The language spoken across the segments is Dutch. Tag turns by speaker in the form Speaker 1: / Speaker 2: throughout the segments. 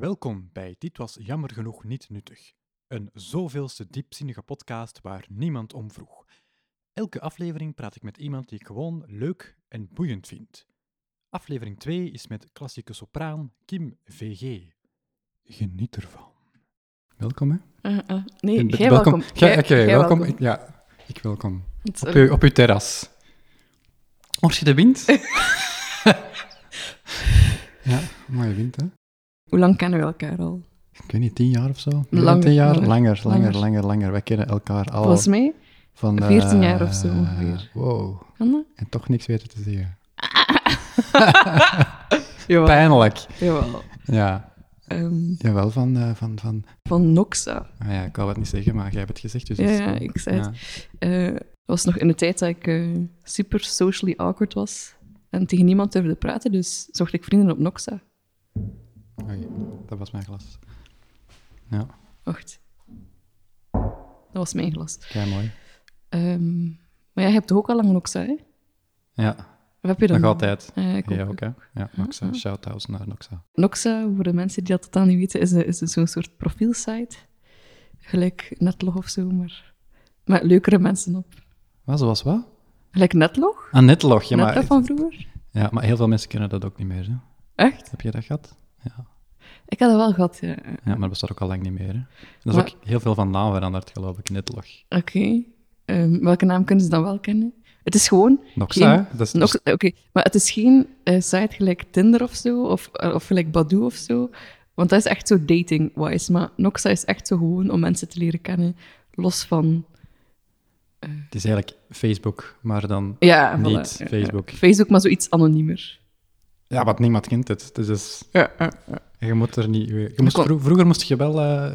Speaker 1: Welkom bij Dit was jammer genoeg niet nuttig, een zoveelste diepzinnige podcast waar niemand om vroeg. Elke aflevering praat ik met iemand die ik gewoon leuk en boeiend vind. Aflevering 2 is met klassieke sopraan Kim VG. Geniet ervan. Welkom, hè?
Speaker 2: Eh, eh, nee,
Speaker 1: Ben-
Speaker 2: jij
Speaker 1: welkom.
Speaker 2: welkom.
Speaker 1: Jij-
Speaker 2: Jij-
Speaker 1: oké,
Speaker 2: jij
Speaker 1: welkom.
Speaker 2: welkom.
Speaker 1: Ja, ik welkom. Op,
Speaker 2: Sorry.
Speaker 1: uw, op uw terras. Hoor je de wind? ja, mooie wind, hè?
Speaker 2: Hoe lang kennen we elkaar al?
Speaker 1: Ik weet niet, tien jaar of zo? Meer dan
Speaker 2: Langer,
Speaker 1: tien jaar? Langer,
Speaker 2: langer,
Speaker 1: langer, langer,
Speaker 2: langer.
Speaker 1: langer. Wij kennen elkaar al
Speaker 2: Volgens mij
Speaker 1: van...
Speaker 2: 14
Speaker 1: eh,
Speaker 2: jaar of zo ongeveer.
Speaker 1: Wow.
Speaker 2: kan dat.
Speaker 1: En toch niks weten te zeggen.
Speaker 2: Jawel.
Speaker 1: Pijnlijk.
Speaker 2: jawel.
Speaker 1: Ja,
Speaker 2: Ehm,
Speaker 1: jawel, van... eh, van, van
Speaker 2: van Noxa.
Speaker 1: ah ja, ik wou het niet zeggen, maar jij hebt het gezegd, dus...
Speaker 2: Ja,
Speaker 1: dat is
Speaker 2: ja,
Speaker 1: goed.
Speaker 2: ik zei het.
Speaker 1: Ja.
Speaker 2: Eh, was nog in de tijd dat ik eh, super socially awkward was en tegen niemand durfde praten, dus zocht ik vrienden op Noxa.
Speaker 1: Oei, dat was mijn glas. Ja,
Speaker 2: Wacht. Dat was mijn glas.
Speaker 1: kei mooi.
Speaker 2: Ehm, maar jij hebt toch ook al lang Noxa, hè?
Speaker 1: Ja,
Speaker 2: Of heb je dan...
Speaker 1: nog altijd.
Speaker 2: Eh, ik ook.
Speaker 1: Ja, ook, hè? Ja, Noxa. Shoutouts naar Noxa.
Speaker 2: Noxa, voor de mensen die dat totaal niet weten, is, een- is een- zo'n soort profielsite. Gelijk Netlog of zo, maar met leukere mensen op.
Speaker 1: Wat, zoals wat?
Speaker 2: Gelijk Netlog?
Speaker 1: Ah, Netlog. Ja,
Speaker 2: Netlog
Speaker 1: maar,
Speaker 2: van vroeger?
Speaker 1: ja, maar heel veel mensen kennen dat ook niet meer, hè?
Speaker 2: Echt?
Speaker 1: Heb je dat gehad? Ja.
Speaker 2: Ik had dat wel gehad, ja. Oké.
Speaker 1: Ja, maar dat bestaat ook al lang niet meer. Hè. Er is
Speaker 2: Maar-
Speaker 1: ook heel veel van naam veranderd, geloof ik. Netlog.
Speaker 2: Ehm, welke naam kunnen ze dan wel kennen? Het is gewoon...
Speaker 1: Noxa,
Speaker 2: geen-
Speaker 1: hè? Dat is
Speaker 2: Nox- Oké, maar het is geen eh, site gelijk Tinder of zo, of, eh, of gelijk Badoo of zo. Want dat is echt zo dating-wise. Maar Noxa is echt zo gewoon om mensen te leren kennen, los van...
Speaker 1: het is eigenlijk Facebook, maar dan...
Speaker 2: Ja, Ah, voilà.
Speaker 1: Niet
Speaker 2: Ja, ja.
Speaker 1: Facebook.
Speaker 2: Facebook, maar zoiets anoniemer.
Speaker 1: Ja, want niemand kent het. Dus, dus
Speaker 2: Ja, ja, ja.
Speaker 1: je moet er niet... Je moest
Speaker 2: Kon-
Speaker 1: vro- vroeger moest je wel... eh,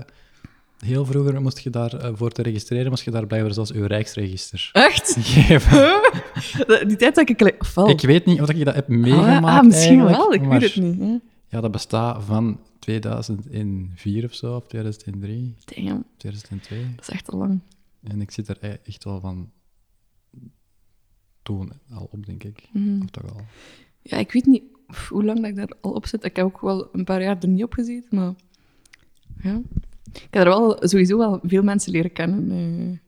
Speaker 1: heel vroeger moest je daar... eh, voor te registreren moest je daar blijven zelfs je rijksregister
Speaker 2: Echt?
Speaker 1: geven.
Speaker 2: Huh? Die tijd dat ik... gelijk- Of wel?
Speaker 1: Ik weet niet of ik dat heb
Speaker 2: Oh. ah,
Speaker 1: meegemaakt
Speaker 2: ah, misschien
Speaker 1: eigenlijk,
Speaker 2: wel, ik
Speaker 1: maar-
Speaker 2: weet het niet. Ja.
Speaker 1: Ja, dat bestaat van 2004 of zo, of 2003,
Speaker 2: Damn,
Speaker 1: 2002.
Speaker 2: dat is echt al lang.
Speaker 1: En ik zit er e- echt wel van toen al op, denk ik.
Speaker 2: Mhm.
Speaker 1: Of toch al.
Speaker 2: Ja, ik weet niet pff, hoe lang dat ik daar al op zit. Ik heb ook wel een paar jaar er niet op gezeten, maar... Ja. Ik heb er wel sowieso wel veel mensen leren kennen. eh.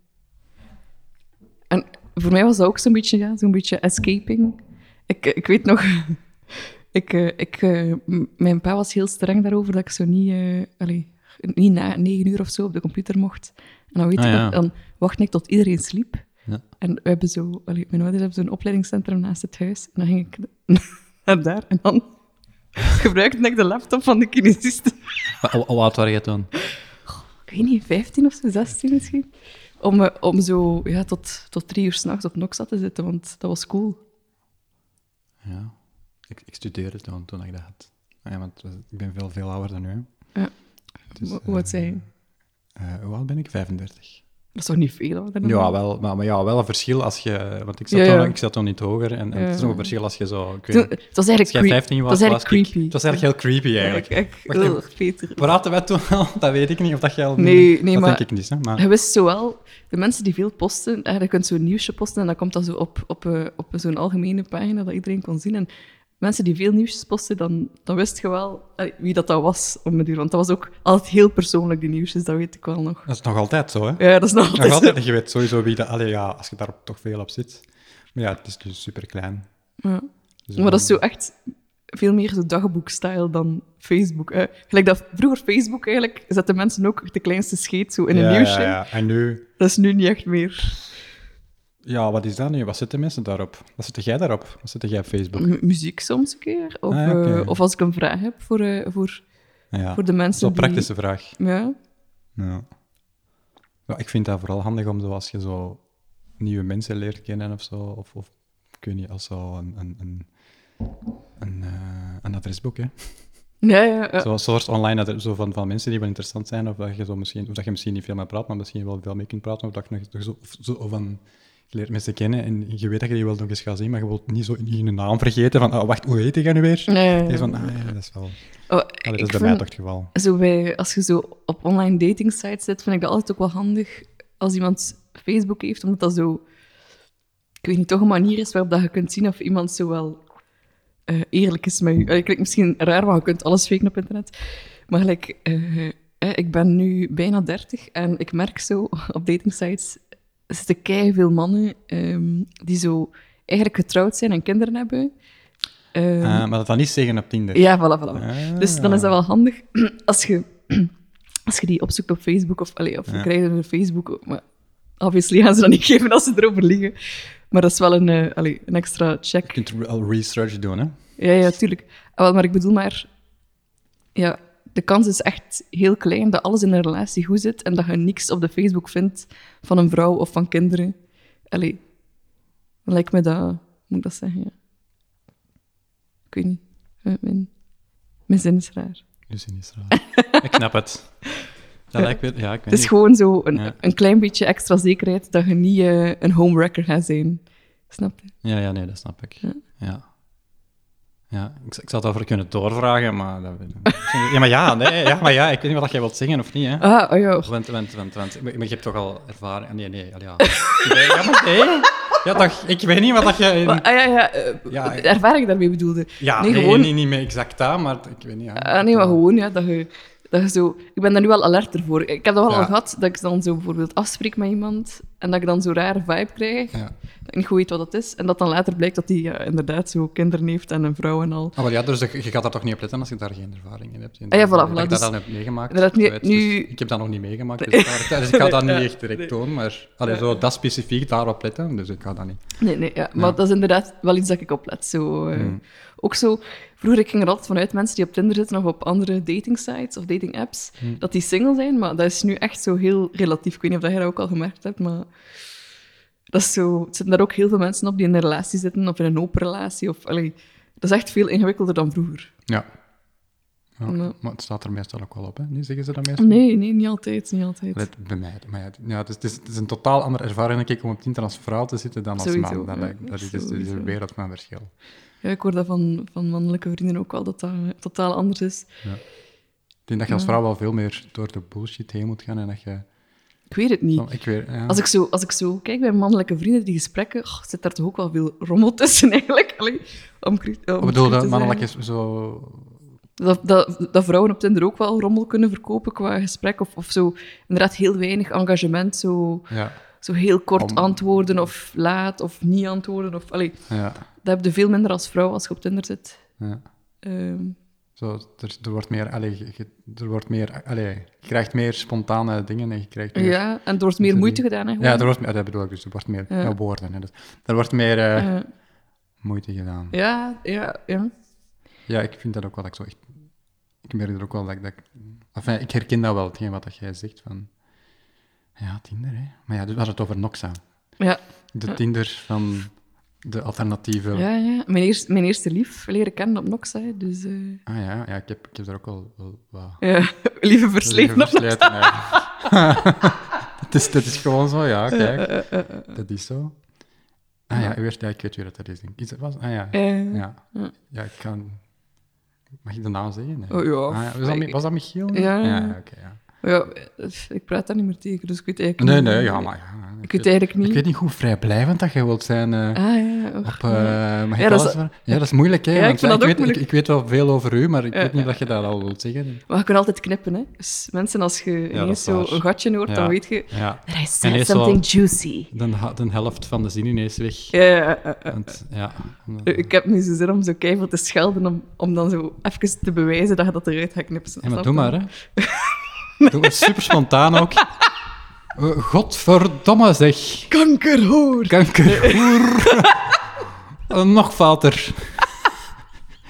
Speaker 2: En voor mij was dat ook zo'n beetje, ja, zo'n beetje escaping. Ik, ik weet nog... ik, eh, ik, eh, m- mijn pa was heel streng daarover dat ik zo niet... eh, allee, niet na negen uur of zo op de computer mocht. En dan, weet
Speaker 1: Ah,
Speaker 2: ik, nog-
Speaker 1: ja.
Speaker 2: dan wachtte ik tot iedereen sliep.
Speaker 1: Ja.
Speaker 2: En we hebben zo, allee, mijn ouders hebben zo'n opleidingscentrum naast het huis. En dan ging ik naar daar. En dan gebruikte ik de laptop van de kinesiste.
Speaker 1: Maar Hoe hoe oud waren jij toen?
Speaker 2: Ik weet niet, 15 of zo, 16 misschien. Om, eh, om zo ja, tot, tot drie uur s'nachts op Noxa te zitten, want dat was cool.
Speaker 1: Ja. Ik, ik studeerde toen, toen ik dat had. Ah Ja, want we- ik ben veel, veel ouder dan nu. hè.
Speaker 2: Ja.
Speaker 1: Dus,
Speaker 2: Hoe- hoe oud
Speaker 1: eh,
Speaker 2: zijn je?
Speaker 1: eh, hoe oud ben ik? 35.
Speaker 2: Dat is toch niet veel? Hoor, daarna?
Speaker 1: Ja, wel, maar, maar ja, wel een verschil als je... Want ik zat,
Speaker 2: Ja, ja.
Speaker 1: Toen, ik zat toen niet hoger. En, en het is
Speaker 2: Ja.
Speaker 1: nog een verschil als je zo... Ik weet
Speaker 2: Toen-
Speaker 1: niet.
Speaker 2: het was eigenlijk,
Speaker 1: als jij
Speaker 2: creep-
Speaker 1: 15 was,
Speaker 2: het was eigenlijk
Speaker 1: was ik-
Speaker 2: creepy.
Speaker 1: het was eigenlijk heel creepy, eigenlijk.
Speaker 2: Ik, ik,
Speaker 1: Wacht even.
Speaker 2: ugh, Peter.
Speaker 1: Praten wij toen al? Dat weet ik niet. Of dat jij al...
Speaker 2: Nee, nee,
Speaker 1: dat
Speaker 2: maar-
Speaker 1: denk ik niet, hè. Maar...
Speaker 2: Je wist zowel, de mensen die veel posten, eh, je kunt zo'n nieuwsje posten en dan komt dat zo op, op, eh, op zo'n algemene pagina dat iedereen kon zien. En mensen die veel nieuwsjes posten, dan, dan wist je wel eh, wie dat, dat was om het uur. Want dat was ook altijd heel persoonlijk, die nieuwsjes, dat weet ik wel nog.
Speaker 1: Dat is nog altijd zo, hè?
Speaker 2: Ja, dat is nog altijd
Speaker 1: Nog
Speaker 2: zo.
Speaker 1: altijd, je weet sowieso wie dat... Allee, ja, als je daar toch veel op zit. Maar ja, het is dus super klein.
Speaker 2: Ja. Maar dat is zo echt veel meer zo dagboekstijl dan Facebook. eh. Gelijk dat vroeger Facebook eigenlijk, zetten mensen ook de kleinste scheet zo in een nieuwsje.
Speaker 1: Ja, ja. En nu...
Speaker 2: Dat is nu niet echt meer.
Speaker 1: Ja, wat is dat nu? Wat zitten mensen daarop? Wat zitten jij daarop? Wat zitten jij op Facebook?
Speaker 2: M- muziek soms een keer. Of,
Speaker 1: Ah, ja, oké.
Speaker 2: eh, of als ik een vraag heb voor, eh, voor,
Speaker 1: Ja,
Speaker 2: voor de mensen
Speaker 1: zo'n
Speaker 2: die...
Speaker 1: praktische vraag.
Speaker 2: Ja,
Speaker 1: Ja. Ja, ik vind dat vooral handig om zo als je zo nieuwe mensen leert kennen of zo, of, of ik weet niet, als zo een, een, een, een, eh, een adresboek, hè.
Speaker 2: ja, ja. ja.
Speaker 1: Zo'n soort online adres, zo van, van mensen die wel interessant zijn, of dat je, zo misschien, of dat je misschien niet veel mee praat, maar misschien wel veel mee kunt praten, of dat je nog nog zo, of zo of van... Je leert mensen kennen en je weet dat je die wel nog eens gaat zien, maar je wilt niet zo in je naam vergeten van, ah, wacht, hoe heet die jij nu weer?
Speaker 2: Ja, ja, ja.
Speaker 1: Je is van, ah ja, dat is wel... Allee,
Speaker 2: Oh,
Speaker 1: dat is
Speaker 2: ik
Speaker 1: bij mij
Speaker 2: vind-
Speaker 1: toch het geval.
Speaker 2: zo bij, als je zo op online dating sites zit, vind ik dat altijd ook wel handig als iemand Facebook heeft, omdat dat zo, ik weet niet, toch een manier is waarop dat je kunt zien of iemand zo wel eh, eerlijk is met je. Eh, Ik klinkt misschien raar, want je kunt alles faken op internet. Maar gelijk, eh, eh, ik ben nu bijna 30 en ik merk zo op datingsites zitten keihard veel mannen ehm, die zo eigenlijk getrouwd zijn en kinderen hebben. Ehm,
Speaker 1: Ah, maar dat dan niet zeggen op Tinder.
Speaker 2: ja, voilà, voilà.
Speaker 1: Ah.
Speaker 2: Dus dan is dat wel handig als je, als je die opzoekt op Facebook of, allee, of
Speaker 1: Ja.
Speaker 2: we krijgen een Facebook. Maar obviously gaan ze dat niet geven als ze erover liegen. Maar dat is wel een, eh, allee, een extra check.
Speaker 1: Je kunt er wel research doen, hè?
Speaker 2: Ja, ja, tuurlijk. Ah, wel, maar ik bedoel maar... Ja, de kans is echt heel klein dat alles in een relatie goed zit en dat je niks op de Facebook vindt van een vrouw of van kinderen. Allee, lijkt me dat... Moet ik dat zeggen, ja. Ik weet niet. Eh, Mijn, mijn zin is raar.
Speaker 1: Dus in is raar. ik snap het. Dat lijkt weer... Ja, ik weet
Speaker 2: Het is
Speaker 1: niet.
Speaker 2: gewoon zo een,
Speaker 1: Ja.
Speaker 2: een klein beetje extra zekerheid dat je niet eh, een homewrecker gaat zijn. Snap je?
Speaker 1: Ja, ja, nee, dat snap ik.
Speaker 2: Ja.
Speaker 1: Ja. Ja, ik, z- ik zou het over kunnen doorvragen, maar... Dat, ja, maar ja, nee, ja, maar ja, ik weet niet wat jij wilt zingen of niet, hè?
Speaker 2: Ah, oh ja.
Speaker 1: Want, want, want, want. Maar maar je hebt toch al ervaring... Nee, nee, al ja. Nee, ja, maar nee. Ja, toch, ik weet niet wat dat je... in-
Speaker 2: Ah ja, ja. eh,
Speaker 1: Ja,
Speaker 2: de ervaring daarmee bedoelde.
Speaker 1: Ja,
Speaker 2: nee,
Speaker 1: nee,
Speaker 2: gewoon-
Speaker 1: niet, niet meer exact dat, maar ik weet niet. ja.
Speaker 2: Ah, nee, maar gewoon, ja, dat je, dat je zo... Ik ben daar nu wel alerter voor. Ik heb dat wel
Speaker 1: Ja.
Speaker 2: al gehad, dat ik dan zo bijvoorbeeld afspreek met iemand en dat ik dan zo'n rare vibe krijg,
Speaker 1: Ja.
Speaker 2: dat ik niet goed weet wat dat is, en dat dan later blijkt dat hij ja, inderdaad zo kinderen heeft en een vrouw en al.
Speaker 1: Ah, wel ja, dus je je gaat daar toch niet op letten als je daar geen ervaring in hebt.
Speaker 2: Ah ja, voilà,
Speaker 1: Dat
Speaker 2: voilà,
Speaker 1: ik dat
Speaker 2: dus-
Speaker 1: dan heb meegemaakt.
Speaker 2: Dat nu-
Speaker 1: weet, dus
Speaker 2: nu-
Speaker 1: ik heb dat nog niet meegemaakt, dus, daar- dus ik ga dat niet echt direct doen. Maar allee, zo, dat specifiek daarop letten, dus ik ga dat niet.
Speaker 2: Nee, nee, ja. Maar
Speaker 1: Ja.
Speaker 2: dat is inderdaad wel iets dat ik oplet. Zo, eh,
Speaker 1: Hmm.
Speaker 2: Ook zo... Vroeger ik ging er altijd vanuit mensen die op Tinder zitten of op andere datingsites of datingapps, dat die single zijn, maar dat is nu echt zo heel relatief. Ik weet niet of dat jij dat ook al gemerkt hebt, maar... Dat is zo... Er zitten daar ook heel veel mensen op die in een relatie zitten of in een open relatie. Of, allee, dat is echt veel ingewikkelder dan vroeger.
Speaker 1: Ja. Ja,
Speaker 2: Nee.
Speaker 1: Maar het staat er meestal ook wel op, hè? Nu zeggen ze dat meestal.
Speaker 2: Nee, nee, niet altijd. Niet altijd.
Speaker 1: Allee, het- bij mij. Maar ja, het- ja, het, is, het, is, het is een totaal andere ervaring denk ik, om op Tinder als vrouw te zitten dan als
Speaker 2: Sowieso,
Speaker 1: man. Dat,
Speaker 2: ja.
Speaker 1: lijkt- dat is, dat is
Speaker 2: Sowieso.
Speaker 1: een wereld van verschil.
Speaker 2: Ja, ik hoor dat van, van mannelijke vrienden ook wel, dat dat eh, totaal anders is.
Speaker 1: Ik denk dat je als vrouw wel veel meer door de bullshit heen moet gaan en dat je...
Speaker 2: Ik weet het niet.
Speaker 1: Ik weet, ja.
Speaker 2: Als ik, zo, als ik zo kijk bij mannelijke vrienden, die gesprekken, goh, zit daar toch ook wel veel rommel tussen eigenlijk. Allee, om, cru- om
Speaker 1: Ik bedoel,
Speaker 2: cru
Speaker 1: dat
Speaker 2: te
Speaker 1: mannelijk
Speaker 2: zijn.
Speaker 1: is zo...
Speaker 2: Dat, dat, dat vrouwen op Tinder ook wel rommel kunnen verkopen qua gesprek. Of, of zo inderdaad heel weinig engagement, zo,
Speaker 1: Ja,
Speaker 2: zo heel kort
Speaker 1: Om-
Speaker 2: antwoorden of laat of niet antwoorden. Of, allee,
Speaker 1: ja,
Speaker 2: dat heb je veel minder als vrouw als je op Tinder zit.
Speaker 1: ja.
Speaker 2: Ehm,
Speaker 1: Zo, er, er wordt meer... Allee, je- je- er wordt meer allee, je krijgt meer spontane dingen en je krijgt meer...
Speaker 2: ja, en er wordt meer
Speaker 1: Sorry.
Speaker 2: moeite gedaan. Hè,
Speaker 1: Ja,
Speaker 2: gewoon.
Speaker 1: er wordt, meer- dat bedoel ik dus. Er wordt meer
Speaker 2: Ja.
Speaker 1: ja, woorden. Hè, dus, er wordt meer eh,
Speaker 2: Eh,
Speaker 1: moeite gedaan.
Speaker 2: ja, ja, ja.
Speaker 1: Ja, ik vind dat ook wel dat ik zo echt... Ik merk er ook wel dat ik... Dat ik, enfin, ik herken dat wel, hetgeen wat dat jij zegt van... Ja, Tinder, hè. Maar ja, dus we hadden het over Noxa.
Speaker 2: ja.
Speaker 1: De Tinder van de alternatieve...
Speaker 2: Ja, ja. Mijn, eerste, mijn eerste lief leren kennen op Noxa. hè, Dus, eh,
Speaker 1: Ah ja, ja ik, heb, ik heb er ook wel, wel wat...
Speaker 2: ja, lieve versleten op Noxa.
Speaker 1: Versleten, ja. dat, is, dat is gewoon zo, ja, kijk. Dat is zo. Ah ja, ik weet, ja, ik weet weer dat dat is. denk ik. Is het was? Ah ja.
Speaker 2: Eh,
Speaker 1: Ja,
Speaker 2: ja.
Speaker 1: ja ik kan... Mag ik de naam zeggen? Nee.
Speaker 2: Oh, ja.
Speaker 1: Ah, was, dat, Mi- was dat Michiel?
Speaker 2: Ja.
Speaker 1: ja oké, ja.
Speaker 2: Ja, eh, ik praat daar niet meer tegen, dus ik weet eigenlijk
Speaker 1: Nee,
Speaker 2: niet.
Speaker 1: nee, ja, maar... Ja,
Speaker 2: Ik weet eigenlijk
Speaker 1: ik
Speaker 2: niet.
Speaker 1: weet niet hoe vrijblijvend dat jij wilt zijn eh,
Speaker 2: Ah, ja. och,
Speaker 1: op... eh,
Speaker 2: ja.
Speaker 1: mag ik
Speaker 2: Ja, dat is-
Speaker 1: alles ver- ja, dat is moeilijk, hè?
Speaker 2: Ja, ik
Speaker 1: want
Speaker 2: vind dat ook
Speaker 1: weet,
Speaker 2: moeilijk.
Speaker 1: Ik, ik weet wel veel over u, maar ik
Speaker 2: Ja,
Speaker 1: weet niet
Speaker 2: ja.
Speaker 1: dat je dat al wilt zeggen.
Speaker 2: Maar je kunt altijd knippen, hè. Dus mensen, als je
Speaker 1: dat
Speaker 2: ineens
Speaker 1: is
Speaker 2: zo
Speaker 1: waar.
Speaker 2: een gatje hoort,
Speaker 1: Ja.
Speaker 2: dan weet je...
Speaker 1: Ja,
Speaker 2: There is
Speaker 1: Ineens wel.
Speaker 2: something juicy.
Speaker 1: dan ha- de helft van de zin ineens weg.
Speaker 2: Ja, ja, ja, ja.
Speaker 1: Want, ja, omdat-
Speaker 2: Ik heb nu zo zin om zo keihard te schelden, om, om dan zo even te bewijzen dat je dat eruit gaat knippen.
Speaker 1: Hé, maar
Speaker 2: Snap
Speaker 1: doe
Speaker 2: je?
Speaker 1: maar, hè. Doe het super spontaan ook. Eh, Godverdomme, zeg.
Speaker 2: Kankerhoer!
Speaker 1: Kankerhoer. Eh, Nog vater.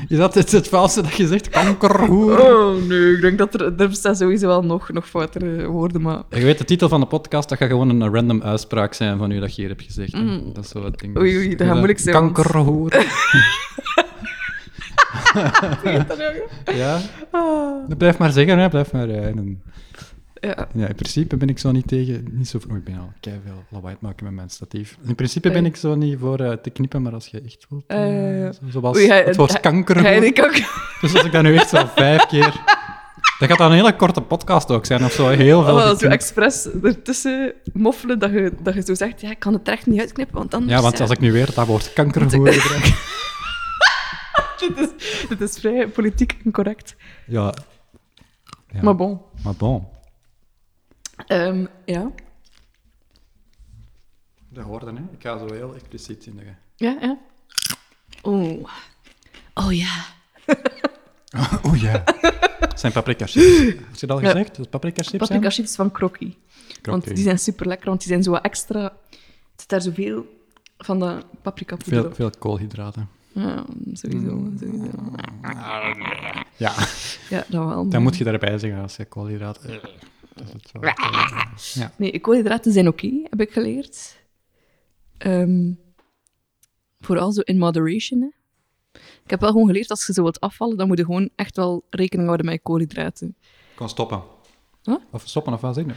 Speaker 1: Is dat het, het valse dat je zegt? Kankerhoer.
Speaker 2: Oh, nee, ik denk dat er... Er bestaan sowieso wel nog, nog foutere woorden, maar...
Speaker 1: Je weet, de titel van de podcast, dat gaat gewoon een random uitspraak zijn van u dat je hier hebt gezegd. hè. Dat is zo het ding.
Speaker 2: Mm. Oei, oei, dat gaat moeilijk zijn, want-
Speaker 1: Kankerhoer. ja.
Speaker 2: Ah.
Speaker 1: Blijf maar zeggen, hè. Blijf maar... eh, en-
Speaker 2: Ja.
Speaker 1: Ja, in principe ben ik zo niet tegen. Niet zo, oh, ik ben al veel lawaai te maken met mijn statief. In principe ben ik zo niet voor eh, te knippen, maar als je echt wilt. eh,
Speaker 2: Eh,
Speaker 1: zo- zoals
Speaker 2: oei, hij-
Speaker 1: het woord
Speaker 2: hij-
Speaker 1: kanker.
Speaker 2: Ga je
Speaker 1: hoort.
Speaker 2: die kanker...
Speaker 1: Dus als ik dat nu echt zo vijf keer. Dat gaat dan een hele korte podcast ook zijn of zo. Heel veel.
Speaker 2: Oh, wel, zo
Speaker 1: geknipt.
Speaker 2: expres ertussen moffelen dat je, dat je zo zegt, ja, ik kan het er echt niet uitknippen, want anders...
Speaker 1: ja, want als ik nu weer dat woord kanker hoor gebruik.
Speaker 2: dit, is, dit is vrij politiek incorrect.
Speaker 1: Ja. Ja.
Speaker 2: Maar bon.
Speaker 1: Maar bon.
Speaker 2: Ehm, ja.
Speaker 1: Dat hoorde, hè. Ik ga zo heel expliciet in de...
Speaker 2: Ja, ja. Oeh. Oh ja.
Speaker 1: Oh ja. Het zijn paprika chips. Had je dat al
Speaker 2: Ja.
Speaker 1: gezegd? Dat het paprika chips zijn?
Speaker 2: Paprika chips van Crocky. Want die zijn super lekker, want die zijn zo wat extra. Er zit daar zoveel van de paprika poeder
Speaker 1: Veel, Mm.
Speaker 2: op.
Speaker 1: veel koolhydraten.
Speaker 2: Ja, sowieso, sowieso.
Speaker 1: Ja,
Speaker 2: Ja, dat wel.
Speaker 1: dan moet je daarbij zeggen als je koolhydraten... Eh, dat is het wel.
Speaker 2: Nee, koolhydraten zijn oké, heb ik geleerd. Ehm, vooral zo in moderation. Hè. Ik heb wel gewoon geleerd, als je zo wilt afvallen, dan moet je gewoon echt wel rekening houden met je koolhydraten.
Speaker 1: Gewoon stoppen.
Speaker 2: Huh?
Speaker 1: Of stoppen, of wat zeg je?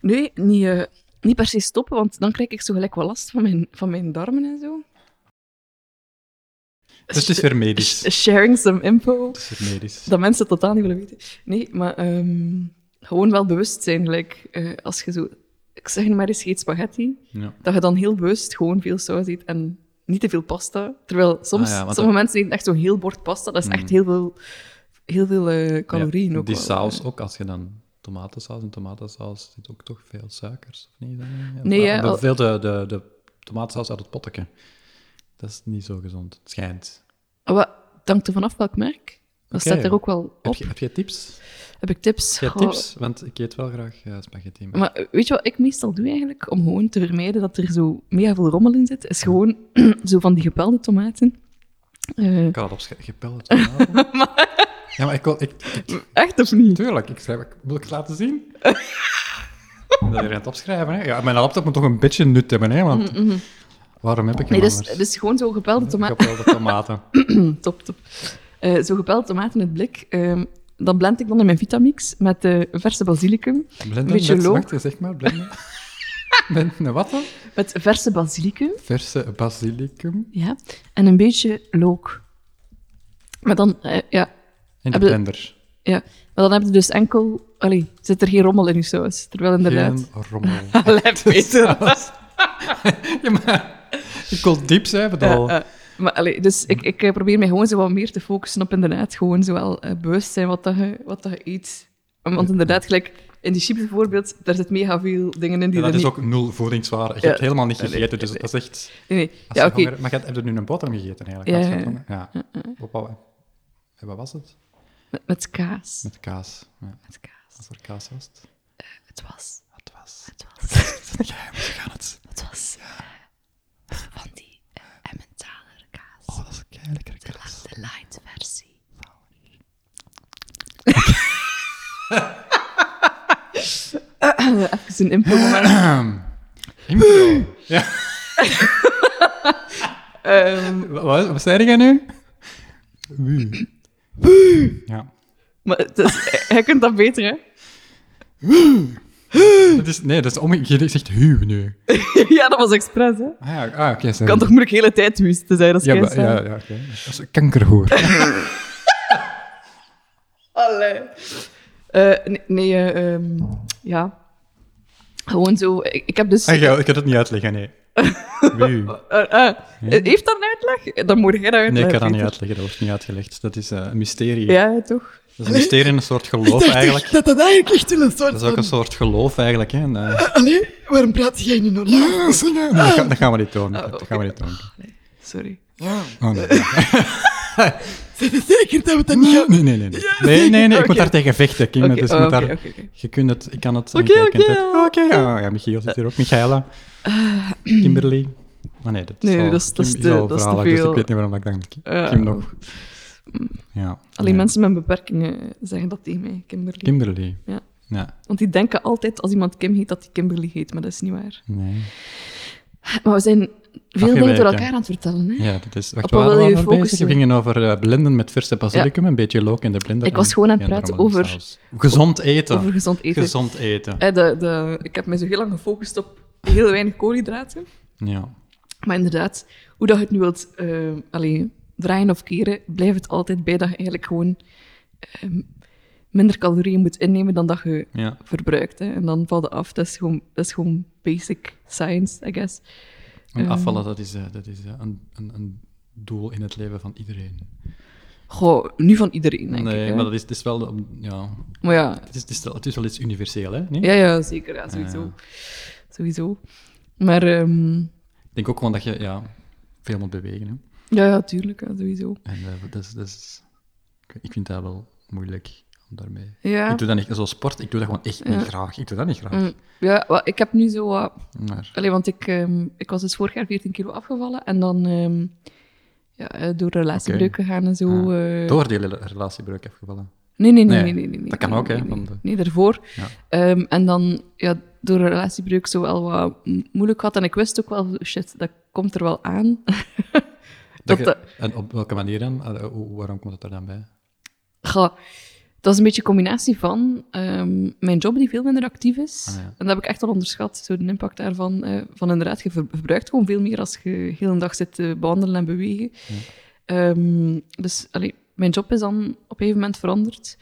Speaker 2: Nee, niet, eh, niet per se stoppen, want dan krijg ik zo gelijk wel last van mijn, van mijn darmen en zo.
Speaker 1: Dus het is weer medisch.
Speaker 2: Sh- Sharing some info.
Speaker 1: Het is weer medisch.
Speaker 2: Dat mensen het totaal niet willen weten. Nee, maar ehm, gewoon wel bewust zijn. Like, eh, als je zo... Ik zeg nu maar eens, je eet spaghetti.
Speaker 1: Ja.
Speaker 2: dat je dan heel bewust gewoon veel saus eet en niet te veel pasta. Terwijl soms,
Speaker 1: Ah ja, want Mm.
Speaker 2: sommige mensen eten echt zo'n heel bord pasta. Dat is echt heel veel, heel veel eh, calorieën
Speaker 1: Ja,
Speaker 2: ook
Speaker 1: Die
Speaker 2: wel,
Speaker 1: saus
Speaker 2: eh.
Speaker 1: ook, als je dan tomatensaus en tomatensaus zit ook toch veel suikers, of niet? Dan, ja,
Speaker 2: Nee,
Speaker 1: maar-
Speaker 2: ja,
Speaker 1: maar
Speaker 2: al-
Speaker 1: Veel de, de, de tomatensaus uit het potje. Dat is niet zo gezond, het schijnt.
Speaker 2: Ah, Wat, het hangt er vanaf welk merk. Dat
Speaker 1: Oké.
Speaker 2: staat er ook wel op.
Speaker 1: Heb
Speaker 2: Heb,
Speaker 1: je, heb je tips?
Speaker 2: ik tips?
Speaker 1: Heb je
Speaker 2: Goh.
Speaker 1: tips? Want ik eet wel graag eh, spaghetti. Maar...
Speaker 2: Maar eh, weet je wat ik meestal doe eigenlijk? Om gewoon te vermijden dat er zo mega veel rommel in zit, is gewoon zo van die gepelde tomaten. Eh,
Speaker 1: Ik had het opschrijven. Gepelde tomaten. Ja, maar ik wil... Ik, ik-
Speaker 2: echt of niet?
Speaker 1: tuurlijk, ik schrijf... ik- Wil ik het laten zien? Dat je aan het opschrijven, hè? Ja, mijn laptop moet toch een beetje nut hebben, hè? Want waarom heb ik hem
Speaker 2: Mm, mhm. Nee, dus,
Speaker 1: anders?
Speaker 2: dus gewoon zo gepelde tomaten.
Speaker 1: Gepelde tomaten.
Speaker 2: Top, top. Eh, zo gepeld tomaten in het blik. ehm, dat blend ik dan in mijn Vitamix met eh, verse basilicum.
Speaker 1: Blenden
Speaker 2: Beetje
Speaker 1: met,
Speaker 2: loog.
Speaker 1: wacht, zeg maar, blenden. Met een wat dan?
Speaker 2: Met verse basilicum,
Speaker 1: Verse basilicum
Speaker 2: ja. En een beetje look. Maar dan, eh, ja,
Speaker 1: in de
Speaker 2: Hebben-
Speaker 1: blender.
Speaker 2: ja. Maar dan heb je dus enkel... Allee, zit er geen rommel in je saus. Terwijl inderdaad...
Speaker 1: Geen rommel.
Speaker 2: Lijp beter.
Speaker 1: ja, maar ik wil diep zijn, bedoel.
Speaker 2: Ja, eh, maar allee, dus ik, ik eh, probeer mij gewoon zo wat meer te focussen op inderdaad gewoon zo wel eh, bewust zijn wat, dat je, wat dat je eet. Want inderdaad, gelijk in die chips bijvoorbeeld, daar zit mega veel dingen in die
Speaker 1: Ja,
Speaker 2: er
Speaker 1: dat
Speaker 2: niet...
Speaker 1: is ook nul voedingswaarde. Je
Speaker 2: Ja.
Speaker 1: hebt helemaal niet gegeten, dus dat is echt...
Speaker 2: Nee, nee.
Speaker 1: als
Speaker 2: Ja,
Speaker 1: je
Speaker 2: oké.
Speaker 1: honger- Maar je hebt- heb je nu een boterham gegeten, eigenlijk?
Speaker 2: Ja,
Speaker 1: Als je
Speaker 2: ja, ja.
Speaker 1: honger- ja. Op wat- en wat was het?
Speaker 2: Met, met kaas.
Speaker 1: Met kaas. Ja,
Speaker 2: Met kaas.
Speaker 1: wat voor kaas was het?
Speaker 2: Het was.
Speaker 1: Het was...
Speaker 2: Het was.
Speaker 1: Ja, we gaan het...
Speaker 2: Het was. eh, van die eh, Emmentaler kaas.
Speaker 1: Oh, dat is een keilekkere
Speaker 2: De,
Speaker 1: kaas.
Speaker 2: la- de light versie. Even een info.
Speaker 1: Impro. Ja.
Speaker 2: ehm,
Speaker 1: Wa- Wat, wat zei jij nu? Ja.
Speaker 2: maar het is, hij kunt dat beter, hè?
Speaker 1: Dat is, nee, dat is om, je zegt hu nu.
Speaker 2: ja, dat was expres, hè?
Speaker 1: Ah, ja, ah, oké. sorry.
Speaker 2: Ik kan toch moeilijk de hele tijd wisten te zijn als
Speaker 1: Ja,
Speaker 2: jij
Speaker 1: maar- ja, ja, oké. Dat is een kankerhoer.
Speaker 2: Allee. Eh, nee, nee eh, ehm, ja. Gewoon zo. Ik, ik heb dus.
Speaker 1: Ah, ja, ik kan het niet uitleggen, nee. Hu.
Speaker 2: Eh, eh, Heeft dat een uitleg? Dan moet jij dat uitleggen.
Speaker 1: Hm? Nee, ik kan dat niet
Speaker 2: Peter.
Speaker 1: uitleggen. Dat wordt niet uitgelegd. Dat is eh, een mysterie.
Speaker 2: Ja, toch?
Speaker 1: Dat is een mysterie en een soort geloof, eigenlijk.
Speaker 3: dat dat eigenlijk ligt in een soort
Speaker 1: Dat is ook een soort geloof, eigenlijk. Hè. En, eh,
Speaker 3: Allee, waarom praat jij nu normaal?
Speaker 1: dat, ga- dat gaan we niet doen.
Speaker 2: Ah,
Speaker 1: Dat gaan we niet doen.
Speaker 2: Allee, sorry.
Speaker 1: Oh, nee.
Speaker 3: Zijn je zeker dat we dat niet
Speaker 1: Nee,
Speaker 3: gaan...
Speaker 1: nee, nee. Nee, nee, nee, ik moet
Speaker 2: Oké.
Speaker 1: daar tegen vechten, Kim.
Speaker 2: Oké,
Speaker 1: dus ik
Speaker 2: oh,
Speaker 1: moet
Speaker 2: oké,
Speaker 1: daar...
Speaker 2: oké, oké.
Speaker 1: Je kunt het... Ik kan het...
Speaker 2: Oké,
Speaker 1: je kent
Speaker 2: oké,
Speaker 1: het.
Speaker 2: ja.
Speaker 1: Oké, ja, ja, Michiel zit hier ook. Michaela. Kimberly. Ah nee, dat is
Speaker 2: Nee,
Speaker 1: al-
Speaker 2: dat is- dat is
Speaker 1: Kim
Speaker 2: te-
Speaker 1: al
Speaker 2: dat is te
Speaker 1: verhalen, dus
Speaker 2: veel.
Speaker 1: ik weet niet waarom ik dan
Speaker 2: Ja.
Speaker 1: Kim nog... Ja.
Speaker 2: Alleen
Speaker 1: nee.
Speaker 2: mensen met beperkingen zeggen dat tegen mij, Kimberly.
Speaker 1: Kimberly.
Speaker 2: Ja.
Speaker 1: Ja.
Speaker 2: Want die denken altijd als iemand Kim heet dat die Kimberly heet, maar dat is niet waar.
Speaker 1: Nee.
Speaker 3: Ah,
Speaker 2: Maar we zijn veel dingen door
Speaker 1: Afgeweken.
Speaker 2: elkaar aan het vertellen. Hè?
Speaker 1: Ja, dat is... Wacht,
Speaker 2: Op wat
Speaker 1: waar waren
Speaker 2: wil
Speaker 1: we
Speaker 2: je
Speaker 1: over bezig?
Speaker 2: focussen?
Speaker 1: We gingen over eh, blenden met verse basilicum, een beetje look in de blender.
Speaker 2: Ik was
Speaker 1: en-
Speaker 2: gewoon aan het
Speaker 1: en
Speaker 2: praten
Speaker 1: rommel in
Speaker 2: over-
Speaker 1: saus. Gezond eten.
Speaker 2: Over gezond eten.
Speaker 1: Gezond eten.
Speaker 2: Eh, de, de, ik heb me zo heel lang gefocust op heel weinig koolhydraten.
Speaker 1: Ja.
Speaker 2: Maar inderdaad, hoe dat je het nu wilt eh, allee, draaien of keren, blijft het altijd bij dat je eigenlijk gewoon ehm, minder calorieën moet innemen dan dat je
Speaker 1: Ja.
Speaker 2: verbruikt. Hè. En dan valt het af. Dat is, gewoon, dat is gewoon basic science, I guess. Ehm.
Speaker 1: En afvallen, dat is, eh, dat is eh, een, een, een doel in het leven van iedereen.
Speaker 2: Goh, nu van iedereen, denk
Speaker 1: nee,
Speaker 2: ik. hè.
Speaker 1: maar dat is, het is wel... um, Ja,
Speaker 2: Maar ja,
Speaker 1: het, is, het, is, wel- het is wel iets universeel, hè? Nee?
Speaker 2: ja, ja, zeker. Ja, sowieso.
Speaker 1: Ja.
Speaker 2: Sowieso. Maar ehm,
Speaker 1: Ik denk ook gewoon dat je ja, veel moet bewegen. Hè?
Speaker 2: ja, ja, tuurlijk, ja, sowieso.
Speaker 1: En eh, dat is, dat is, ik weet- ik vind dat wel moeilijk om daarmee...
Speaker 2: Ja.
Speaker 1: Ik doe dat niet zo sport, ik doe dat gewoon echt
Speaker 2: Ja.
Speaker 1: niet graag. Ik doe dat niet graag.
Speaker 2: Mm, ja, wel, ik heb nu zo wat...
Speaker 1: Maar
Speaker 2: Allee, want ik, ehm, ik was dus vorig jaar 14 kilo afgevallen. En dan ehm, ja, eh, door relatiebreuken gaan en zo... eh,
Speaker 1: door die rela- relatiebreuk afgevallen.
Speaker 2: Nee, nee,
Speaker 1: Ah. Nee,
Speaker 2: nee, nee. nee, nee,
Speaker 1: dat kan
Speaker 2: nee,
Speaker 1: ook, hè,
Speaker 2: Nee,
Speaker 1: van
Speaker 2: nee,
Speaker 1: de-
Speaker 2: nee, daarvoor.
Speaker 1: Ja.
Speaker 2: Ehm, en dan ja, door een relatiebreuk zo wel wat m- moeilijk had. En ik wist ook wel, shit, dat komt er wel aan.
Speaker 1: Dat
Speaker 2: Dat
Speaker 1: je-
Speaker 2: de-
Speaker 1: En op welke manier dan? Allee, hoe- waarom komt het er dan bij?
Speaker 2: Goh, dat is een beetje een combinatie van ehm, mijn job die veel minder actief is.
Speaker 1: Ah, ja.
Speaker 2: En dat heb ik echt al onderschat, zo de impact daarvan. eh, van inderdaad, je ver- verbruikt gewoon veel meer als je de hele dag zit te behandelen en bewegen. Ehm, dus allee, mijn job is dan op een gegeven moment veranderd.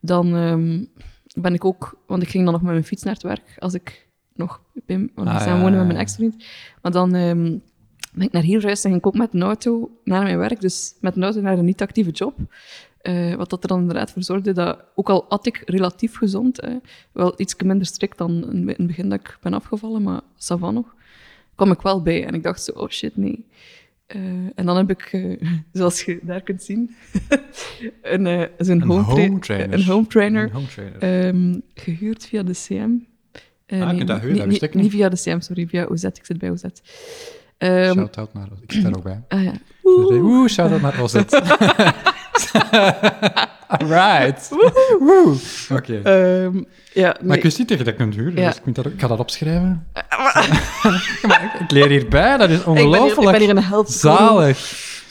Speaker 2: Dan ehm, ben ik ook, want ik ging dan nog met mijn fiets naar het werk als ik nog bij m- want ik
Speaker 1: Ah,
Speaker 2: samen
Speaker 1: ja,
Speaker 2: woonde
Speaker 1: ja,
Speaker 2: met mijn
Speaker 1: ja.
Speaker 2: ex-vriend. Maar dan ehm, ben ik naar hier verhuisd en ging ik ook met een auto naar mijn werk. Dus met een auto naar een niet-actieve job. Eh, wat dat er dan inderdaad voor zorgde dat, ook al at ik relatief gezond, eh, wel iets minder strikt dan in in het begin dat ik ben afgevallen, maar savan nog, kwam ik wel bij. En ik dacht zo, oh shit, nee. Eh, en dan heb ik, eh, zoals je daar kunt zien, een, eh, zo'n home, tra-
Speaker 1: home trainer.
Speaker 2: een home trainer
Speaker 1: Een home trainer.
Speaker 2: ehm, gehuurd via de CM. Eh,
Speaker 1: Ah, je kunt dat huren, dat wist ik niet.
Speaker 2: Niet via de CM, sorry, via OZ. Ik zit bij OZ. Ehm,
Speaker 1: shout-out naar... Ik zit daar ook bij.
Speaker 2: ah ja.
Speaker 1: Oeh, shout-out naar Ozet. Alright. Woe. Oké.
Speaker 2: Ehm, ja,
Speaker 1: Maar
Speaker 2: nee.
Speaker 1: ik wist niet dat je dat kunt huren,
Speaker 2: Ja. Eh,
Speaker 1: dus ik, moet dat, ook- ik ga dat opschrijven. maar ik, ik leer hierbij, dat is
Speaker 2: ik, ben hier, ik ben
Speaker 1: ongelooflijk.
Speaker 2: hier een held.
Speaker 1: Zalig.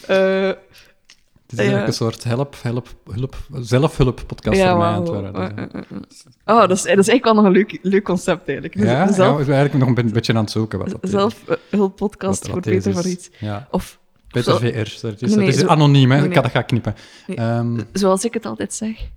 Speaker 2: Eh,
Speaker 1: Het is eigenlijk
Speaker 2: Ja.
Speaker 1: een soort help, help, hulp, zelfhulp-podcast voor mij aan het
Speaker 2: wauw.
Speaker 1: worden. Dus,
Speaker 2: Eh, eh, eh, eh. Oh, dat is, dat is eigenlijk wel nog een leuk, leuk concept eigenlijk. Dus
Speaker 1: ja, ja,
Speaker 2: zelf,
Speaker 1: we zijn eigenlijk nog een beetje aan het zoeken. Wat dat is.
Speaker 2: zelf eh, hulp podcast
Speaker 1: Wat-
Speaker 2: voor
Speaker 1: wat
Speaker 2: beter
Speaker 1: is.
Speaker 2: van iets.
Speaker 1: Ja.
Speaker 2: Of
Speaker 1: Beter
Speaker 2: Zo-
Speaker 1: VR. Dat is,
Speaker 2: Nee,
Speaker 1: dat is
Speaker 2: zo-
Speaker 1: anoniem, hè.
Speaker 2: nee,
Speaker 1: Ik ga
Speaker 2: nee.
Speaker 1: dat gaan knippen.
Speaker 2: Nee.
Speaker 1: Ehm
Speaker 2: zoals ik het altijd zeg.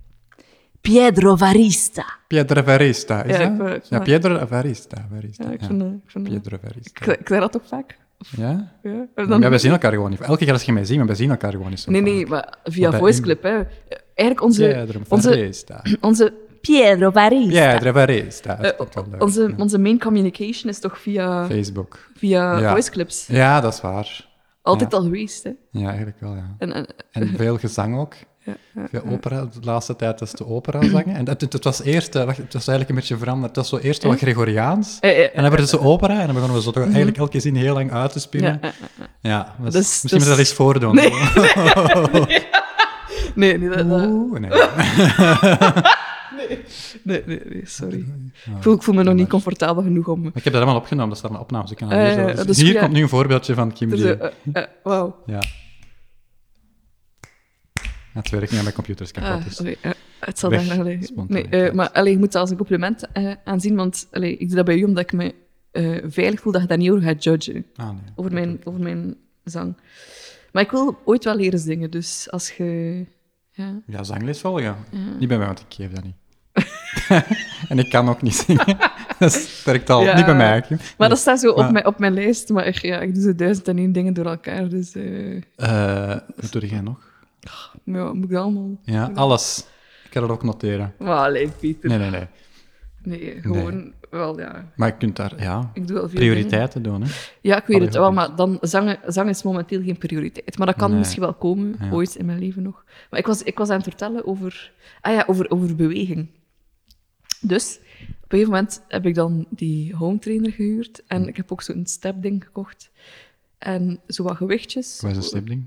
Speaker 4: Piedro Varista.
Speaker 1: Piedra Verista, is
Speaker 2: Ja, ik
Speaker 1: dat?
Speaker 2: vind- ik
Speaker 1: ja,
Speaker 2: vind-
Speaker 1: Piedra Verista. Verista,
Speaker 2: Ja, ik
Speaker 1: ja.
Speaker 2: vind, eh, ik, vind eh,
Speaker 1: Piedra Verista.
Speaker 2: ik, ik zeg dat ook vaak.
Speaker 1: Ja?
Speaker 2: Ja.
Speaker 1: Maar
Speaker 2: En dan-
Speaker 1: ja, we zien elkaar gewoon niet. Elke keer als je mij ziet, maar we zien elkaar gewoon niet zo
Speaker 2: Nee,
Speaker 1: vaak.
Speaker 2: nee, maar via
Speaker 1: bij
Speaker 2: VoiceClip, hè. Eigenlijk onze,
Speaker 1: Piedra
Speaker 2: onze,
Speaker 1: Verista.
Speaker 2: onze,
Speaker 4: Piedro Varista.
Speaker 1: Piedra Verista. Dat
Speaker 2: eh,
Speaker 1: klinkt wel leuk.
Speaker 2: onze,
Speaker 1: Ja.
Speaker 2: onze main communication is toch via,
Speaker 1: Facebook.
Speaker 2: via
Speaker 1: Ja.
Speaker 2: VoiceClips.
Speaker 1: Ja, dat is waar.
Speaker 2: Altijd
Speaker 1: ja.
Speaker 2: al geweest, hè.
Speaker 1: Ja, eigenlijk wel, ja.
Speaker 2: En, en,
Speaker 1: En veel gezang ook.
Speaker 2: ja, ja.
Speaker 1: Veel opera. De laatste tijd was de opera zangen. En het, het, het was eerst, eh, wacht, het was eigenlijk een beetje veranderd. Het was zo eerst wel Gregoriaans.
Speaker 2: Eh, eh,
Speaker 1: En dan werd het zo opera, en dan begonnen we zo toch eigenlijk elke zin heel lang uit te
Speaker 2: Mhm. ja,
Speaker 1: spelen. Ja,
Speaker 2: eh,
Speaker 1: was-
Speaker 2: Dus-
Speaker 1: misschien
Speaker 2: dus-
Speaker 1: moet je dat eens voordoen.
Speaker 2: Nee. nee, nee, dat- dat-
Speaker 1: Oeh, nee.
Speaker 2: nee, nee, nee, sorry. Ik voel, ik voel me nog niet comfortabel genoeg om...
Speaker 1: Ah, Ik heb dat allemaal opgenomen, dat staan mijn opnames. Ik kan dat
Speaker 2: Eh,
Speaker 1: hier zo-
Speaker 2: dat
Speaker 1: dus
Speaker 2: is
Speaker 1: hier
Speaker 2: goed, ja.
Speaker 1: komt nu een voorbeeldje van Kim
Speaker 2: Dus,
Speaker 1: Lee.
Speaker 2: eh, eh, eh, Wauw.
Speaker 1: Ja. Het werkt niet aan mijn computers kapot.
Speaker 2: Ah,
Speaker 1: dus.
Speaker 2: oké, eh, het zal
Speaker 1: Weg,
Speaker 2: daar nog liggen. Nee,
Speaker 1: spontaniteit.
Speaker 2: eh, maar allee, je moet dat als een compliment eh, aanzien, want allee, ik doe dat bij u omdat ik me eh, veilig voel dat je daar niet over gaat judgen.
Speaker 1: Ah, nee.
Speaker 2: over mijn, over mijn zang. Maar ik wil ooit wel leren zingen, dus als je... Ja,
Speaker 1: Ja, zangles volgen.
Speaker 2: ja.
Speaker 1: Niet bij mij, want ik geef dat niet. en ik kan ook niet zingen. dat sterkt al.
Speaker 2: Ja.
Speaker 1: Niet bij mij. Kim.
Speaker 2: Maar dat staat zo op,
Speaker 1: Maar-
Speaker 2: mijn, op mijn lijst, maar ik, ja, ik doe zo duizend en één dingen door elkaar, dus eh,
Speaker 1: Eh, wat doe jij nog?
Speaker 2: ja, moet ik dat allemaal...
Speaker 1: Ja, alles. Ik ga dat ook noteren.
Speaker 2: Maar allee, Pieter.
Speaker 1: Nee, nee, nee.
Speaker 2: Nee, gewoon wel, ja.
Speaker 1: Maar je kunt daar ja,
Speaker 2: Ik doe wel veel dingen.
Speaker 1: prioriteiten doen. Hè?
Speaker 2: Ja, ik weet
Speaker 1: Allee,
Speaker 2: het wel,
Speaker 1: goed.
Speaker 2: maar dan, zangen, zang is momenteel geen prioriteit. Maar dat kan
Speaker 1: Nee.
Speaker 2: misschien wel komen,
Speaker 1: Ja.
Speaker 2: ooit in mijn leven nog. Maar ik was, ik was aan het vertellen over, ah ja, over, over beweging. Dus op een gegeven moment heb ik dan die home trainer gehuurd. En ik heb ook zo'n stepding gekocht. En zo wat gewichtjes.
Speaker 1: Wat is een stipding?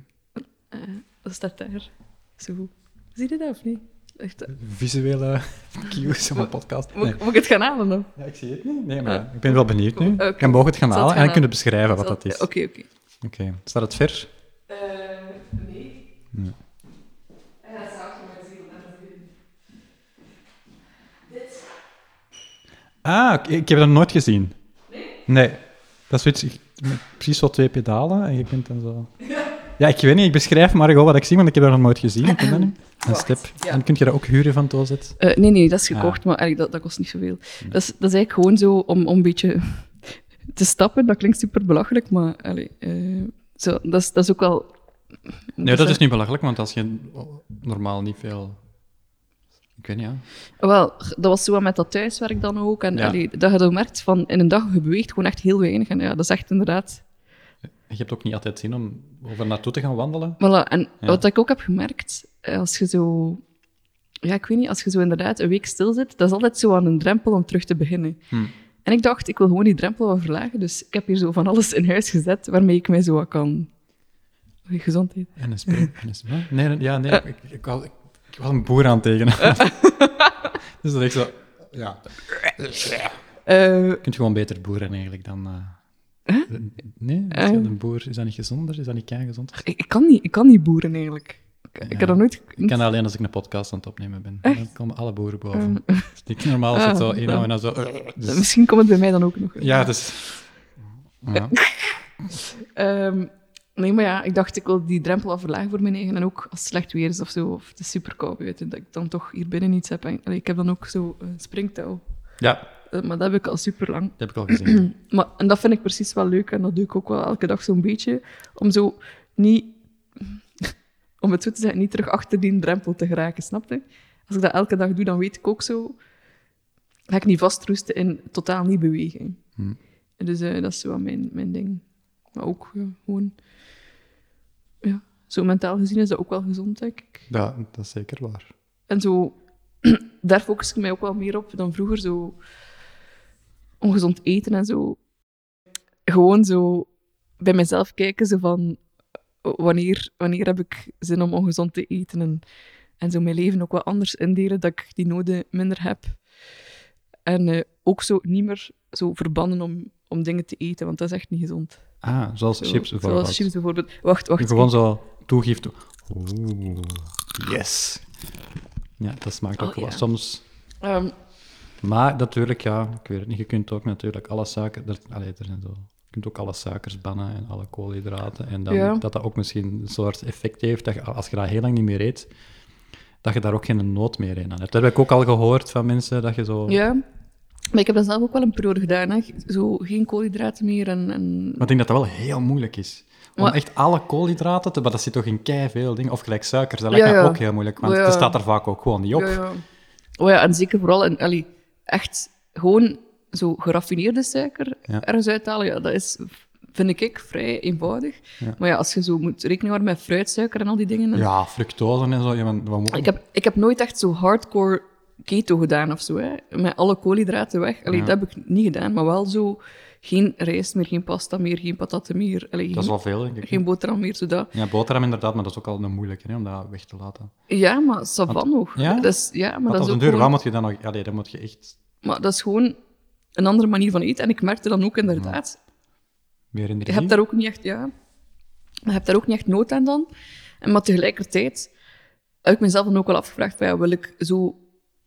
Speaker 2: Eh, dat staat daar. Zo. Zie je dat of niet? Echt, eh,
Speaker 1: Visuele cues van een podcast.
Speaker 2: moet,
Speaker 1: Nee.
Speaker 2: ik- moet ik het gaan halen dan?
Speaker 1: Ja, ik zie het niet. Nee, maar ik ben wel benieuwd nu.
Speaker 2: Oké.
Speaker 1: Ik kan mogen het gaan
Speaker 2: Zal het
Speaker 1: halen en
Speaker 2: gaan
Speaker 1: dan kunnen beschrijven wat
Speaker 2: Zal-
Speaker 1: dat is.
Speaker 2: Oké,
Speaker 1: Oké.
Speaker 2: oké.
Speaker 1: Staat het ver?
Speaker 2: nee.
Speaker 1: Nee.
Speaker 2: En dat staat voor mijn ziel.
Speaker 1: Ah, oké, ik heb dat nooit gezien. Nee? Nee. Dat is zoiets, ik- met precies zo twee pedalen en je kunt dan zo... Ja, ik weet niet, ik beschrijf maar gewoon wat ik zie, want ik heb dat nog nooit gezien. Ik ken dat niet. Een
Speaker 2: Wacht,
Speaker 1: step.
Speaker 2: ja.
Speaker 1: En kun je dat ook huren van Tozet?
Speaker 2: Eh, nee, nee, dat is gekocht,
Speaker 1: Ah.
Speaker 2: maar eigenlijk, dat, dat kost niet zoveel. Dat, is, dat is eigenlijk gewoon zo om, om een beetje te stappen. Dat klinkt super belachelijk, maar allee, eh, zo, dat, is, dat is ook wel
Speaker 1: Nee, dat is niet belachelijk, want als je normaal niet veel... Ik weet niet, ja.
Speaker 2: Wel, dat was zo wat met dat thuiswerk dan ook. En
Speaker 1: Ja.
Speaker 2: allee, dat je dan merkt van in een dag, je beweegt gewoon echt heel weinig. En ja, dat is echt inderdaad
Speaker 1: Je hebt ook niet altijd zin om over naartoe te gaan wandelen.
Speaker 2: Voilà, en
Speaker 1: Ja.
Speaker 2: wat ik ook heb gemerkt, eh, als je zo... Ja, ik weet niet, als je zo inderdaad een week stil zit, dat is altijd zo aan een drempel om terug te beginnen.
Speaker 1: Hm.
Speaker 2: En ik dacht, ik wil gewoon die drempel wat verlagen, dus ik heb hier zo van alles in huis gezet waarmee ik mij zo wat kan... Oei, Gezondheid.
Speaker 1: En een spray. En een spray. Nee, nee, ja, nee. Ik, ik, wou- ik, ik was een boer aan het tekenen. dus dat ik zo... Ja,
Speaker 2: Eh,
Speaker 1: je kunt gewoon beter boeren eigenlijk dan... eh, Nee, als je een boer is dat niet gezonder? Is dat niet gezond?
Speaker 2: ik, ik kan niet, ik kan niet boeren, eigenlijk. Ik, ik
Speaker 1: Ja.
Speaker 2: heb dat nooit...
Speaker 1: Ik kan dat alleen als ik een podcast aan het opnemen ben. Dan komen alle boeren boven. Dus Het is niet normaal als het zo één en dan zo... dus-
Speaker 2: Misschien komt het bij mij dan ook nog.
Speaker 1: ja, dus... Ja.
Speaker 2: Ehm, nee, maar ja, ik dacht, ik wil die drempel al verlagen voor mijn eigen. En ook als het slecht weer is of zo, of het is super koud buiten, dat ik dan toch hier binnen iets heb. En, allee, ik heb dan ook zo een springtouw.
Speaker 1: ja,
Speaker 2: Eh, maar dat heb ik al super lang.
Speaker 1: dat heb ik al gezien.
Speaker 2: Maar, en dat vind ik precies wel leuk. En dat doe ik ook wel elke dag zo'n beetje. Om zo niet... Om het zo te zeggen, niet terug achter die drempel te geraken, snap je? Als ik dat elke dag doe, dan weet ik ook zo... Ga ik niet vastroesten in totaal niet bewegen.
Speaker 1: Hm.
Speaker 2: Dus eh, dat is wel mijn, mijn ding. Maar ook ja, gewoon... Ja, zo mentaal gezien is dat ook wel gezond, denk ik.
Speaker 1: Ja, dat is zeker waar.
Speaker 2: En zo, daar focus ik mij ook wel meer op dan vroeger. Zo ongezond eten en zo. Gewoon zo bij mezelf kijken, zo van eh, wanneer, wanneer heb ik zin om ongezond te eten. En, en zo mijn leven ook wel anders indelen, dat ik die noden minder heb. En eh, ook zo niet meer zo verbannen om, om dingen te eten, want dat is echt niet gezond.
Speaker 1: Ah, zoals
Speaker 2: Zo-
Speaker 1: chips bijvoorbeeld.
Speaker 2: Zoals chips bijvoorbeeld. Wacht, wacht.
Speaker 1: Gewoon zo toegift. toe- Oeh, yes. Ja, dat smaakt ook
Speaker 2: Oh,
Speaker 1: wel
Speaker 2: ja.
Speaker 1: soms.
Speaker 2: Ehm,
Speaker 1: Maar natuurlijk, ja, ik weet het niet. Je kunt ook natuurlijk alle suiker... Er, allee, er zijn zo... Je kunt ook alle suikers bannen en alle koolhydraten. En dan,
Speaker 2: Ja.
Speaker 1: dat dat ook misschien een soort effect heeft, dat je, als je dat heel lang niet meer eet, dat je daar ook geen nood meer in aan hebt. Dat heb ik ook al gehoord van mensen, dat je zo...
Speaker 2: Ja, maar ik heb dat zelf ook wel een periode gedaan. Hè. Zo geen koolhydraten meer en... en...
Speaker 1: Maar ik denk dat dat wel heel moeilijk is. Om
Speaker 2: Maar-
Speaker 1: echt alle koolhydraten te... Maar dat zit toch in veel dingen. Of gelijk suikers, dat
Speaker 2: Ja,
Speaker 1: lijkt me
Speaker 2: ja.
Speaker 1: ook heel moeilijk. Want
Speaker 2: Ja, ja.
Speaker 1: het staat er vaak ook gewoon niet op.
Speaker 2: Ja, ja. Oh ja, en zeker vooral in, allee, echt gewoon zo geraffineerde suiker
Speaker 1: Ja.
Speaker 2: ergens uithalen. Ja, dat is, vind ik, ik vrij eenvoudig.
Speaker 1: Ja.
Speaker 2: Maar ja, als je zo moet rekening houden met fruitsuiker en al die dingen...
Speaker 1: Ja, fructose en zo. Ja, maar wat moet-
Speaker 2: Ik, heb, ik heb nooit echt zo hardcore keto gedaan of zo. Hè. Met alle koolhydraten weg. Allee,
Speaker 1: Ja.
Speaker 2: Dat heb ik niet gedaan, maar wel zo... Geen rijst meer, geen pasta meer, geen patatten meer. Allee,
Speaker 1: Dat is
Speaker 2: geen,
Speaker 1: wel veel, denk ik.
Speaker 2: geen boterham meer, zodat...
Speaker 1: Ja, boterham inderdaad, maar dat is ook al een moeilijke hè, om dat weg te laten.
Speaker 2: Ja, maar savan nog.
Speaker 1: Ja?
Speaker 2: Dat is, ja, maar
Speaker 1: Maar
Speaker 2: dat
Speaker 1: als een
Speaker 2: is ook
Speaker 1: duur,
Speaker 2: gewoon,
Speaker 1: wat moet je dan nog... Allee, dan moet je echt
Speaker 2: maar dat is gewoon een andere manier van eten. En ik merkte dan ook inderdaad,
Speaker 1: meer in de
Speaker 2: je hebt daar ook niet echt, ja, je hebt daar ook niet echt nood aan dan. En Maar tegelijkertijd heb ik mezelf dan ook wel afgevraagd, van, ja, wil ik zo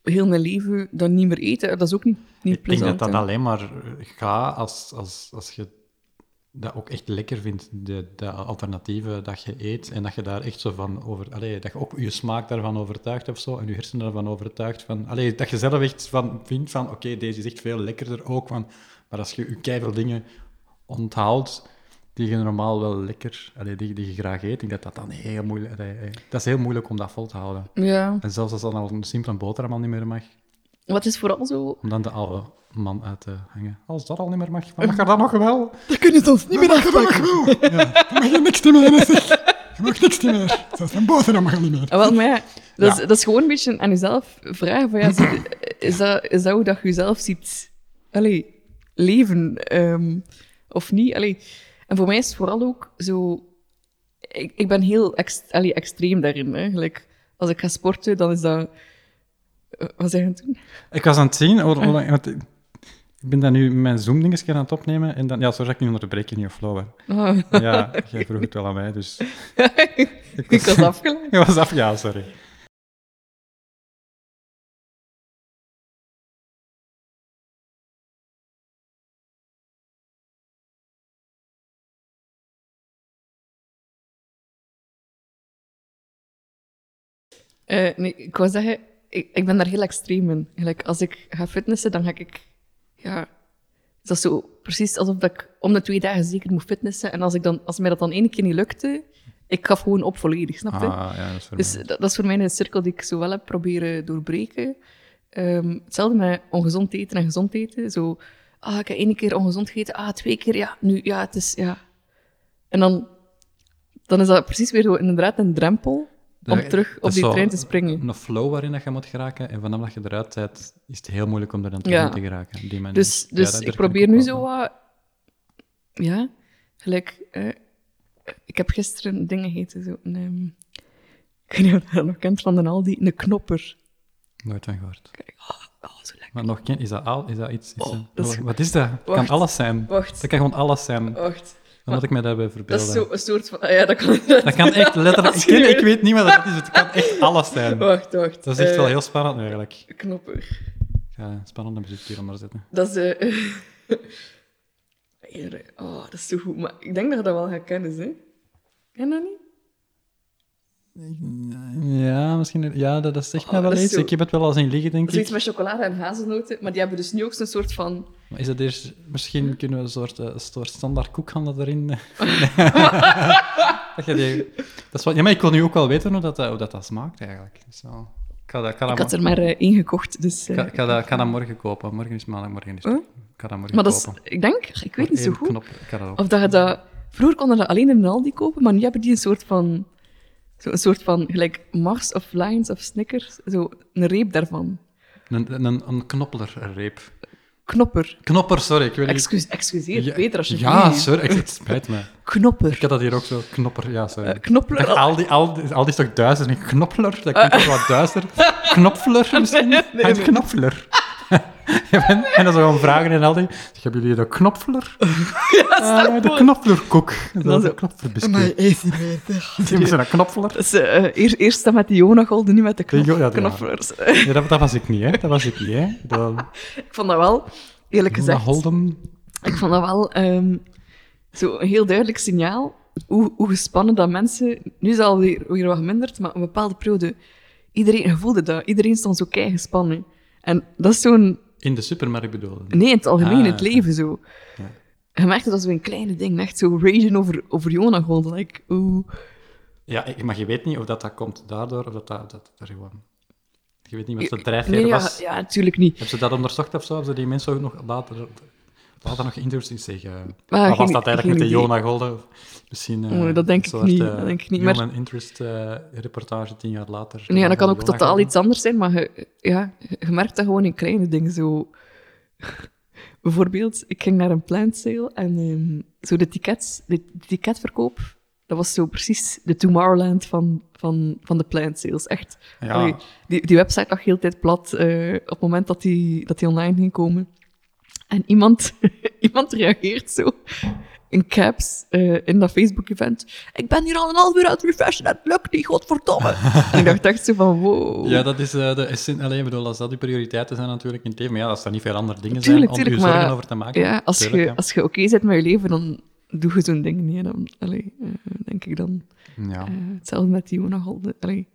Speaker 2: heel mijn leven dan niet meer eten? Dat is ook niet, niet
Speaker 1: Ik denk
Speaker 2: plezant.
Speaker 1: dat dat
Speaker 2: hè.
Speaker 1: alleen maar eh, gaat als, als, als je dat ook echt lekker vindt, de, de alternatieven dat je eet. En dat je daar echt zo van over... Allee, dat je ook je smaak daarvan overtuigt of zo. En je hersenen daarvan overtuigt. Van, allee, dat je zelf echt van vindt van... Oké, deze is echt veel lekkerder ook. Van, maar als je je keiveel dingen onthoudt die je normaal wel lekker... Allee, die, die je graag eet. Ik denk dat dat dan heel moeilijk... allee, eh, dat is heel moeilijk om dat vol te houden.
Speaker 2: Ja,
Speaker 1: En zelfs als dan al een simpele boterham al niet meer mag
Speaker 2: wat is vooral zo...
Speaker 1: om dan de oude man uit te hangen. Als dat al niet meer mag, dan mag er dat nog wel.
Speaker 3: Dat kunnen ze ons niet meer afpakken.
Speaker 5: mag je niks te meer, zeg. Je mag niks te meer. Zelfs een boterham mag je niet meer.
Speaker 2: Ah, wel, maar ja, dat,
Speaker 1: Ja.
Speaker 2: Is, dat is gewoon een beetje aan jezelf vragen. Van, ja, zie- is, dat, is dat hoe dat je jezelf ziet allee, leven ehm, of niet? Allee. En voor mij is het vooral ook zo... Ik, ik ben heel ex, allee, extreem daarin. Hè. Gelijk, als ik ga sporten, dan is dat... eh, Wat zeggen we toen?
Speaker 1: Ik was aan het zien, hoor, hoor, want ik ik ben dan nu mijn Zoom-dingetje aan het opnemen. En dan, ja, sorry dat ik niet onderbreek in je flow. hè.
Speaker 2: Ah,
Speaker 1: Ja, jij vroeg het wel aan mij, dus... Ik
Speaker 2: ik was afgeleid.
Speaker 1: Ik was af, ja, sorry.
Speaker 2: Eh, nee, ik wou zeggen, ik, ik ben daar heel extreem in. Gelijk, als ik ga fitnessen, dan ga ik... Ja, is dat zo precies alsof dat ik om de twee dagen zeker moet fitnessen. En als, ik dan, als mij dat dan één keer niet lukte, Ik gaf gewoon op volledig, snap je?
Speaker 1: Ah, ja, dat is voor
Speaker 2: Dus
Speaker 1: mij.
Speaker 2: dat, dat is voor mij een cirkel die ik zo wel heb proberen doorbreken. Ehm, hetzelfde met ongezond eten en gezond eten. Zo, ah, ik heb één keer ongezond gegeten, ah, twee keer, ja, nu, ja, het is, ja. En dan, dan is dat precies weer zo inderdaad een drempel om
Speaker 1: Dat-
Speaker 2: terug
Speaker 1: dat
Speaker 2: op
Speaker 1: is
Speaker 2: die
Speaker 1: zo
Speaker 2: trein te springen.
Speaker 1: Een flow waarin dat je moet geraken. En vanaf dat je eruit bent, is het heel moeilijk om er dan terug
Speaker 2: Ja.
Speaker 1: in te geraken. op Die manier.
Speaker 2: Dus,
Speaker 1: Ja,
Speaker 2: dus
Speaker 1: dat- daar
Speaker 2: ik
Speaker 1: kan
Speaker 2: probeer
Speaker 1: ook
Speaker 2: nu
Speaker 1: wel
Speaker 2: zo
Speaker 1: van.
Speaker 2: wat... Ja, gelijk... eh, ik heb gisteren dingen gegeten, zo... Een, ehm, ik weet niet of je dat nog kent van de Aldi, een knopper.
Speaker 1: Nooit van gehoord.
Speaker 2: Oh, zo lekker.
Speaker 1: Maar nog geen... Is dat, al, is dat iets... is
Speaker 2: Oh,
Speaker 1: dat-
Speaker 2: dat is-
Speaker 1: Wat is dat? Het kan
Speaker 2: Wacht.
Speaker 1: alles zijn.
Speaker 2: Wacht,
Speaker 1: Dat kan gewoon alles zijn.
Speaker 2: wacht.
Speaker 1: Dan had ik mij daarbij verbeelden.
Speaker 2: Dat is zo een soort van... ah Ja, dat kan...
Speaker 1: Dat kan echt letterlijk... Ik, ken- ik weet niet wat dat is. Het kan echt alles zijn.
Speaker 2: Wacht, wacht.
Speaker 1: Dat is echt
Speaker 2: Eh,
Speaker 1: wel heel spannend nu eigenlijk. Ik
Speaker 2: Knopper.
Speaker 1: ga een spannende muziek hieronder zetten.
Speaker 2: Dat is... eh, Hier, oh, dat is zo goed. Maar ik denk dat je dat wel gaat kennen, hè? Ken je dat niet?
Speaker 1: Ja, misschien... Ja, dat, dat zegt mij
Speaker 2: Oh,
Speaker 1: wel
Speaker 2: dat is
Speaker 1: iets.
Speaker 2: zo-
Speaker 1: Ik heb het wel al zien liggen, denk
Speaker 2: Dat is iets
Speaker 1: ik.
Speaker 2: met chocolade en hazelnoten, maar die hebben dus nu ook zo'n soort van...
Speaker 1: Maar is dat eerst... Misschien kunnen we een soort, eh, een soort standaard koekhandel erin... eh, dat je die- dat is wel... Ja, maar ik wil nu ook wel weten hoe dat, dat- hoe dat, dat smaakt, eigenlijk. Dus wel... Ik ga dat, ik ga dat
Speaker 2: Ik had
Speaker 1: mor-
Speaker 2: er maar eh, één gekocht, dus...
Speaker 1: ik
Speaker 2: eh,
Speaker 1: ga- ik ga dat- ik ga dat morgen kopen. Morgen is maandag, morgen is...
Speaker 2: Huh?
Speaker 1: Ik ga dat morgen
Speaker 2: Maar dat
Speaker 1: kopen.
Speaker 2: is, ik denk, ik weet niet zo
Speaker 1: Eén
Speaker 2: goed.
Speaker 1: Knop, ik ga dat ook
Speaker 2: Of dat je dat. Vroeger konden dat alleen in een Aldi kopen, maar nu hebben die een soort van. Zo een soort van, gelijk Mars of Lions of Snickers, zo een reep daarvan.
Speaker 1: Een, een, een knoppelerreep.
Speaker 2: Knopper.
Speaker 1: Knopper, sorry. Ik wil niet...
Speaker 2: Excuus, excuseer,
Speaker 1: Mm. Ja,
Speaker 2: beter als je
Speaker 1: Ja,
Speaker 2: nee.
Speaker 1: sorry. Het spijt me. Ik
Speaker 2: Knopper.
Speaker 1: had dat hier ook zo. Knopper, ja, sorry.
Speaker 2: Eh, knoppeler.
Speaker 1: Echt, al, die, al, die, al die is toch duizend? Een knoppeler? Dat klinkt toch wat duister. Knopfler misschien?
Speaker 2: Nee, nee,
Speaker 1: Hij is
Speaker 2: nee.
Speaker 1: knopfler. Ja, en, en dan zo gewoon vragen en al die. Zeg, hebben jullie de knopfler? Eh, de knopflerkoek. Dat
Speaker 2: dan
Speaker 1: is
Speaker 2: zo-
Speaker 1: een knopflerbiscuit.
Speaker 5: Maar is hij bezig?
Speaker 1: Misschien is er een knopfler.
Speaker 2: Dus, eh, eh, eerst, eerst dat met die Jonagolden, nu met de knop,
Speaker 1: Ja, ja, ja.
Speaker 2: knopplers.
Speaker 1: Ja, dat, dat was ik niet, hè. Dat was ik niet, hè. Dat,
Speaker 2: ik vond dat wel, eerlijk gezegd,
Speaker 1: Holdem.
Speaker 2: ik vond dat wel ehm, zo een heel duidelijk signaal hoe, hoe gespannen dat mensen... Nu is dat alweer weer wat geminderd, maar een bepaalde periode... Iedereen voelde dat. Iedereen stond zo kei gespannen. En dat is zo'n...
Speaker 1: In de supermarkt bedoelde.
Speaker 2: Nee, in het algemeen,
Speaker 1: Ah,
Speaker 2: in het
Speaker 1: ja.
Speaker 2: leven zo. Je merkte dat zo'n kleine ding. Echt zo ragen over, over Jonah gewoon. Like, oeh.
Speaker 1: Ja, ik- maar je weet niet of dat, dat komt daardoor, of dat dat, dat er gewoon... Je weet niet wat de drijfveer
Speaker 2: Nee, ja,
Speaker 1: was.
Speaker 2: ja, natuurlijk niet.
Speaker 1: Hebben ze dat onderzocht of zo? Hebben ze die mensen ook nog later, later nog interviews zien zeggen?
Speaker 2: Maar
Speaker 1: Maar was
Speaker 2: Ah, geen-
Speaker 1: dat
Speaker 2: geen
Speaker 1: eigenlijk met de
Speaker 2: idee.
Speaker 1: Jona Golden? Of Misschien eh,
Speaker 2: Oh, dat denk
Speaker 1: een
Speaker 2: ik
Speaker 1: soort,
Speaker 2: niet,
Speaker 1: eh,
Speaker 2: dat denk ik niet, maar-
Speaker 1: Human interest eh, reportage tien jaar later.
Speaker 2: Nee, en dat kan
Speaker 1: van
Speaker 2: ook
Speaker 1: de
Speaker 2: totaal
Speaker 1: Jona
Speaker 2: iets anders zijn, maar je, ja, je merkt dat gewoon in kleine dingen. Zo. Bijvoorbeeld, ik ging naar een plant sale en ehm, zo de tickets, de, de ticketverkoop, dat was zo precies de Tomorrowland van, van, van de plant sales. Echt.
Speaker 1: Ja.
Speaker 2: Allee, die, die website lag heel de tijd plat eh, op het moment dat die, dat die online ging komen. En iemand, iemand reageert zo in caps eh, in dat Facebook-event. Ik ben hier al een half uur aan het refreshen en het lukt niet, godverdomme. en ik dacht echt zo van, wow.
Speaker 1: Ja, dat is eh, de essentie. Alleen, ik bedoel, als dat die prioriteiten zijn natuurlijk in het leven. Maar ja, als er niet veel andere dingen
Speaker 2: Tuurlijk,
Speaker 1: zijn om je
Speaker 2: tuurlijk,
Speaker 1: zorgen
Speaker 2: maar-
Speaker 1: over te maken.
Speaker 2: Ja, als
Speaker 1: tuurlijk,
Speaker 2: je, als je oké bent met je leven, dan doe je zo'n ding niet. hè. Dan, allee, eh, denk ik dan.
Speaker 1: ja.
Speaker 2: Eh, hetzelfde met die Jonah Holden. Allee,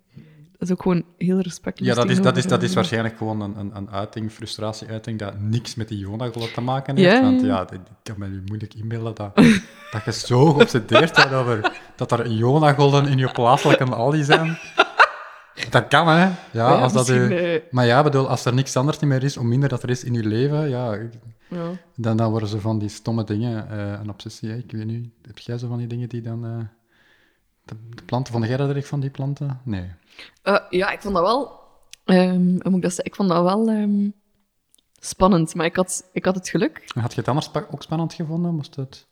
Speaker 2: dat is ook gewoon heel respectloos.
Speaker 1: Ja, dat is, dat, is,
Speaker 2: tegenover,
Speaker 1: dat is
Speaker 2: eh,
Speaker 1: waarschijnlijk gewoon een, een, een uiting, frustratie-uiting, dat niks met die jonagollen te maken
Speaker 2: Ja,
Speaker 1: heeft.
Speaker 2: ja,
Speaker 1: want
Speaker 2: ja.
Speaker 1: ja, dat- ik kan me nu moeilijk inbeelden dat, dat je zo geobsedeerd bent over dat er jonagollen in je plaatselijke Aldi zijn. Dat kan, hè? Ja,
Speaker 2: ja,
Speaker 1: als dat
Speaker 2: misschien,
Speaker 1: je-
Speaker 2: eh,
Speaker 1: Maar ja, bedoel, als er niks anders niet meer is, hoe minder dat er is in je leven, ja,
Speaker 2: ja.
Speaker 1: dan, dan worden ze van die stomme dingen eh, een obsessie. hè. Ik weet niet, heb jij zo van die dingen die dan... eh, de, de planten, vond jij dat erg van die planten? Nee.
Speaker 2: Eh, ja, ik vond dat wel. ehm, hoe moet ik dat zeggen? Ik vond dat wel ehm, spannend, maar ik had, ik had het geluk.
Speaker 1: En Had je het anders pa- ook spannend gevonden? Moest het,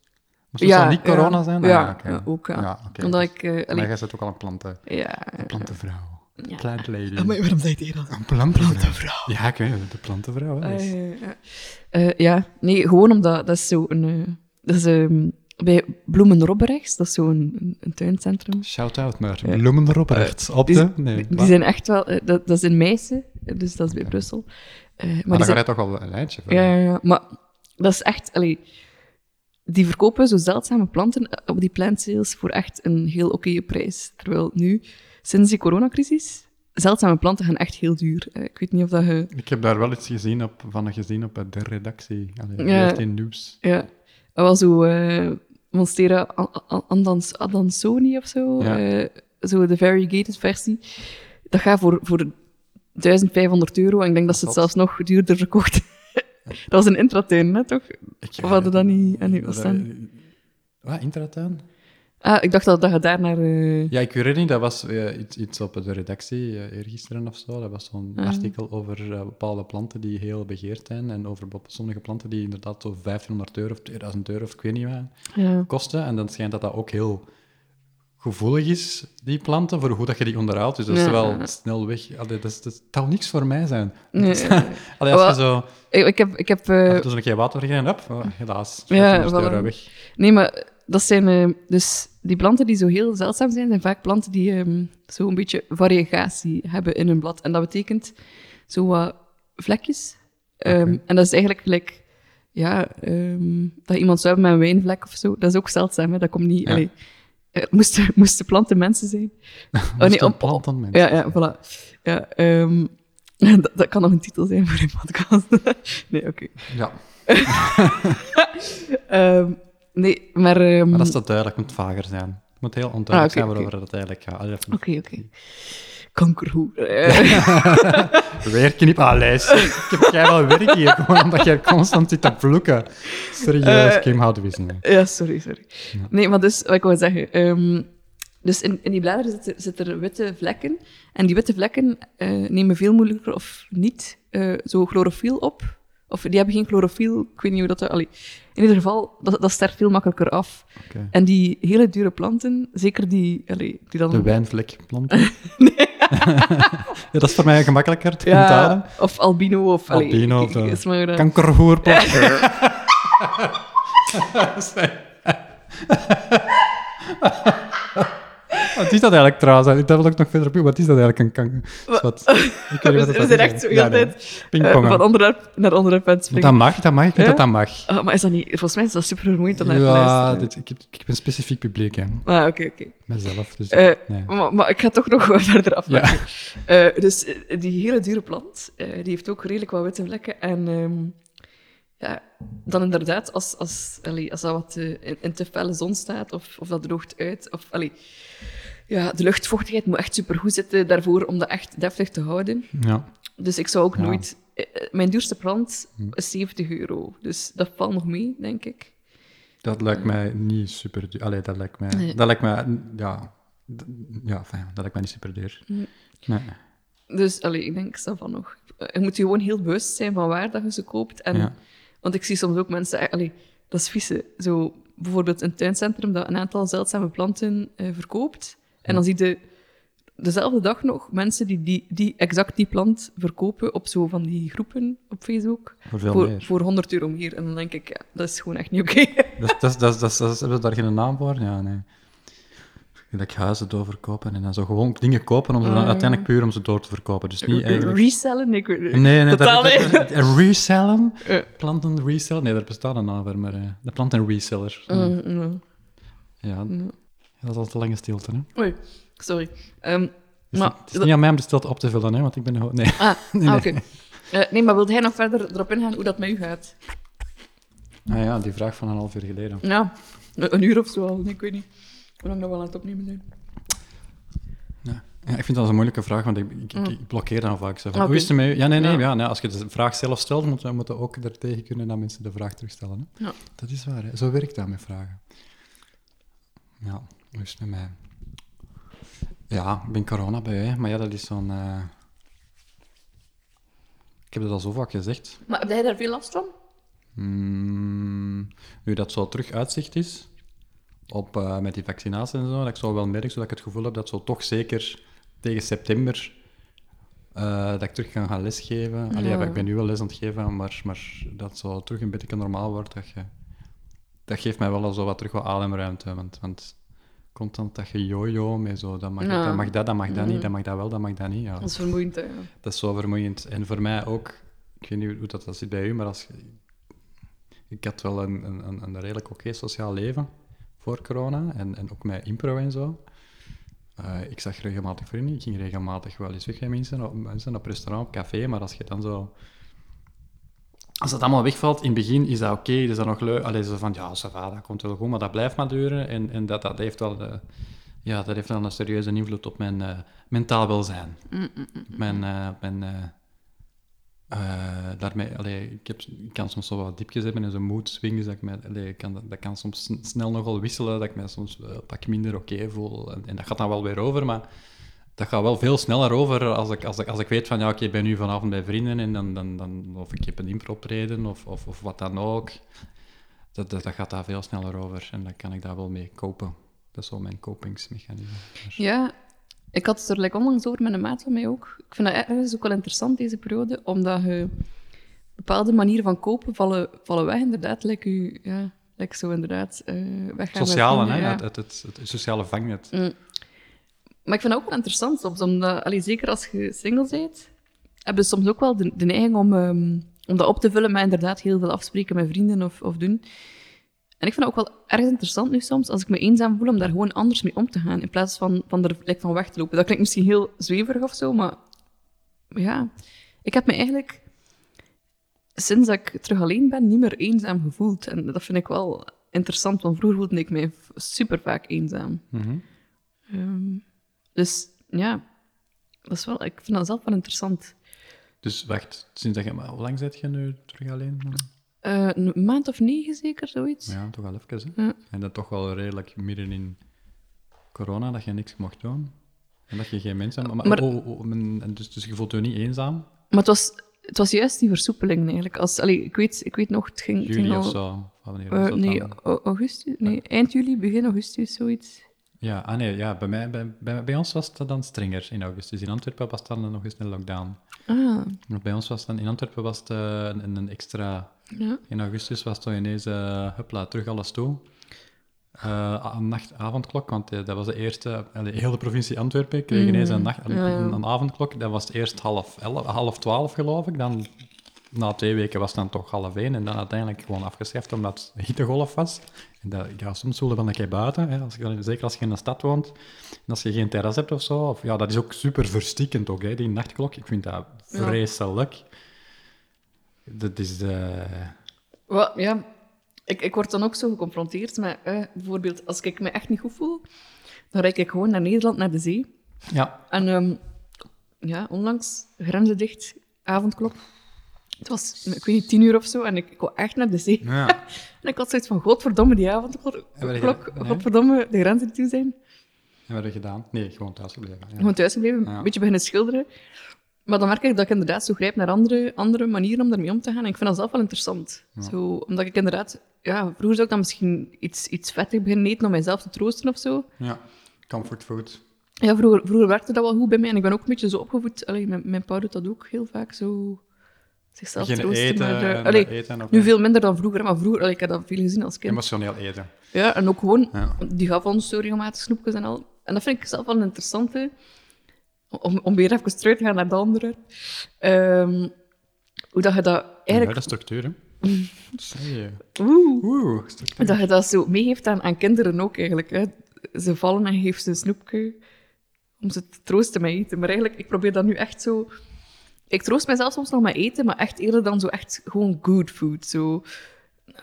Speaker 1: moest het
Speaker 2: Ja,
Speaker 1: zo niet corona
Speaker 2: ja.
Speaker 1: zijn? Ah,
Speaker 2: Ja,
Speaker 1: oké.
Speaker 2: ja, ook, ja.
Speaker 1: oké.
Speaker 2: omdat
Speaker 1: Dus-
Speaker 2: ik. eh,
Speaker 1: Maar
Speaker 2: allee,
Speaker 1: jij zit ook al een planten,
Speaker 2: ja,
Speaker 1: een plantenvrouw. Een
Speaker 2: Ja.
Speaker 1: Plant lady.
Speaker 5: Ah, Maar waarom zei hij dat?
Speaker 1: Een plantenvrouw. Ja, ik weet het, de plantenvrouw. Hè. Dat is-
Speaker 2: eh, ja. Eh, ja, nee, gewoon omdat dat is zo'n. eh, dat is ehm, bij Bloemenrobberechts, dat is zo'n een, een tuincentrum.
Speaker 1: Shout-out naar
Speaker 2: Ja.
Speaker 1: Bloemen Roberts. op
Speaker 2: die-
Speaker 1: de... Nee,
Speaker 2: Die
Speaker 1: maar-
Speaker 2: zijn echt wel. eh, dat, dat is in Meissen, dus dat is bij Brussel. Eh, maar
Speaker 1: maar
Speaker 2: die
Speaker 1: dan
Speaker 2: zijn
Speaker 1: ga je toch al een lijntje van.
Speaker 2: Ja, ja, ja. maar dat is echt... Allee, die verkopen zo zeldzame planten eh, op die plant sales voor echt een heel oké prijs. Terwijl nu, sinds die coronacrisis, zeldzame planten gaan echt heel duur. Eh, Ik weet niet of dat je...
Speaker 1: Ik heb daar wel iets gezien op, van gezien op de redactie. Allee,
Speaker 2: Ja.
Speaker 1: ja. in nieuws.
Speaker 2: Ja, wel zo... eh, Monstera A- A- Andans- Adansoni of zo,
Speaker 1: Ja.
Speaker 2: eh, zo de variegated versie, dat gaat voor, voor 1500 euro. En ik denk dat ze het
Speaker 1: Dat-
Speaker 2: zelfs nog duurder verkocht Dat was een intratuin, hè, toch?
Speaker 1: Ik,
Speaker 2: Of hadden dat niet aan u
Speaker 1: dat-
Speaker 2: staan?
Speaker 1: Wat, intratuin?
Speaker 2: Ah, ik dacht dat, dat je daar naar... eh,
Speaker 1: Ja, ik weet het niet. Dat was eh, iets, iets op de redactie eh, eergisteren of zo. Dat was zo'n
Speaker 2: Ah.
Speaker 1: artikel over eh, bepaalde planten die heel begeerd zijn. En over bep- sommige planten die inderdaad zo 1500 euro of 2000 euro of ik weet niet wat
Speaker 2: ja.
Speaker 1: kosten. En dan schijnt dat dat ook heel gevoelig is, die planten, voor hoe dat je die onderhoudt. Dus dat is
Speaker 2: Ja.
Speaker 1: wel snel weg. Allee, dat, is- dat zou niks voor mij zijn.
Speaker 2: Nee.
Speaker 1: Allee, als
Speaker 2: Wel,
Speaker 1: je zo...
Speaker 2: Ik, ik heb... Ik heb eh,
Speaker 1: Als je een keer water gegaan hebt, oh, helaas.
Speaker 2: Ja,
Speaker 1: 1500
Speaker 2: voilà.
Speaker 1: euro weg.
Speaker 2: Nee, maar dat zijn eh, dus die planten die zo heel zeldzaam zijn, zijn vaak planten die ehm, zo een beetje variegatie hebben in hun blad. En dat betekent zo wat vlekjes. Ehm, En dat is eigenlijk gelijk, ja, ehm, dat iemand zou hebben met een wijnvlek of zo. Dat is ook zeldzaam, hè? dat komt niet.
Speaker 1: Ja.
Speaker 2: allee, eh, moesten, moesten planten mensen zijn? Oh,
Speaker 1: Moesten
Speaker 2: om-
Speaker 1: planten mensen.
Speaker 2: ja, ja, voilà. Ja, ehm, dat, dat kan nog een titel zijn voor een podcast. nee, oké.
Speaker 1: Ja,
Speaker 2: Ehm, nee, maar... ehm,
Speaker 1: maar dat is te duidelijk. Het moet vager zijn. Het moet heel onduidelijk
Speaker 2: Ah, oké,
Speaker 1: zijn
Speaker 2: oké.
Speaker 1: waarover het eigenlijk gaat. Allee, even-
Speaker 2: Oké, oké. Kankerhoer. Eh,
Speaker 1: Werken niet aan lijst. Ik heb wel werk hier, gewoon omdat jij constant zit te vloeken. Serieus,
Speaker 2: Eh,
Speaker 1: Kim houden we niet.
Speaker 2: ja, sorry, sorry. Nee, maar dus, wat ik wil zeggen. ehm, dus in, in die bladeren zitten, zitten er witte vlekken. En die witte vlekken eh, nemen veel moeilijker of niet eh, zo chlorofiel op. Of die hebben geen chlorofiel, ik weet niet hoe dat... eh, Allee, in ieder geval, dat, dat sterft veel makkelijker af.
Speaker 1: Oké.
Speaker 2: En die hele dure planten, zeker die... Allee, die dan...
Speaker 1: De wijnvlekplant. ja, dat is voor mij gemakkelijker te onthouden.
Speaker 2: ja, of albino, of... allee,
Speaker 1: Albino, of,
Speaker 2: ik- ik-
Speaker 1: eh,
Speaker 2: is maar, eh,
Speaker 1: Kankervoerplant. Wat is dat eigenlijk trouwens? Dat wil ik nog verder op. Wat is dat eigenlijk een kanker? Dat is wat- Ik weet niet wat
Speaker 2: We
Speaker 1: dat
Speaker 2: zijn
Speaker 1: is.
Speaker 2: echt zo
Speaker 1: Ja,
Speaker 2: heel de
Speaker 1: nee.
Speaker 2: tijd eh,
Speaker 1: Pingpongen.
Speaker 2: van onderwerp naar onderwerp aan het
Speaker 1: Want
Speaker 2: springen.
Speaker 1: dat mag, dat mag. Ik vind
Speaker 2: Ja?
Speaker 1: dat dat mag.
Speaker 2: Ah, maar is dat niet... Volgens mij is dat super vermoeiend om naar te
Speaker 1: Ja,
Speaker 2: luisteren.
Speaker 1: dit, ik, heb- ik ben specifiek publiek, hè.
Speaker 2: Ah, oké, oké.
Speaker 1: Mezelf. Dus,
Speaker 2: Eh,
Speaker 1: nee.
Speaker 2: maar, maar ik ga toch nog wat verder af.
Speaker 1: Ja.
Speaker 2: Eh, dus eh, die hele dure plant, eh, die heeft ook redelijk wat witte vlekken. En ehm, ja, dan inderdaad, als, als, allee, als dat wat eh, in, in te felle zon staat, of, of dat droogt uit, of allee, ja, de luchtvochtigheid moet echt supergoed zitten daarvoor om dat echt deftig te houden.
Speaker 1: Ja.
Speaker 2: Dus ik zou ook
Speaker 1: Ja. Hm.
Speaker 2: nooit... eh, eh, Mijn duurste plant is 70 euro. Dus dat valt nog mee, denk ik.
Speaker 1: Dat lijkt mij niet super duur. Allee, dat lijkt mij...
Speaker 2: Nee.
Speaker 1: Dat lijkt mij... Ja. d- Ja, fijn, dat lijkt mij niet super duur. Nee.
Speaker 2: Dus allee, ik denk, dat van nog. Je moet je gewoon heel bewust zijn van waar dat je ze koopt. En,
Speaker 1: Ja.
Speaker 2: Want ik zie soms ook mensen, eh, allee, dat is vies. hè. Zo, bijvoorbeeld een tuincentrum dat een aantal zeldzame planten eh, verkoopt. En dan zie je dezelfde dag nog mensen die, die, die exact die plant verkopen op zo van die groepen op Facebook.
Speaker 1: Voor veel
Speaker 2: voor,
Speaker 1: meer.
Speaker 2: voor 100 euro meer. En dan denk ik, ja, dat is gewoon echt niet oké.
Speaker 1: Dat, dat, dat, dat, dat- hebben ze daar geen naam voor? Ja, nee. Gelijk huizen doorverkopen en dan zo gewoon dingen kopen om ze
Speaker 2: Mm.
Speaker 1: dan uiteindelijk puur om ze door te verkopen. Dus niet Mm. eigenlijk...
Speaker 2: Resellen? Ik weet het niet.
Speaker 1: Nee, nee,
Speaker 2: Totaal
Speaker 1: dat,
Speaker 2: niet.
Speaker 1: dat- dat- en resellen?
Speaker 2: Ja.
Speaker 1: Planten resellen? Nee, daar bestaat een naam voor, maar eh, de plantenreseller. reseller.
Speaker 2: Mm, mm.
Speaker 1: Ja, dat is al te lange stilte, hè. Het
Speaker 2: Oei, sorry. Ehm,
Speaker 1: is,
Speaker 2: maar-
Speaker 1: niet- het is niet aan mij om de stilte op te vullen, hè, want ik ben... gewoon- Nee.
Speaker 2: Ah,
Speaker 1: Nee,
Speaker 2: ah,
Speaker 1: nee.
Speaker 2: oké. Eh, nee, maar wilde hij nog verder erop ingaan hoe dat met u gaat?
Speaker 1: Ah ja, die vraag van een half uur geleden.
Speaker 2: Ja, een een uur of zo al, ik weet niet. Hoe lang dat we aan het opnemen zijn.
Speaker 1: Ja. Ja, ik vind dat een moeilijke vraag, want ik, ik, ik- ik blokkeer dan vaak. Zo van,
Speaker 2: Mm. Ah, Oké.
Speaker 1: Hoe is het met u? Ja, nee, nee,
Speaker 2: Ja.
Speaker 1: ja. nee, als je de vraag zelf stelt, moeten we moeten ook daartegen kunnen dat mensen de vraag terugstellen. Hè?
Speaker 2: Ja.
Speaker 1: Dat is waar, hè? zo werkt dat met vragen. Ja, hoe is het met mij? Ja, ik ben corona bij hè? maar ja, dat is zo'n... eh, Ik heb dat al zo vaak gezegd.
Speaker 2: Maar heb jij daar veel last van?
Speaker 1: Mm, nu dat zo terug uitzicht is, op, eh, met die vaccinatie en zo, dat ik zo wel merk, zodat ik het gevoel heb dat zo toch zeker tegen september eh, dat ik terug kan gaan lesgeven. Allee, ja, ik ben nu wel les aan het geven, maar, maar dat zo terug een beetje normaal wordt, dat, je, dat geeft mij wel al zo wat terug wat ademruimte. Want, want constant dat je jojo met zo, dat mag,
Speaker 2: Ja.
Speaker 1: dat mag dat, dat mag dat niet, dat mag dat wel, dat mag dat niet. Ja.
Speaker 2: Dat is vermoeiend, hè. ja.
Speaker 1: Dat is zo vermoeiend. En voor mij ook, ik weet niet hoe dat, dat zit bij u, maar als, je- ik had wel een, een, een, een redelijk oké sociaal leven voor corona. En, en ook met impro en zo. Eh, ik zag regelmatig vrienden, ik ging regelmatig wel eens weg met mensen op, mensen op restaurant, op café. Maar als je dan zo Als dat allemaal wegvalt, in het begin is dat oké, is dat nog leuk. Allee, zo van, ja, ça va, dat komt wel goed, maar dat blijft maar duren. En, en dat, dat, heeft wel, eh, ja, dat heeft wel een serieuze invloed op mijn eh, mentaal welzijn.
Speaker 2: Mm,
Speaker 1: Op Mijn, eh, op mijn, eh, eh, daarmee, allee, ik, heb, ik kan soms zo wat diepjes hebben en zo mood swings. Dat, ik mij, allee, ik kan, dat- dat kan soms sn- snel nogal wisselen, dat ik mij soms eh, een pak minder oké voel. En, en dat gaat dan wel weer over, maar dat gaat wel veel sneller over als ik, als ik, als ik weet van ja, oké, ik ben nu vanavond bij vrienden en dan, dan, dan of ik heb een impropreden of, of, of wat dan ook. Dat, dat, dat gaat daar veel sneller over en dan kan ik daar wel mee kopen. Dat is wel mijn kopingsmechanisme.
Speaker 2: Ja, ik had het er like, onlangs over met een maat van mij ook. Ik vind dat ergens ook wel interessant, deze periode, omdat je bepaalde manieren van kopen vallen, vallen weg, inderdaad. Like, u, ja, like zo inderdaad eh weggaan. met
Speaker 1: Het sociale,
Speaker 2: vrienden,
Speaker 1: hè?
Speaker 2: ja.
Speaker 1: Het, het, het, het sociale vangnet.
Speaker 2: Maar ik vind dat ook wel interessant soms, omdat, allee, zeker als je single bent, heb je soms ook wel de, de neiging om, ehm, om dat op te vullen met inderdaad heel veel afspreken met vrienden of, of doen. En ik vind dat ook wel erg interessant nu soms, als ik me eenzaam voel, om daar gewoon anders mee om te gaan, in plaats van, van er like, van weg te lopen. Dat klinkt misschien heel zweverig of zo, maar ja. Ik heb me eigenlijk, sinds dat ik terug alleen ben, niet meer eenzaam gevoeld. En dat vind ik wel interessant, want vroeger voelde ik mij super vaak eenzaam.
Speaker 1: Mhm.
Speaker 2: Ehm, dus ja, dat is wel, ik vind dat zelf wel interessant.
Speaker 1: Dus wacht, sinds dat je, maar hoe lang zit je nu terug alleen?
Speaker 2: Eh, een maand of negen zeker, zoiets.
Speaker 1: Ja, toch wel even. Hè?
Speaker 2: Ja.
Speaker 1: En dat toch wel redelijk midden in corona, dat je niks mocht doen. En dat je geen mensen... Maar,
Speaker 2: Maar-
Speaker 1: oh, oh, oh, en- en dus, dus je voelt je niet eenzaam?
Speaker 2: Maar het was, het was juist die versoepeling eigenlijk. Als, allee, ik, weet, ik weet nog, het ging, het ging
Speaker 1: Juli
Speaker 2: al...
Speaker 1: of zo? Of wanneer
Speaker 2: eh,
Speaker 1: was dat
Speaker 2: nee,
Speaker 1: dan?
Speaker 2: au- augustus? Nee, eind juli, begin augustus, zoiets.
Speaker 1: Ja, ah nee, ja bij, mij, bij, bij, bij ons was dat dan strenger in augustus. In Antwerpen was dan nog eens een lockdown.
Speaker 2: Ah,
Speaker 1: Maar Bij ons was dan... In Antwerpen was het eh, een, een extra...
Speaker 2: ja.
Speaker 1: In augustus was toen ineens... eh hupla, terug alles toe. Eh, een nacht-avondklok, want eh, dat was de eerste... eh, De hele provincie Antwerpen kreeg ineens een, nacht, een,
Speaker 2: Mm. Ja, ja.
Speaker 1: een avondklok. Dat was eerst half, elf, half twaalf, geloof ik. Dan, na twee weken was het dan toch half één. En dan uiteindelijk gewoon afgeschaft, omdat het hittegolf was. En dat, ja, soms voelde van dat je buiten... Hè, als je, dan- zeker als je in een stad woont. En als je geen terras hebt of zo. Of, ja, dat is ook super verstikkend, ook, hè, die nachtklok. Ik vind dat vreselijk. Dat is... eh,
Speaker 2: Wel, ja, ik, ik word dan ook zo geconfronteerd met... eh, bijvoorbeeld, als ik me echt niet goed voel, dan rijd ik gewoon naar Nederland, naar de zee.
Speaker 1: ja,
Speaker 2: En ehm, ja, onlangs, grenzen dicht, avondklok. Het was, ik weet niet, tien uur of zo en ik kon echt naar de zee.
Speaker 1: Ja.
Speaker 2: En ik had zoiets van, godverdomme, die avondklok,
Speaker 1: En waar
Speaker 2: klok,
Speaker 1: je- nee?
Speaker 2: godverdomme, de grenzen die toe zijn.
Speaker 1: En wat heb je gedaan? Nee, gewoon thuis gebleven. Ja.
Speaker 2: Gewoon thuis gebleven,
Speaker 1: Ja.
Speaker 2: een beetje beginnen schilderen. Maar dan merk ik dat ik inderdaad zo grijp naar andere, andere manieren om daarmee om te gaan. En ik vind dat zelf wel interessant. Zo, omdat ik inderdaad... Ja, vroeger zou ik dan misschien iets, iets vettig beginnen eten om mijzelf te troosten of zo.
Speaker 1: ja. Comfort food.
Speaker 2: Ja, vroeger, vroeger werkte dat wel goed bij mij en ik ben ook een beetje zo opgevoed. Allee, mijn, mijn pa doet dat ook heel vaak zo. Zichzelf
Speaker 1: Beginnen
Speaker 2: troosten.
Speaker 1: eten.
Speaker 2: maar, eh,
Speaker 1: en
Speaker 2: allee,
Speaker 1: eten of
Speaker 2: nu veel minder dan vroeger, maar vroeger allee, ik heb dat veel gezien als kind.
Speaker 1: Emotioneel eten.
Speaker 2: Ja, en ook gewoon,
Speaker 1: Ja.
Speaker 2: die gaf ons zo regelmatig snoepjes en al. En dat vind ik zelf wel een interessante. Om, om weer even terug te gaan naar de andere. Ehm, hoe dat je dat
Speaker 1: Ja,
Speaker 2: eigenlijk.
Speaker 1: de structuur, hè. Zie je.
Speaker 2: Oeh,
Speaker 1: Oeh, structuur.
Speaker 2: dat je dat zo meegeeft aan, aan kinderen ook eigenlijk. Hè. Ze vallen en je geeft ze een snoepje om ze te troosten met eten. Maar eigenlijk, ik probeer dat nu echt zo... Ik troost mijzelf soms nog met eten, maar echt eerder dan zo echt gewoon good food. Zo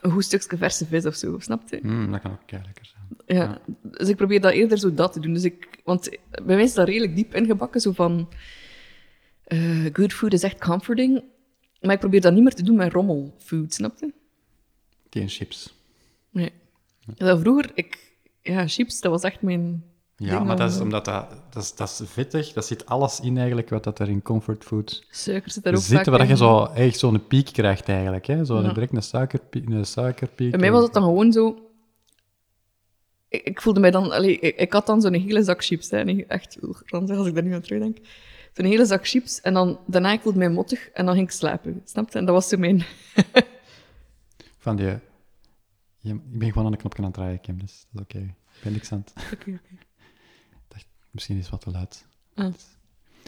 Speaker 2: een goed stukje verse vis of zo, snap je?
Speaker 1: Mm, dat kan ook kei lekker zijn.
Speaker 2: Ja. Dus ik probeer dat eerder zo dat te doen. Dus ik, want bij mij is dat redelijk diep ingebakken, zo van... eh, good food is echt comforting. Maar ik probeer dat niet meer te doen met rommelfood, snap je?
Speaker 1: Geen chips.
Speaker 2: Nee. Dat vroeger, ik, ja, chips, dat was echt mijn.
Speaker 1: Ja,
Speaker 2: ding
Speaker 1: maar
Speaker 2: om-
Speaker 1: dat is omdat dat, dat, is, dat is vettig. Dat zit alles in eigenlijk wat dat er in comfort food
Speaker 2: Suiker zit daar ook
Speaker 1: zit.
Speaker 2: vaak
Speaker 1: Waar
Speaker 2: in.
Speaker 1: je zo, echt zo'n piek krijgt eigenlijk. Hè? Zo
Speaker 2: Ja.
Speaker 1: direct een suikerpiek. Een suikerpiek
Speaker 2: Bij mij was het dan gewoon zo. Ik, ik voelde mij dan. Allee, ik, ik had dan zo'n hele zak chips. Hè, en ik- echt, oeh, ranzig als ik daar nu aan terugdenk. Zo'n hele zak chips. En dan, daarna ik voelde mij mottig. En dan ging ik slapen. Snap je? En dat was zo mijn.
Speaker 1: Van die... Ja, ik ben gewoon aan de knopje aan het draaien, Kim. Dus dat is oké. Ik ben niks aan het... Misschien is het wat te luid.
Speaker 2: Ah.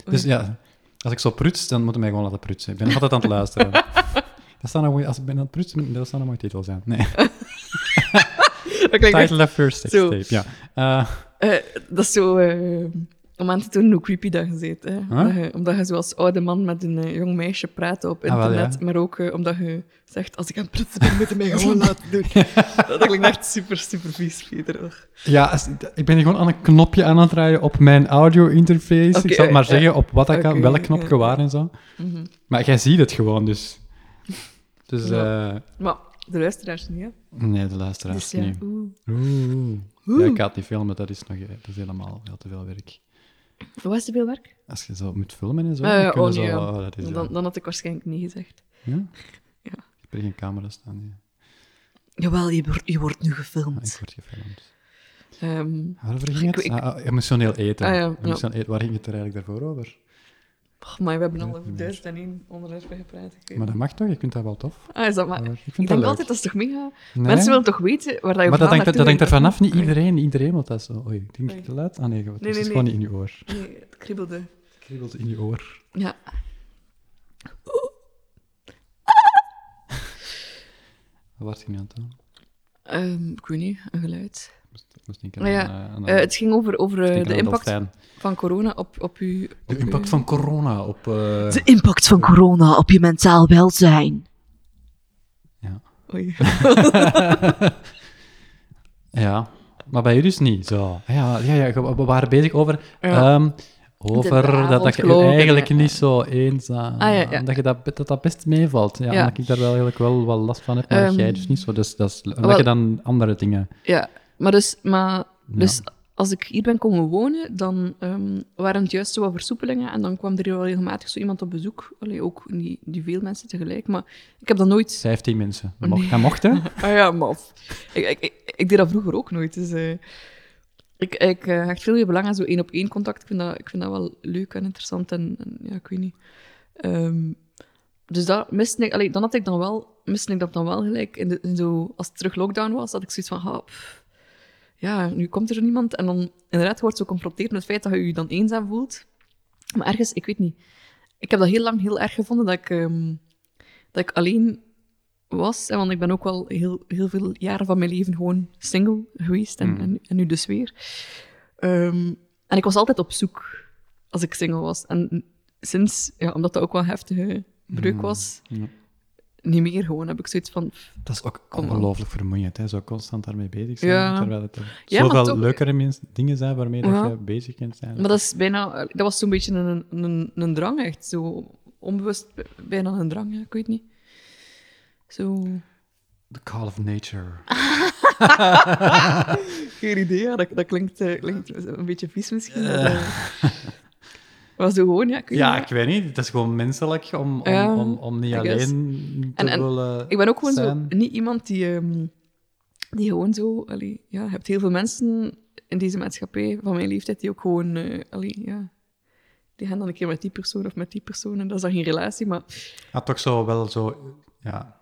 Speaker 1: Dus ja, als ik zo pruts, dan moeten mij gewoon laten prutsen. Ik ben altijd aan het luisteren. dat zou een mooie, als ik ben aan het prutsen, dat zou een mooie titel zijn. Nee,
Speaker 2: Dat, klinkt echt-
Speaker 1: title of first sex
Speaker 2: Oh, Zo.
Speaker 1: tape, ja. Eh,
Speaker 2: eh, dat is zo. eh, om aan te tonen hoe creepy dat je bent. Hè.
Speaker 1: Huh?
Speaker 2: Dat je- omdat je zoals oude man met een eh, jong meisje praat op
Speaker 1: Ah, wel,
Speaker 2: internet.
Speaker 1: ja.
Speaker 2: Maar ook eh, omdat je zegt, als ik aan het prutsen ben, moet je mij gewoon laten doen. dat klinkt echt super, super vies, Peter. Ugh.
Speaker 1: Ja, als- ik ben hier gewoon aan een knopje aan het draaien op mijn audio-interface.
Speaker 2: Oké,
Speaker 1: ik zal het maar
Speaker 2: ja.
Speaker 1: zeggen op wat ik
Speaker 2: Oké,
Speaker 1: aan, welk knopje
Speaker 2: ja.
Speaker 1: waar en zo.
Speaker 2: Mhm.
Speaker 1: Maar jij ziet het gewoon, dus... Dus,
Speaker 2: Ja.
Speaker 1: eh,
Speaker 2: Maar de luisteraars niet, hè.
Speaker 1: nee, de luisteraars
Speaker 2: Dus ja,
Speaker 1: niet.
Speaker 2: oeh.
Speaker 1: Oeh. Ja, ik ga het niet filmen, dat is, nog, eh, dat is helemaal heel te veel werk.
Speaker 2: Wat is te veel werk?
Speaker 1: Als je zo moet filmen en zo,
Speaker 2: Ah, ja,
Speaker 1: dan kun je
Speaker 2: oh,
Speaker 1: zo...
Speaker 2: nee, ja.
Speaker 1: oh, dat is, eh,
Speaker 2: Dan, dan had ik waarschijnlijk niet gezegd.
Speaker 1: ja?
Speaker 2: Ja.
Speaker 1: Ik heb er geen camera staan, nee.
Speaker 4: Jawel, je, wordt- je wordt nu
Speaker 1: Ah, ik
Speaker 4: gefilmd.
Speaker 1: word gefilmd.
Speaker 2: Ehm,
Speaker 1: Waarover ging het?
Speaker 2: Ik- ik-
Speaker 1: Ah, ah, emotioneel eten.
Speaker 2: Ah, ja, ja.
Speaker 1: Emotioneel eten. e- Waar ging het er eigenlijk daarvoor over?
Speaker 2: oh, maar we hebben
Speaker 1: Ja,
Speaker 2: al
Speaker 1: niet
Speaker 2: over
Speaker 1: meer.
Speaker 2: duizend en één onderwerpen gepraat. ik weet
Speaker 1: Maar dat
Speaker 2: niet.
Speaker 1: mag toch? Je kunt dat wel tof.
Speaker 2: Ah, is dat maar...
Speaker 1: Maar ik
Speaker 2: Ik
Speaker 1: vind dat
Speaker 2: denk
Speaker 1: leuk.
Speaker 2: altijd, dat is toch mega...
Speaker 1: Nee?
Speaker 2: Mensen willen toch weten waar dat je
Speaker 1: Maar dat
Speaker 2: verhaal
Speaker 1: hangt, dat hangt er
Speaker 2: naartoe
Speaker 1: vanaf, niet iedereen. Iedereen wil dat zo. Oei, ik denk
Speaker 2: Nee.
Speaker 1: ik te laat? Ah nee, het
Speaker 2: nee,
Speaker 1: is
Speaker 2: nee.
Speaker 1: gewoon niet in je oor.
Speaker 2: gaat. Nee, het kriebelde.
Speaker 1: Het kriebelt in je oor.
Speaker 2: Ja.
Speaker 1: Wat was ik nu aan het doen?
Speaker 2: Ehm, ik weet niet, een geluid.
Speaker 1: Ik moest, ik moest denken
Speaker 2: Nou ja,
Speaker 1: aan, eh, aan
Speaker 2: Eh,
Speaker 1: een-
Speaker 2: het ging over, over eh,
Speaker 1: ik denk
Speaker 2: de
Speaker 1: aan een
Speaker 2: impact
Speaker 1: dolfijn.
Speaker 2: van corona op, op u.
Speaker 1: De impact van corona op... eh,
Speaker 4: De impact van corona op je mentaal welzijn.
Speaker 2: Oei.
Speaker 1: Ja, maar bij u dus niet. Zo. Ja, ja, ja ge- we waren bezig over...
Speaker 2: Ja.
Speaker 1: ehm, over dat, dat je
Speaker 2: avondklok en-
Speaker 1: eigenlijk
Speaker 2: ja,
Speaker 1: niet zo eenzaam...
Speaker 2: Ah, ja, ja.
Speaker 1: Dat, je dat, dat dat best meevalt. Ja,
Speaker 2: Ja.
Speaker 1: Omdat ik daar wel eigenlijk wel wat last van heb, maar
Speaker 2: Ehm,
Speaker 1: jij dus niet zo. Dus, dat is, omdat
Speaker 2: wel-
Speaker 1: je dan andere dingen...
Speaker 2: Ja, maar dus, maar,
Speaker 1: Ja.
Speaker 2: dus als ik hier ben komen wonen, dan ehm, waren het juist zo wat versoepelingen. En dan kwam er hier wel regelmatig zo iemand op bezoek. Allee, ook niet, niet veel mensen tegelijk. Maar ik heb dat nooit...
Speaker 1: 15 mensen.
Speaker 2: Oh,
Speaker 1: Mo-
Speaker 2: nee.
Speaker 1: Dat mocht, hè?
Speaker 2: Ah ja, maar of- ik, ik, ik, ik deed dat vroeger ook nooit. Dus, eh, ik, ik eh, hecht veel meer belang aan zo één op één contact. Ik vind dat, ik vind dat wel leuk en interessant. En, en ja, ik weet niet. Ehm, dus dat miste ik, allee, dan had ik dan wel, miste ik dat dan wel gelijk. In de, in zo, als het terug lockdown was, had ik zoiets van, ah, pff, ja, nu komt er niemand. En dan inderdaad je wordt zo geconfronteerd met het feit dat je je dan eenzaam voelt. Maar ergens, ik weet niet. Ik heb dat heel lang heel erg gevonden dat ik, ehm, dat ik alleen was. En want ik ben ook wel heel, heel veel jaren van mijn leven gewoon single geweest. En,
Speaker 1: Mhm.
Speaker 2: en, en nu dus weer. Ehm, en ik was altijd op zoek als ik single was. En sinds, ja, omdat dat ook wel een heftige breuk
Speaker 1: Mhm.
Speaker 2: was,
Speaker 1: Ja.
Speaker 2: niet meer gewoon. Heb ik zoiets van, pff,
Speaker 1: Dat is ook
Speaker 2: Kom op.
Speaker 1: ongelooflijk vermoeiend, hè? zo constant daarmee bezig zijn.
Speaker 2: Ja.
Speaker 1: Terwijl het er
Speaker 2: Ja, maar
Speaker 1: zoveel
Speaker 2: toch-
Speaker 1: leukere mens- dingen zijn waarmee dat
Speaker 2: Ja.
Speaker 1: je bezig kunt zijn.
Speaker 2: Maar dat is bijna... Dat was zo'n beetje een, een, een drang, echt. Zo onbewust b- bijna een drang, ja, ik weet niet. Zo...
Speaker 1: The call of nature.
Speaker 2: Geen idee, ja. Dat, dat klinkt, eh, klinkt een beetje vies misschien. maar, eh, maar zo gewoon, ja. Ik, weet
Speaker 1: ja,
Speaker 2: niet,
Speaker 1: ik weet niet. Het is gewoon menselijk om, om,
Speaker 2: Ja,
Speaker 1: om, om niet
Speaker 2: I guess.
Speaker 1: alleen te
Speaker 2: En- en
Speaker 1: willen
Speaker 2: ik ben ook gewoon
Speaker 1: zijn.
Speaker 2: zo niet iemand die, ehm, die gewoon zo... Allee, ja, je hebt heel veel mensen in deze maatschappij van mijn leeftijd die ook gewoon... eh, allee, ja, die gaan dan een keer met die persoon of met die persoon. En dat is dan geen relatie, maar...
Speaker 1: Ah, toch zo wel zo... Ja.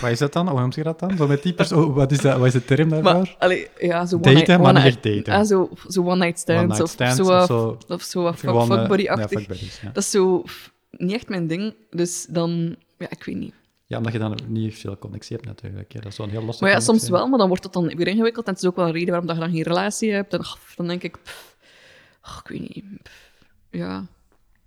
Speaker 1: wat is dat dan? Hoe noemt je dat dan? Zo met die persoon... Oh, wat, is dat, wat is de term daarvoor?
Speaker 2: Maar, allee, ja, zo
Speaker 1: Daten,
Speaker 2: one
Speaker 1: maar
Speaker 2: night, one
Speaker 1: niet
Speaker 2: night-
Speaker 1: echt daten.
Speaker 2: Ah, zo, zo one night
Speaker 1: One
Speaker 2: stands
Speaker 1: night
Speaker 2: of,
Speaker 1: stands
Speaker 2: zo,
Speaker 1: of
Speaker 2: of,
Speaker 1: zo.
Speaker 2: of zo wat fuck-
Speaker 1: Gewoon, eh,
Speaker 2: fuckbody-achtig.
Speaker 1: Ja, fuckbuddies, ja.
Speaker 2: Dat is zo f- niet echt mijn ding, dus dan... Ja, ik weet niet.
Speaker 1: ja, omdat je dan niet echt veel connectie hebt natuurlijk. hè. Dat is zo'n heel lastig.
Speaker 2: Maar ja, soms wel, maar dan wordt dat dan weer ingewikkeld. En het is ook wel een reden waarom dat je dan geen relatie hebt. En ach, dan denk ik... pff, ach, ik weet niet. pff, ja.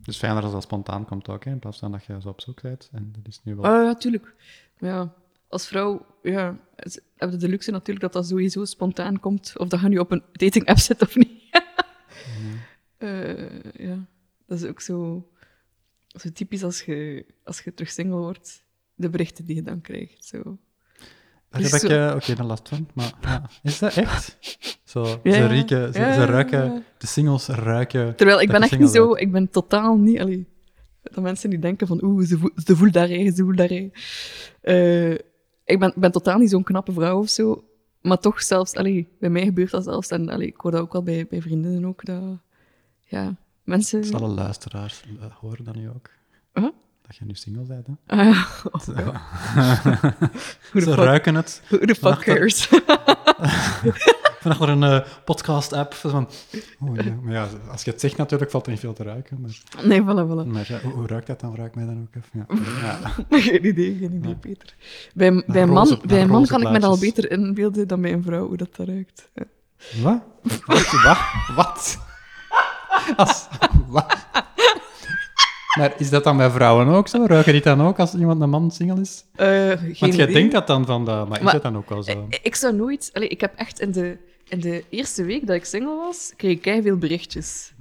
Speaker 1: Dus fijner als dat spontaan komt ook, hè, in plaats van dat je zo op zoek bent. En dat is nu wel...
Speaker 2: Ah, ja, tuurlijk. Maar ja, als vrouw ja, is- heb je de luxe natuurlijk dat dat sowieso spontaan komt. Of dat je nu op een dating app zit of niet. Mhm. Eh, ja, dat is ook zo, zo typisch als je, als je terug single wordt. De berichten die je dan krijgt. Zo.
Speaker 1: Daar
Speaker 2: Dus
Speaker 1: heb ik
Speaker 2: zo-
Speaker 1: eh, ook geen last van. Maar ja. is dat echt? Zo,
Speaker 2: Ja,
Speaker 1: ze,
Speaker 2: ja.
Speaker 1: rieken, ze,
Speaker 2: Ja,
Speaker 1: ze
Speaker 2: ja,
Speaker 1: ruiken,
Speaker 2: ja.
Speaker 1: de singles ruiken.
Speaker 2: Terwijl ik
Speaker 1: dat
Speaker 2: ben
Speaker 1: je
Speaker 2: echt niet
Speaker 1: single
Speaker 2: zo, ik ben totaal niet. Allee, dat mensen die denken van oeh, ze, voel, ze voelt daarheen, ze voelt daarheen. Eh, ik ben, ben totaal niet zo'n knappe vrouw of zo. Maar toch zelfs, allee, bij mij gebeurt dat zelfs. En allee, ik hoor dat ook wel bij, bij vriendinnen ook. Dat, ja, mensen.
Speaker 1: Dus alle luisteraars eh, horen dat nu ook.
Speaker 2: Mm. Huh?
Speaker 1: Dat je nu single bent, hè?
Speaker 2: Ah, ja. Oh,
Speaker 1: Zo.
Speaker 2: Hoe
Speaker 1: ze
Speaker 2: de fuck-
Speaker 1: ruiken het.
Speaker 2: who the fuck
Speaker 1: Wacht, dat-
Speaker 2: cares?
Speaker 1: Vanaf een eh, podcast-app. zo Van, oh, ja. Maar ja, als je het zegt natuurlijk valt er niet veel te ruiken. Maar,
Speaker 2: Nee, voilà, voilà.
Speaker 1: maar ja, hoe, hoe ruikt dat dan? Ruikt mij dan ook even. Ja. Ja.
Speaker 2: Geen idee, geen idee,
Speaker 1: Ja.
Speaker 2: Peter. Bij, bij een
Speaker 1: roze-
Speaker 2: man,
Speaker 1: naar
Speaker 2: bij een man
Speaker 1: roze
Speaker 2: kan ik me dat al
Speaker 1: plaatjes.
Speaker 2: beter inbeelden dan bij een vrouw, hoe dat daar ruikt. Ja.
Speaker 1: Wat? Wat? Wat? Wat? Als- Wat? Maar is dat dan bij vrouwen ook zo? Ruiken die dan ook als iemand een man single is?
Speaker 2: Eh,
Speaker 1: Want jij denkt dat dan van dat, maar is
Speaker 2: Maar- eh,
Speaker 1: dat dan ook wel zo?
Speaker 2: Ik zou nooit... Allee, ik heb echt in de, in de eerste week dat ik single was, kreeg ik veel berichtjes.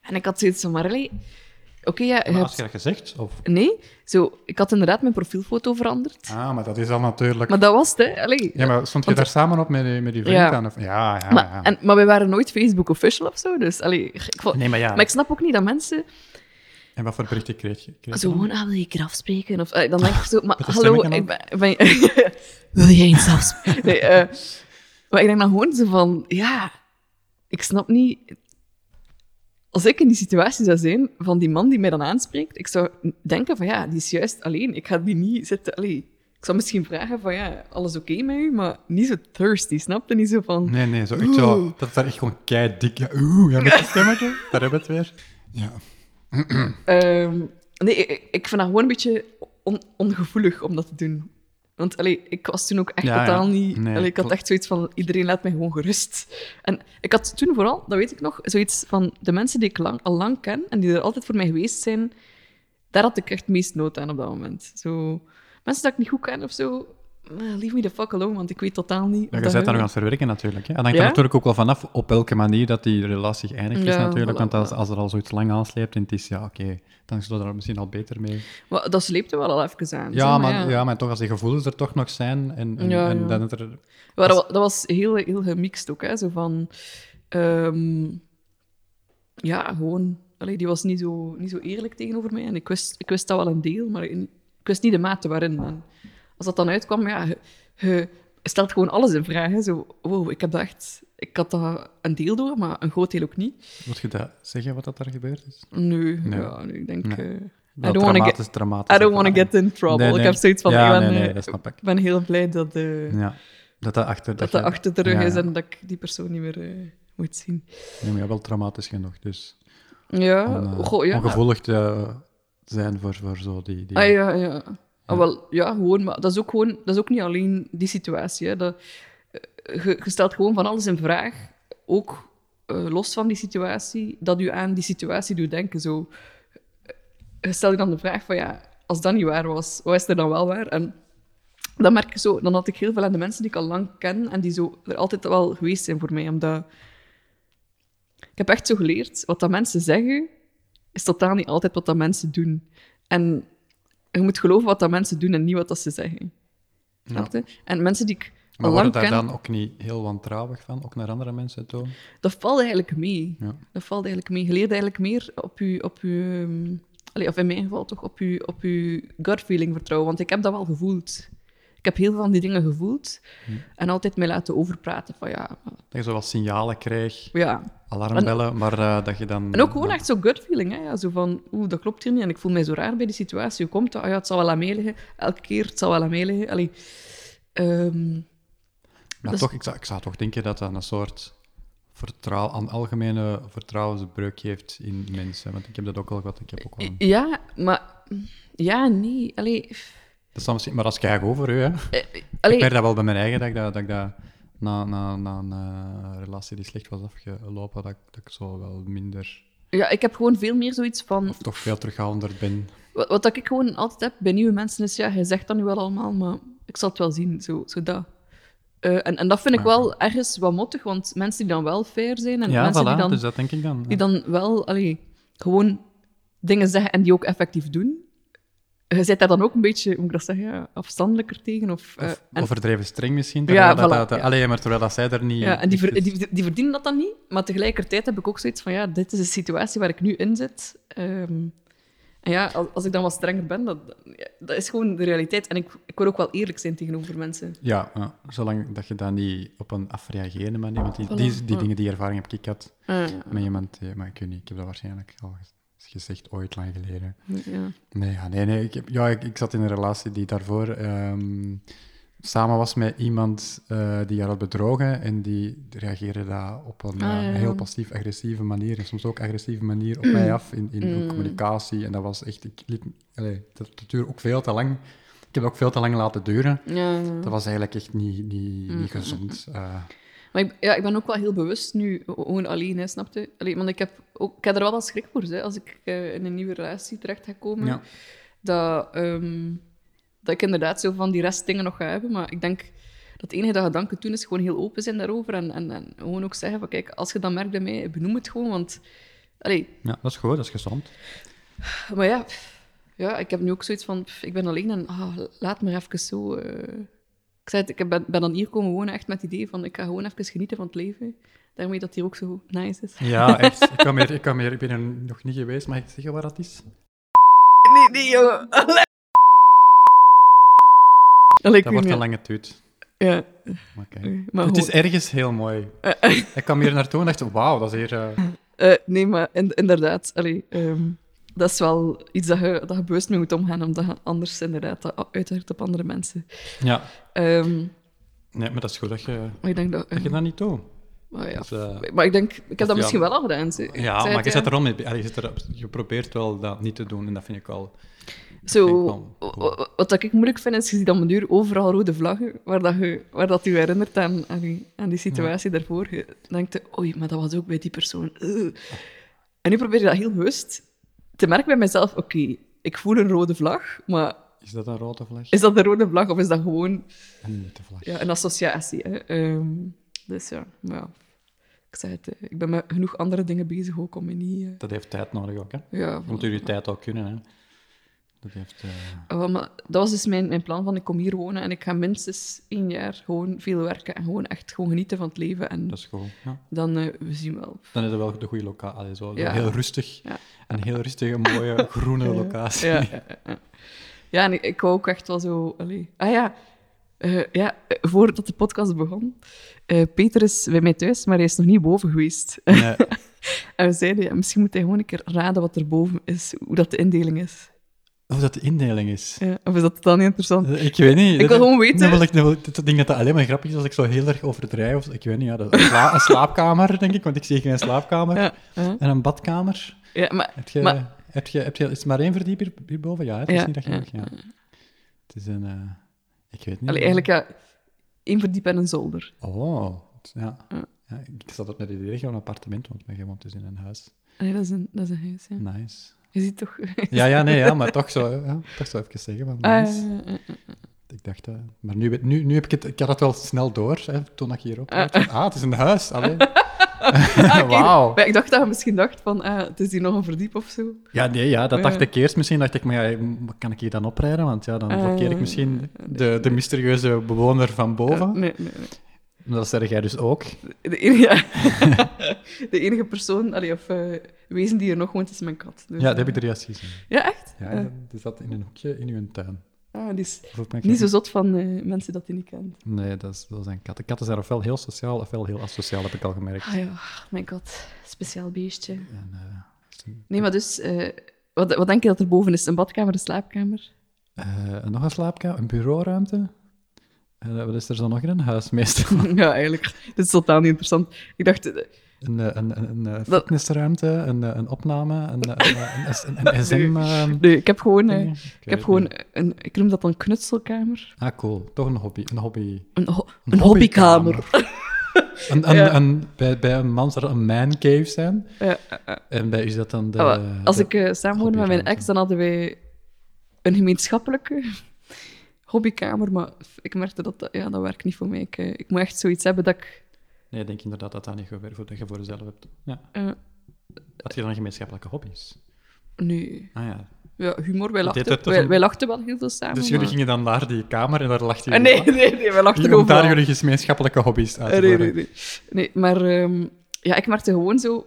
Speaker 2: En ik had zoiets van, maar allee, Oké, ja, je
Speaker 1: Maar als
Speaker 2: hebt...
Speaker 1: je dat gezegd? Of...
Speaker 2: Nee, zo, ik had inderdaad mijn profielfoto veranderd.
Speaker 1: Ah, maar dat is al natuurlijk...
Speaker 2: Maar dat was het, hè. Allee,
Speaker 1: Ja, maar stond je
Speaker 2: Want-
Speaker 1: daar samen op met die, met die vriend
Speaker 2: Ja.
Speaker 1: aan? Of... Ja, ja,
Speaker 2: Maar,
Speaker 1: ja.
Speaker 2: En, maar wij waren nooit Facebook official of zo, dus allee, ik vond-
Speaker 1: Nee, maar ja.
Speaker 2: Maar ik snap ook niet dat mensen
Speaker 1: En wat voor berichten kreeg je? Kreeg je
Speaker 2: zo
Speaker 1: dan?
Speaker 2: gewoon, ah, wil je een keer afspreken? Of, eh, dan denk ik zo, maar
Speaker 1: Met een
Speaker 2: hallo,
Speaker 1: stemmetje
Speaker 2: ik ben... ben je-
Speaker 4: Wil jij eens afspreken?
Speaker 2: nee, eh, maar ik denk dan gewoon zo van, ja, ik snap niet... Als ik in die situatie zou zijn, van die man die mij dan aanspreekt, ik zou denken van, ja, die is juist alleen. Ik ga die niet zitten... Allee, ik zou misschien vragen van, ja, alles oké met u? Maar niet zo thirsty, snapte niet zo van...
Speaker 1: Nee, nee, zo echt zo. Dat is daar echt gewoon kei dik. Ja, oeh, ja, met dat stemmetje. Daar hebben we het weer.
Speaker 5: Ja.
Speaker 2: Ehm, nee, ik, ik vind dat gewoon een beetje on- ongevoelig om dat te doen. Want allee, ik was toen ook echt
Speaker 1: Ja, ja.
Speaker 2: totaal niet...
Speaker 1: Nee,
Speaker 2: allee, ik had
Speaker 1: klopt.
Speaker 2: echt zoiets van, iedereen laat mij gewoon gerust. En ik had toen vooral, dat weet ik nog, zoiets van de mensen die ik lang, al lang ken en die er altijd voor mij geweest zijn, daar had ik echt het meest nood aan op dat moment. Zo, mensen dat ik niet goed ken of zo, eh, leave me the fuck alone, want ik weet totaal niet...
Speaker 1: Ja,
Speaker 2: of
Speaker 1: je bent
Speaker 2: hun-
Speaker 1: daar nog aan het verwerken natuurlijk. Hè. En hangt
Speaker 2: Ja?
Speaker 1: er natuurlijk ook wel vanaf op welke manier dat die relatie geëindigd is
Speaker 2: Ja,
Speaker 1: natuurlijk.
Speaker 2: voilà,
Speaker 1: Want als,
Speaker 2: voilà.
Speaker 1: als er al zoiets lang aansleept en het is, ja, oké, dan zullen we daar misschien al beter mee.
Speaker 2: Maar dat sleepte wel al even aan.
Speaker 1: Ja,
Speaker 2: zo,
Speaker 1: maar, ja. maar toch, als die gevoelens er toch nog zijn en, en,
Speaker 2: Ja,
Speaker 1: en
Speaker 2: ja.
Speaker 1: dan het er...
Speaker 2: Maar dat, wa- dat was heel, heel gemixt ook, hè. Zo van... ehm, ja, gewoon... Allee, die was niet zo, niet zo eerlijk tegenover mij. En ik wist, ik wist dat wel een deel, maar in- ik wist niet de mate waarin. En als dat dan uitkwam, ja... Je, je stelt gewoon alles in vraag, hè. Zo, wow, ik heb dat echt... Ik had dat een deel door, maar een groot deel ook niet.
Speaker 1: Moet je dat zeggen, wat dat daar gebeurd is?
Speaker 2: Nu,
Speaker 1: Nee.
Speaker 2: ja, nu, ik
Speaker 1: Nee.
Speaker 2: denk... eh,
Speaker 1: Wel
Speaker 2: don't wanna
Speaker 1: dramatisch, dramatisch.
Speaker 2: I don't want to
Speaker 1: ervaring.
Speaker 2: get in trouble.
Speaker 1: Nee, nee.
Speaker 2: Ik heb zoiets van...
Speaker 1: Ja,
Speaker 2: ik ben,
Speaker 1: nee, nee,
Speaker 2: eh,
Speaker 1: dat snap ik.
Speaker 2: ik ben heel blij dat... eh,
Speaker 1: Ja, dat dat achter...
Speaker 2: dat
Speaker 1: je-
Speaker 2: dat achter de rug
Speaker 1: ja,
Speaker 2: is
Speaker 1: ja.
Speaker 2: en dat ik die persoon niet meer eh, moet zien.
Speaker 1: Nee, maar ja, wel dramatisch genoeg, dus...
Speaker 2: Ja,
Speaker 1: Om, eh,
Speaker 2: Oh, goh, ja.
Speaker 1: om gevoelig te eh, zijn voor, voor zo die... die...
Speaker 2: Ah, ja, ja. Ah, wel, ja, gewoon, maar dat is ook, gewoon, dat is ook niet alleen die situatie. Hè. Dat, eh, je, je stelt gewoon van alles in vraag, ook eh, los van die situatie, dat u aan die situatie doet denken. Zo. Je stelt je dan de vraag van, ja, als dat niet waar was, wat is er dan wel waar? En dan merk ik zo, dan had ik heel veel aan de mensen die ik al lang ken en die zo er altijd wel geweest zijn voor mij, omdat... Ik heb echt zo geleerd, wat dat mensen zeggen, is totaal niet altijd wat dat mensen doen. En je moet geloven wat dat mensen doen en niet wat dat ze zeggen. Snap je? En mensen die ik
Speaker 1: Maar
Speaker 2: al
Speaker 1: worden
Speaker 2: lang
Speaker 1: daar
Speaker 2: ken,
Speaker 1: dan ook niet heel wantrouwig van, ook naar andere mensen toe?
Speaker 2: dat valt eigenlijk mee.
Speaker 1: Ja.
Speaker 2: Dat valt eigenlijk mee. Je leert eigenlijk meer op je... Op je ehm, allee, of in mijn geval toch, op je, op je gut feeling vertrouwen. Want ik heb dat wel gevoeld. Ik heb heel veel van die dingen gevoeld.
Speaker 1: Hm.
Speaker 2: En altijd mij laten overpraten van ja...
Speaker 1: Dat je zo wat signalen krijgt,
Speaker 2: ja
Speaker 1: alarmbellen, maar eh, dat je dan...
Speaker 2: En ook gewoon echt zo'n gut feeling. Hè? Ja, zo van, oeh, dat klopt hier niet. En ik voel mij zo raar bij die situatie. Hoe komt dat? Ah ja, het zal wel aan mij liggen. Elke keer, het zal wel aan mij liggen. Allee, ehm,
Speaker 1: Oh. Maar
Speaker 2: dat is-
Speaker 1: toch, ik zou, ik zou toch denken dat dat een soort vertrouw, een algemene vertrouwensbreuk geeft in mensen. Want ik heb dat ook al gehad, ik heb ook wel... een-
Speaker 2: ja, maar... Ja, nee. Allee...
Speaker 1: Dat is dan misschien, maar dat is keigoed voor u, hè?
Speaker 2: eh,
Speaker 1: Ik
Speaker 2: allee,
Speaker 1: merk dat wel bij mijn eigen, dat ik dat, dat, ik dat na, na, na een eh, relatie die slecht was afgelopen, dat, ik- dat ik zo wel minder,
Speaker 2: ja, ik heb gewoon veel meer zoiets van...
Speaker 1: of toch veel terughoudender ben.
Speaker 2: Wat, wat dat ik gewoon altijd heb bij nieuwe mensen is, ja, hij zegt dat nu wel allemaal, maar ik zal het wel zien, zo, zo dat. Eh, en, en dat vind ik wel ergens wat mottig, want mensen die dan wel fair zijn en
Speaker 1: Ja,
Speaker 2: mensen
Speaker 1: voilà,
Speaker 2: die, dan,
Speaker 1: dus dat denk ik dan.
Speaker 2: die dan wel allee, gewoon dingen zeggen en die ook effectief doen, je zit daar dan ook een beetje, hoe moet ik dat zeggen, ja, afstandelijker tegen. Of, eh,
Speaker 1: Of
Speaker 2: en,
Speaker 1: overdreven streng misschien. terwijl dat,
Speaker 2: voilà,
Speaker 1: dat- dat-
Speaker 2: ja.
Speaker 1: Allee, maar terwijl dat zij er niet...
Speaker 2: ja, en die, ver-
Speaker 1: echt is.
Speaker 2: die, die verdienen dat dan niet, maar tegelijkertijd heb ik ook zoiets van, ja, dit is de situatie waar ik nu in zit. Ehm, en ja, als, als ik dan wat strenger ben, dat, dat is gewoon de realiteit. En ik, ik wil ook wel eerlijk zijn tegenover mensen.
Speaker 1: Ja, ja, zolang dat je dat niet op een afreagerende manier... Want die, die, die dingen, die ervaring heb ik gehad met iemand... die- Maar ik weet niet, ik heb dat waarschijnlijk al gez- gezegd ooit lang geleden.
Speaker 2: ja.
Speaker 1: Nee, ja, nee, nee. Ik, heb, ja, ik, ik zat in een relatie die daarvoor ehm, samen was met iemand eh, die haar had bedrogen. En die reageerde daar op een
Speaker 2: Ah,
Speaker 1: eh,
Speaker 2: ja, ja.
Speaker 1: heel passief-agressieve manier. En soms ook agressieve manier op
Speaker 2: Mm.
Speaker 1: mij af in, in hun communicatie. En dat was echt... Ik liet, allee, dat, dat duurde ook veel te lang. Ik heb dat ook veel te lang laten duren.
Speaker 2: ja. Mm.
Speaker 1: Dat was eigenlijk echt niet, niet, niet gezond. eh.
Speaker 2: Maar Maar ik, ja, ik ben ook wel heel bewust nu, gewoon alleen, hè, snap je? Allee, want ik heb, ook, ik heb er wel wat schrik voor, hè, als ik eh, in een nieuwe relatie terecht ga komen.
Speaker 1: Ja.
Speaker 2: Dat, ehm, dat ik inderdaad zo van die restdingen nog ga hebben. Maar ik denk dat het enige dat je dan kunt doen, is gewoon heel open zijn daarover. En, en, en gewoon ook zeggen van, kijk, als je dat merkt bij mij, benoem het gewoon. Want, allee,
Speaker 1: Ja, dat is goed, dat is gezond.
Speaker 2: maar ja, pff, ja, ik heb nu ook zoiets van, pff, ik ben alleen en ah, laat me even zo... eh. Ik zei het, ik ben, ben dan hier komen wonen echt met het idee van, ik ga gewoon even genieten van het leven. Daarmee dat hier ook zo nice is.
Speaker 1: Ja, echt. Ik kan meer, ik kan meer. Ik ben er nog niet geweest, mag ik zeggen waar dat is?
Speaker 2: Nee, nee, jongen. Allee, ik
Speaker 1: Dat
Speaker 2: weet
Speaker 1: wordt een
Speaker 2: niet.
Speaker 1: lange tuut.
Speaker 2: Ja,
Speaker 1: Maar oké.
Speaker 2: maar
Speaker 1: Het is
Speaker 2: gewoon-
Speaker 1: ergens heel mooi.
Speaker 2: Oh. Eh, eh,
Speaker 1: Ik kwam hier naartoe en dacht, wauw, dat is hier... eh,
Speaker 2: eh, nee, maar in- inderdaad, allee, ehm, dat is wel iets dat je, dat je bewust mee moet omgaan, omdat je anders inderdaad dat uitwerkt op andere mensen.
Speaker 1: Ja.
Speaker 2: Ehm,
Speaker 1: Nee, maar dat is goed dat je
Speaker 2: maar ik denk dat... eh,
Speaker 1: dat, je dat niet doet.
Speaker 2: maar, ja.
Speaker 1: Dat, eh,
Speaker 2: maar ik denk, ik heb
Speaker 1: ja.
Speaker 2: dat misschien wel al gedaan. ze- ik zei
Speaker 1: ja, maar
Speaker 2: het,
Speaker 1: je zit er al mee... be- allee, Je, zit er, je probeert wel dat niet te doen en dat vind ik wel...
Speaker 2: Zo,
Speaker 1: vind ik wel
Speaker 2: wa- wa- wat dat ik moeilijk vind, is je ziet dan een duur overal rode vlaggen, waar dat, je, waar dat je herinnert aan, aan, die, aan die situatie daarvoor. Je denkt, oei, maar dat was ook bij die persoon. Ugh. En nu probeer je dat heel bewust te merken bij mezelf. Oké, ik voel een rode vlag, maar
Speaker 1: Is dat een rode vlag?
Speaker 2: is dat een rode vlag of is dat gewoon
Speaker 1: Een witte vlag.
Speaker 2: ja, een associatie? Hè? Ehm, dus ja, maar ja, ik zei het, eh, ik ben met genoeg andere dingen bezig ook om me niet... eh,
Speaker 1: Dat heeft tijd nodig ook, hè.
Speaker 2: ja,
Speaker 1: Je moet jullie tijd ook kunnen, hè. Dat heeft... eh,
Speaker 2: Ja, maar dat was dus mijn, mijn plan van ik kom hier wonen en ik ga minstens één jaar gewoon veel werken en gewoon echt gewoon genieten van het leven. En
Speaker 1: dat is goed, ja.
Speaker 2: dan, eh, we zien wel.
Speaker 1: Dan is het wel de goede locatie. Zo, zo
Speaker 2: Ja.
Speaker 1: Heel rustig.
Speaker 2: Ja.
Speaker 1: Een heel rustige, mooie, groene locatie.
Speaker 2: Ja, ja, ja, ja. ja en ik, ik wou ook echt wel zo... Allee. Ah ja, eh, ja, eh, voordat de podcast begon, eh, Peter is bij mij thuis, maar hij is nog niet boven geweest.
Speaker 1: Nee,
Speaker 2: en we zeiden, ja, misschien moet hij gewoon een keer raden wat er boven is, hoe dat de indeling is.
Speaker 1: Of dat de indeling is.
Speaker 2: Ja, of is dat dan niet interessant?
Speaker 1: Eh, Ik weet niet.
Speaker 2: Ik wil
Speaker 1: Dat-
Speaker 2: gewoon weten.
Speaker 1: Dat wil ik, dat wil ik- dat ding dat dat alleen maar grappig is als ik zo heel erg overdrijf. Of, ik weet niet, ja, dat, een, sla- een slaapkamer, denk ik. Want ik zie geen slaapkamer.
Speaker 2: Ja, ja.
Speaker 1: En een badkamer.
Speaker 2: ja maar
Speaker 1: Heb je,
Speaker 2: Maar-
Speaker 1: heb je, heb je, is het maar één verdiep hier, hierboven? Ja, hè? het is
Speaker 2: Ja,
Speaker 1: niet dat je...
Speaker 2: ja,
Speaker 1: Ja. Het is een... eh, ik weet niet.
Speaker 2: allee, eigenlijk ja, één verdiep en een zolder.
Speaker 1: Oh, het- ja.
Speaker 2: Ja.
Speaker 1: ja. Ik zat op net het idee dat je een appartement woont, maar je woont dus in een huis.
Speaker 2: Allee, dat, is een, dat is een huis, ja.
Speaker 1: Nice.
Speaker 2: Je ziet toch...
Speaker 1: Ja, ja, nee, ja, maar toch zo, ja, toch zo even zeggen. Van,
Speaker 2: Ah,
Speaker 1: nice.
Speaker 2: ja, ja, ja.
Speaker 1: Ik dacht, eh, maar nu, weet- nu, nu heb ik het, ik had het wel snel door, hè, toen ik hierop reed. Ah, het is een huis, alleen.
Speaker 2: Eh. Ah, Oké,
Speaker 1: Wauw.
Speaker 2: maar ik dacht dat je misschien dacht van, ah, het is hier nog een verdiep of zo.
Speaker 1: Ja, nee, ja, dat
Speaker 2: Ja.
Speaker 1: dacht ik eerst. Misschien dacht ik, maar ja, kan ik hier dan oprijden? Want ja, dan blokkeer ik
Speaker 2: Eh,
Speaker 1: misschien de, de mysterieuze bewoner van boven.
Speaker 2: Nee, nee, nee. eh.
Speaker 1: Dat zeg jij dus ook.
Speaker 2: De enige, ja. de enige persoon, allee, of eh, wezen die er nog woont, is mijn kat. Dus,
Speaker 1: Ja, dat heb
Speaker 2: eh,
Speaker 1: ik er juist gezien.
Speaker 2: Ja, echt?
Speaker 1: Ja,
Speaker 2: Eh.
Speaker 1: die zat in een hoekje in uw tuin.
Speaker 2: Ah, die is
Speaker 1: Volgens mij-
Speaker 2: niet zo zot van eh, mensen dat hij niet kent.
Speaker 1: Nee, dat, is, dat zijn katten. Katten zijn ofwel heel sociaal, ofwel heel asociaal, heb ik al gemerkt.
Speaker 2: Ah ja, mijn kat. Speciaal beestje.
Speaker 1: En, eh, ze-
Speaker 2: Nee, maar dus, eh, wat, wat denk je dat er boven is? Een badkamer, een slaapkamer?
Speaker 1: Eh, nog een slaapkamer, een bureauruimte. En, eh, wat is er zo nog in een huis meestal?
Speaker 2: ja, eigenlijk. Dit is totaal niet interessant. Ik dacht, eh,
Speaker 1: Een, eh, een, een, een eh,
Speaker 2: Dat-
Speaker 1: fitnessruimte, een, eh, een opname, een, eh, een, een, een, een SM... eh,
Speaker 2: nee, ik heb gewoon... eh,
Speaker 1: dingen.
Speaker 2: ik
Speaker 1: weet
Speaker 2: heb
Speaker 1: het
Speaker 2: gewoon
Speaker 1: niet.
Speaker 2: een, ik noem dat dan knutselkamer.
Speaker 1: Ah, cool. Toch een hobby. Een hobby.
Speaker 2: Een, ho-
Speaker 4: Een hobbykamer.
Speaker 1: hobbykamer. een, een,
Speaker 2: Ja.
Speaker 1: een- bij, bij een man zou dat een man cave zijn.
Speaker 2: Ja, ja,
Speaker 1: En bij u is dat dan de...
Speaker 2: Ah, wel, als
Speaker 1: de-
Speaker 2: ik eh, samen woonde met mijn
Speaker 1: hobbyruimte.
Speaker 2: ex, dan hadden wij een gemeenschappelijke hobbykamer, maar ik merkte dat dat, ja, dat werkt niet voor mij. Ik, eh, ik moet echt zoiets hebben dat ik...
Speaker 1: Nee, ik denk inderdaad dat dat niet goed werkt, voor- dat je voor jezelf hebt. Ja.
Speaker 2: eh,
Speaker 1: Dat je dan gemeenschappelijke hobby's.
Speaker 2: nee,
Speaker 1: Ah ja.
Speaker 2: ja, humor, wij
Speaker 1: Dit
Speaker 2: lachten,
Speaker 1: hebt toch
Speaker 2: wij,
Speaker 1: een-
Speaker 2: wij lachten wel heel veel samen.
Speaker 1: Dus jullie
Speaker 2: maar-
Speaker 1: gingen dan naar die kamer en daar lag je.
Speaker 2: Ah, nee, nee, nee, wij lachten
Speaker 1: Om daar
Speaker 2: overal.
Speaker 1: jullie gemeenschappelijke hobby's uit te
Speaker 2: Eh, nee,
Speaker 1: voeren.
Speaker 2: nee, nee. nee, maar ehm, ja, ik merkte gewoon zo...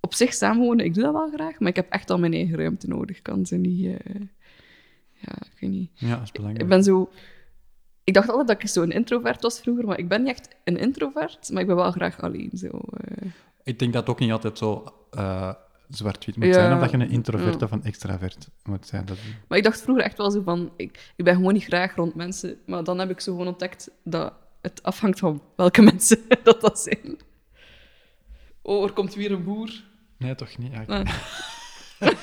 Speaker 2: Op zich samenwonen, ik doe dat wel graag, maar ik heb echt al mijn eigen ruimte nodig. Ik kan ze niet... eh, ja, ik weet niet.
Speaker 1: Ja, dat is belangrijk.
Speaker 2: Ik ben zo... Ik dacht altijd dat ik zo'n introvert was vroeger, maar ik ben niet echt een introvert, maar ik ben wel graag alleen. Zo. eh.
Speaker 1: Ik denk dat het ook niet altijd zo eh, zwart-wit moet
Speaker 2: Ja. Mm.
Speaker 1: zijn, of dat je een introvert
Speaker 2: Ja.
Speaker 1: of een extravert moet zijn. Dat...
Speaker 2: Maar ik dacht vroeger echt wel zo van, ik, ik ben gewoon niet graag rond mensen. Maar dan heb ik zo gewoon ontdekt dat het afhangt van welke mensen dat dat zijn. Oh, er komt weer een boer.
Speaker 1: Nee, toch niet. Ja, ik-
Speaker 2: Nee.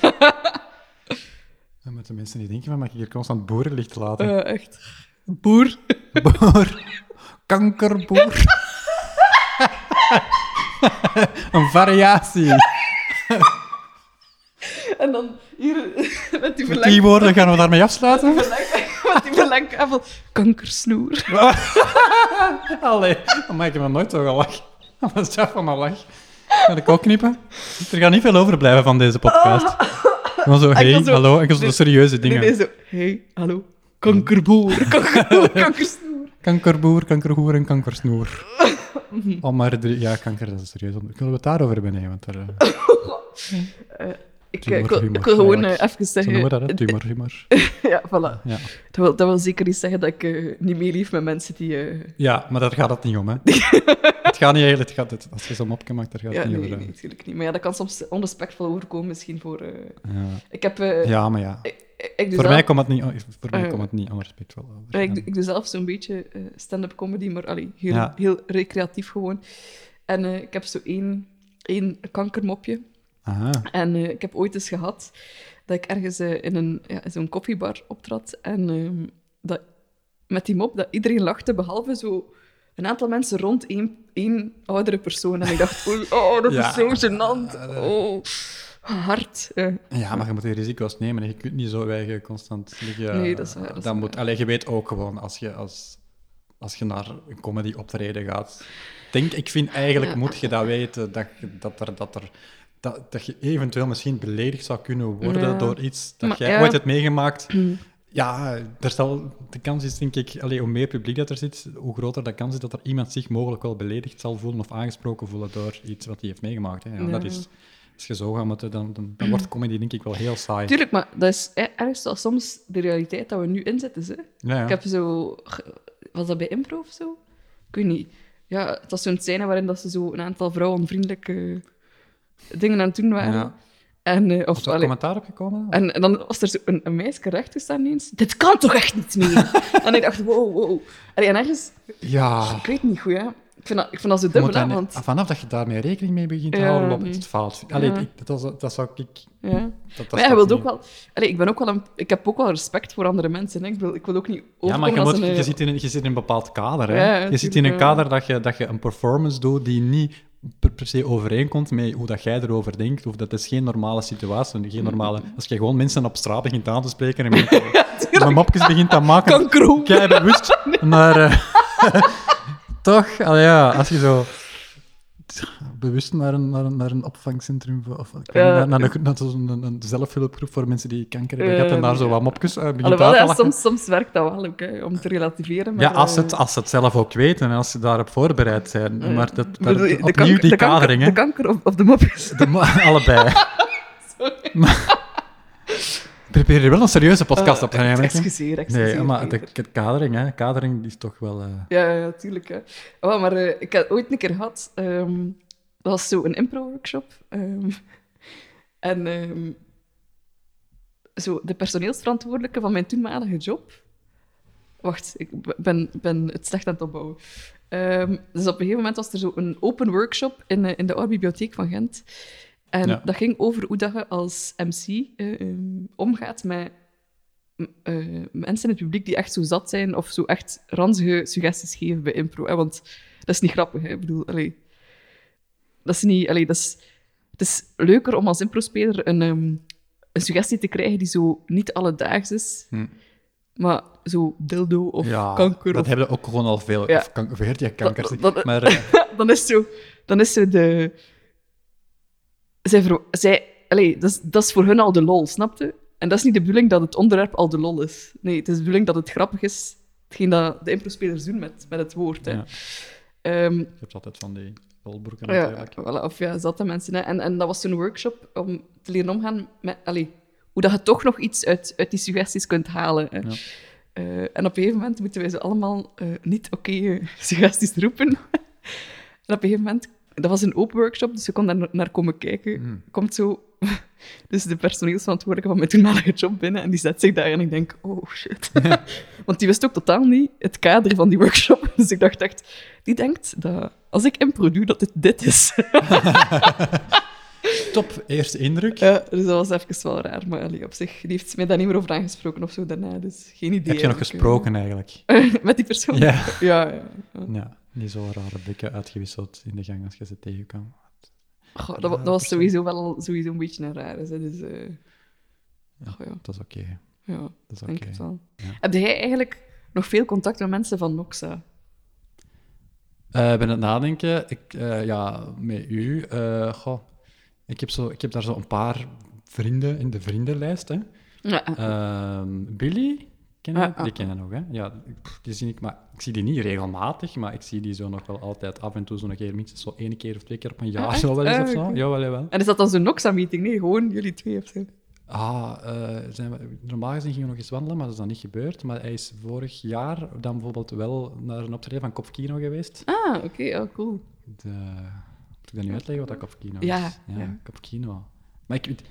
Speaker 1: Dan moeten mensen niet denken van, mag ik hier constant boerenlicht laten?
Speaker 2: Eh, echt. Boer.
Speaker 1: Boer. Kankerboer. Een variatie.
Speaker 2: En dan hier met
Speaker 1: Die
Speaker 2: die verlengd
Speaker 1: woorden gaan we daarmee afsluiten.
Speaker 2: met die verlengkavel. Kankersnoer.
Speaker 1: Allee, dan maak je me nooit toch al lach. Wat is dat van mijn lach? Ga ik ook knippen? Er gaat niet veel overblijven van deze podcast. Maar zo, hey,
Speaker 2: kan Ah, zo-
Speaker 1: hallo, en zo de
Speaker 2: dit-
Speaker 1: serieuze dingen.
Speaker 2: Nee, nee, zo. hey, hallo. Kankerboer. Kankerboer. Kankersnoer.
Speaker 1: Kankerboer, kankerhoer en kankersnoer. Al maar drie... Ja, kanker, dat is serieus. Kunnen we het daarover hebben? Nee, want daar... eh,
Speaker 2: Ik,
Speaker 1: Tumor,
Speaker 2: eh, ik wil,
Speaker 1: humor,
Speaker 2: ik wil gewoon eh,
Speaker 1: eigenlijk.
Speaker 2: even
Speaker 1: Zo noemen we dat,
Speaker 2: zeggen...
Speaker 1: hè? Tumor, humor.
Speaker 2: Ja, voilà.
Speaker 1: Ja.
Speaker 2: Dat wil, dat wil zeker niet zeggen dat ik eh, niet meer lief met mensen die... eh,
Speaker 1: ja, maar daar gaat het niet om, hè. het gaat niet eigenlijk... Het gaat, het, als je zo'n mopje maakt, daar gaat het
Speaker 2: ja,
Speaker 1: niet
Speaker 2: nee,
Speaker 1: over. hè.
Speaker 2: nee, natuurlijk niet. Maar ja, dat kan soms onrespectvol overkomen misschien voor... eh,
Speaker 1: Ja.
Speaker 2: Ik heb... eh,
Speaker 1: ja, maar ja.
Speaker 2: ik, ik- ik doe
Speaker 1: Voor
Speaker 2: zelf,
Speaker 1: mij komt het niet, voor mij
Speaker 2: Eh,
Speaker 1: komt het niet onrespectvol over.
Speaker 2: eh, ik,
Speaker 1: Ja.
Speaker 2: doe- ik doe zelf zo'n beetje eh, stand-up comedy, maar allee, heel,
Speaker 1: Ja.
Speaker 2: heel recreatief gewoon. En eh, ik heb zo één, één kankermopje.
Speaker 1: Aha.
Speaker 2: En eh, ik heb ooit eens gehad dat ik ergens eh, in een, ja, in zo'n koffiebar optrad. En ehm, dat, met die mop dat iedereen lachte, behalve zo een aantal mensen rond één, één oudere persoon. En ik dacht, oei, oh, dat
Speaker 1: Ja.
Speaker 2: is zo gênant. Oh, hard. Eh,
Speaker 1: Ja, maar je moet die risico's nemen. en Je kunt niet zo eigen constant liggen.
Speaker 2: Nee, dat is waar, dat is
Speaker 1: Dan
Speaker 2: waar.
Speaker 1: moet, allee, je weet ook gewoon, als je, als, als je naar een comedy optreden gaat... Denk, ik vind eigenlijk
Speaker 2: Ja.
Speaker 1: moet je dat weten, dat, je- dat, er, dat, er, dat, dat je eventueel misschien beledigd zou kunnen worden
Speaker 2: Ja.
Speaker 1: door iets dat
Speaker 2: Maar
Speaker 1: jij
Speaker 2: ja.
Speaker 1: ooit hebt meegemaakt. Ja, er zal, de kans is denk ik, allee, hoe meer publiek dat er zit, hoe groter de kans is dat er iemand zich mogelijk wel beledigd zal voelen of aangesproken voelen door iets wat hij heeft meegemaakt. Hè. Ja,
Speaker 2: Ja.
Speaker 1: Dat is, als je zo gaat moeten, dan, dan, dan wordt comedy denk ik wel heel saai.
Speaker 2: Tuurlijk, maar dat is eh, ergens wel soms de realiteit dat we nu inzetten. Hè?
Speaker 1: Ja, ja.
Speaker 2: Ik heb zo... ge- Was dat bij impro of zo? Ik weet niet. Ja, het was zo'n scène waarin dat ze zo een aantal vrouwonvriendelijke dingen aan het doen waren.
Speaker 1: Ja.
Speaker 2: En, eh, of,
Speaker 1: Is er
Speaker 2: allee,
Speaker 1: commentaar op gekomen?
Speaker 2: en, en dan was er zo een, een meisje rechtgestaan ineens. Dit kan toch echt niet meer? en ik dacht, wow, wow. Allee, en ergens...
Speaker 1: Ja.
Speaker 2: Eh, Ik weet niet goed, hè. Ik vind dat, ik vind dat zo
Speaker 1: Je moet
Speaker 2: dubbel, hè,
Speaker 1: daar niet-
Speaker 2: want...
Speaker 1: Vanaf dat je daarmee rekening mee begint te
Speaker 2: Ja,
Speaker 1: houden, loopt
Speaker 2: nee.
Speaker 1: het fout. Allee,
Speaker 2: Ja.
Speaker 1: ik- dat, was- dat zou ik... Dat,
Speaker 2: Ja.
Speaker 1: dat
Speaker 2: Maar ja, je
Speaker 1: snap
Speaker 2: wilt
Speaker 1: ik
Speaker 2: ook
Speaker 1: niet.
Speaker 2: wel... Allee, ik, ben ook wel een, ik heb ook wel respect voor andere mensen. Hè. Ik, wil, ik wil ook niet overkomen
Speaker 1: Ja, maar je,
Speaker 2: als
Speaker 1: moet,
Speaker 2: een...
Speaker 1: je,
Speaker 2: eh,
Speaker 1: zit in, een- je zit in een bepaald kader. Hè?
Speaker 2: Ja,
Speaker 1: je
Speaker 2: natuurlijk,
Speaker 1: zit in een
Speaker 2: ja.
Speaker 1: kader dat je, dat je een performance doet die niet per, per se overeenkomt met hoe dat jij erover denkt. Of dat is geen normale situatie.
Speaker 2: Mm.
Speaker 1: Geen normale, als je gewoon mensen op straat begint aan te spreken en met met mopjes begint te maken,
Speaker 2: Kankerhoek.
Speaker 1: kei bewust. Maar eh, toch, allee, ja, als je zo bewust naar een, naar een, naar een opvangcentrum of- of ik weet
Speaker 2: Ja.
Speaker 1: niet, naar, naar, een, naar zo'n- een, een zelfhulpgroep voor mensen die kanker hebben gehad en
Speaker 2: Eh,
Speaker 1: daar zo wat mopjes eh, begint
Speaker 2: Alhoewel,
Speaker 1: uit te
Speaker 2: ja,
Speaker 1: lachen.
Speaker 2: soms, soms werkt dat wel ook, hè, om te relativeren. Maar,
Speaker 1: Ja, als ze
Speaker 2: eh,
Speaker 1: het, als ze het zelf ook weten en als ze daarop voorbereid zijn. Maar dat,
Speaker 2: bedoel
Speaker 1: daar-
Speaker 2: je,
Speaker 1: opnieuw
Speaker 2: kanker-
Speaker 1: die
Speaker 2: de kanker-
Speaker 1: kadering, hè.
Speaker 2: De kanker of, of de mopjes.
Speaker 1: De mo- allebei. Maar, probeer je wel een serieuze podcast
Speaker 2: Eh,
Speaker 1: op te nemen. hè?
Speaker 2: Excuseer, excuseer.
Speaker 1: Nee, maar de,
Speaker 2: Peter.
Speaker 1: de kadering, hè. Kadering die is toch wel... eh,
Speaker 2: Ja, ja, tuurlijk. Hè. Oh, maar eh, ik had ooit een keer gehad... ehm, dat was zo een impro-workshop. ehm, en ehm, zo, de personeelsverantwoordelijke van mijn toenmalige job... Wacht, ik b- ben, ben het slecht aan het opbouwen. Ehm, dus op een gegeven moment was er zo een open workshop in, eh, in de Oude Bibliotheek van Gent. En
Speaker 1: Ja.
Speaker 2: dat ging over hoe dat je als MC eh, ehm, omgaat met m- eh, mensen in het publiek die echt zo zat zijn of zo echt ranzige suggesties geven bij impro. Hè? Want dat is niet grappig, hè? ik bedoel, allee, dat is niet... Allee, dat is, het is leuker om als impro-speler een, ehm, een suggestie te krijgen die zo niet alledaags is,
Speaker 1: Hm.
Speaker 2: maar zo dildo of
Speaker 1: ja,
Speaker 2: kanker
Speaker 1: dat
Speaker 2: of
Speaker 1: hebben we ook gewoon al veel.
Speaker 2: Ja.
Speaker 1: Of kanker, vergeet je kankers.
Speaker 2: Dat- dat-
Speaker 1: maar eh,
Speaker 2: dan is zo, dan is zo de. Zij, ver, zij allee, dat, is, dat is voor hun al de lol, snapte? En dat is niet de bedoeling dat het onderwerp al de lol is. Nee, het is de bedoeling dat het grappig is, hetgeen dat de impro-spelers doen met, met het woord. Hè.
Speaker 1: Ja.
Speaker 2: Ehm,
Speaker 1: je hebt altijd van die rolbroeken
Speaker 2: ja,
Speaker 1: natuurlijk.
Speaker 2: voilà, of ja, zatte mensen. Hè. En, en dat was zo'n workshop om te leren omgaan met... Allee, hoe dat je toch nog iets uit, uit die suggesties kunt halen. Hè.
Speaker 1: Ja.
Speaker 2: Eh, en op een gegeven moment moeten wij ze allemaal eh, niet oké eh, suggesties roepen. en op een gegeven moment... Dat was een open workshop, dus je kon daar naar komen kijken. Komt zo... Dus de personeelsverantwoordelijke van mijn toenmalige job binnen en die zet zich daar en ik denk, oh shit. Want die wist ook totaal niet het kader van die workshop. Dus ik dacht echt, die denkt dat als ik impro doe, dat dit dit is.
Speaker 1: Top, eerste indruk.
Speaker 2: Ja, dus dat was even wel raar. Maar allee, op zich, die heeft mij daar niet meer over aangesproken of zo daarna. Dus geen idee.
Speaker 1: Heb je nog
Speaker 2: eigenlijk,
Speaker 1: gesproken eigenlijk?
Speaker 2: eh, Met die persoon?
Speaker 1: Ja.
Speaker 2: Ja, ja.
Speaker 1: ja. Niet zo'n rare blikken uitgewisseld in de gang als je ze tegenkwam.
Speaker 2: Goh, dat, wa- dat was sowieso wel al sowieso een beetje een rare. Hè, dus, eh, goh, ja,
Speaker 1: Dat is oké.
Speaker 2: ja,
Speaker 1: Dat is
Speaker 2: denk
Speaker 1: oké.
Speaker 2: het wel.
Speaker 1: Ja.
Speaker 2: Heb jij eigenlijk nog veel contact met mensen van Noxa?
Speaker 1: Eh, Ik ben aan het nadenken. Ik, eh, ja, met u. eh, goh, ik, heb zo, ik heb daar zo een paar vrienden in de vriendenlijst. Hè.
Speaker 2: Ja, ah,
Speaker 1: Ehm, Billy, ken je?
Speaker 2: Ah, ah.
Speaker 1: die kennen nog, hè? Ja, pff, die zie ik, maar ik zie die niet regelmatig, maar ik zie die zo nog wel altijd af en toe, zo een keer, minstens zo één keer of twee keer op een jaar,
Speaker 2: Ah, echt?
Speaker 1: zo wel eens
Speaker 2: Ah,
Speaker 1: of zo.
Speaker 2: oké.
Speaker 1: Jawel, jawel.
Speaker 2: En is dat dan zo'n Noxa-meeting? Nee, gewoon jullie twee of zo.
Speaker 1: Ah, eh, zijn we, normaal gezien gingen we nog eens wandelen, maar dat is dan niet gebeurd. Maar hij is vorig jaar dan bijvoorbeeld wel naar een optreden van Kopkino geweest.
Speaker 2: Ah, oké, oh, cool.
Speaker 1: De... Moet ik dat nu uitleggen wat dat Kopkino is?
Speaker 2: Ja,
Speaker 1: ja,
Speaker 2: ja.
Speaker 1: Kopkino. Maar ik, weet-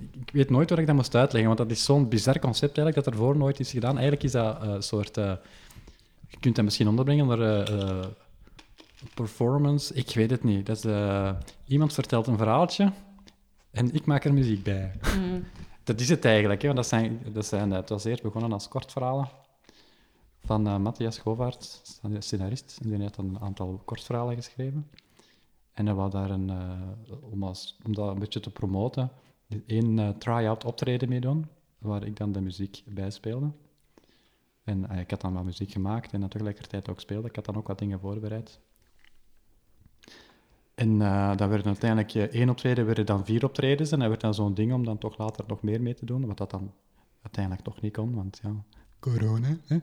Speaker 1: ik, ik weet nooit waar ik dat moest uitleggen, want dat is zo'n bizar concept eigenlijk dat ervoor nooit is gedaan. Eigenlijk is dat eh, een soort... eh, je kunt dat misschien onderbrengen onder eh, eh, performance. Ik weet het niet. Dat is, eh, iemand vertelt een verhaaltje en ik maak er muziek bij.
Speaker 2: Mm.
Speaker 1: Dat is het eigenlijk. Hè? Want dat zijn, dat zijn, eh, het was eerst begonnen als kortverhalen van eh, Matthias Govaert, scenarist. En die heeft dan een aantal kortverhalen geschreven. En hij wou daar een, eh, om, als, om dat een beetje te promoten, één eh, try-out optreden mee doen, waar ik dan de muziek bij speelde. En eh, ik had dan wat muziek gemaakt en dan tegelijkertijd ook speelde. Ik had dan ook wat dingen voorbereid. En eh dat werden uiteindelijk eh, één optreden, werden dan vier optredens. En dat werd dan zo'n ding om dan toch later nog meer mee te doen, wat dat dan uiteindelijk toch niet kon, want ja... Corona, hè?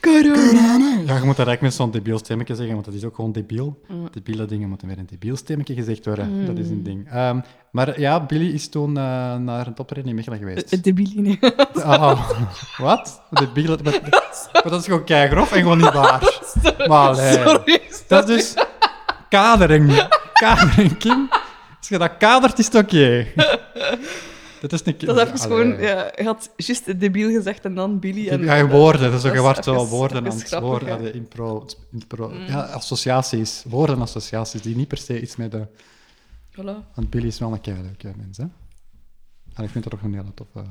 Speaker 1: Corona! Ja, je moet dat eigenlijk met zo'n debiel stemmetje zeggen, want dat is ook gewoon debiel.
Speaker 2: Mm.
Speaker 1: Debiele dingen moeten met een debiel stemmetje gezegd worden. Dat is een ding. Ehm, maar ja, Billy is toen eh, naar het optreden in Mechelen geweest.
Speaker 2: Het debiline.
Speaker 1: Ah, ah. Wat? De bielen. Maar, maar dat is gewoon keigrof en gewoon niet waar. Maar allee.
Speaker 2: Sorry.
Speaker 1: dat is dus kadering. Kadering, Kim. Als je dat kadert, is het oké. Dat is niet...
Speaker 2: Dat is
Speaker 1: Allee.
Speaker 2: gewoon... Ja, je had juist het debiel gezegd en dan Billy. En,
Speaker 1: Ja, je woorden. Dat is ook
Speaker 2: dat is
Speaker 1: geward zo.
Speaker 2: even-
Speaker 1: Woorden
Speaker 2: even
Speaker 1: aan het
Speaker 2: grappig, Mm.
Speaker 1: woorden.
Speaker 2: hè.
Speaker 1: aan de impro, impro, Ja, associaties. Woordenassociaties die niet per se iets met de...
Speaker 2: Voilà.
Speaker 1: Want Billy is wel een keileuke mens, hè? En ik vind dat ook een hele toffe... Een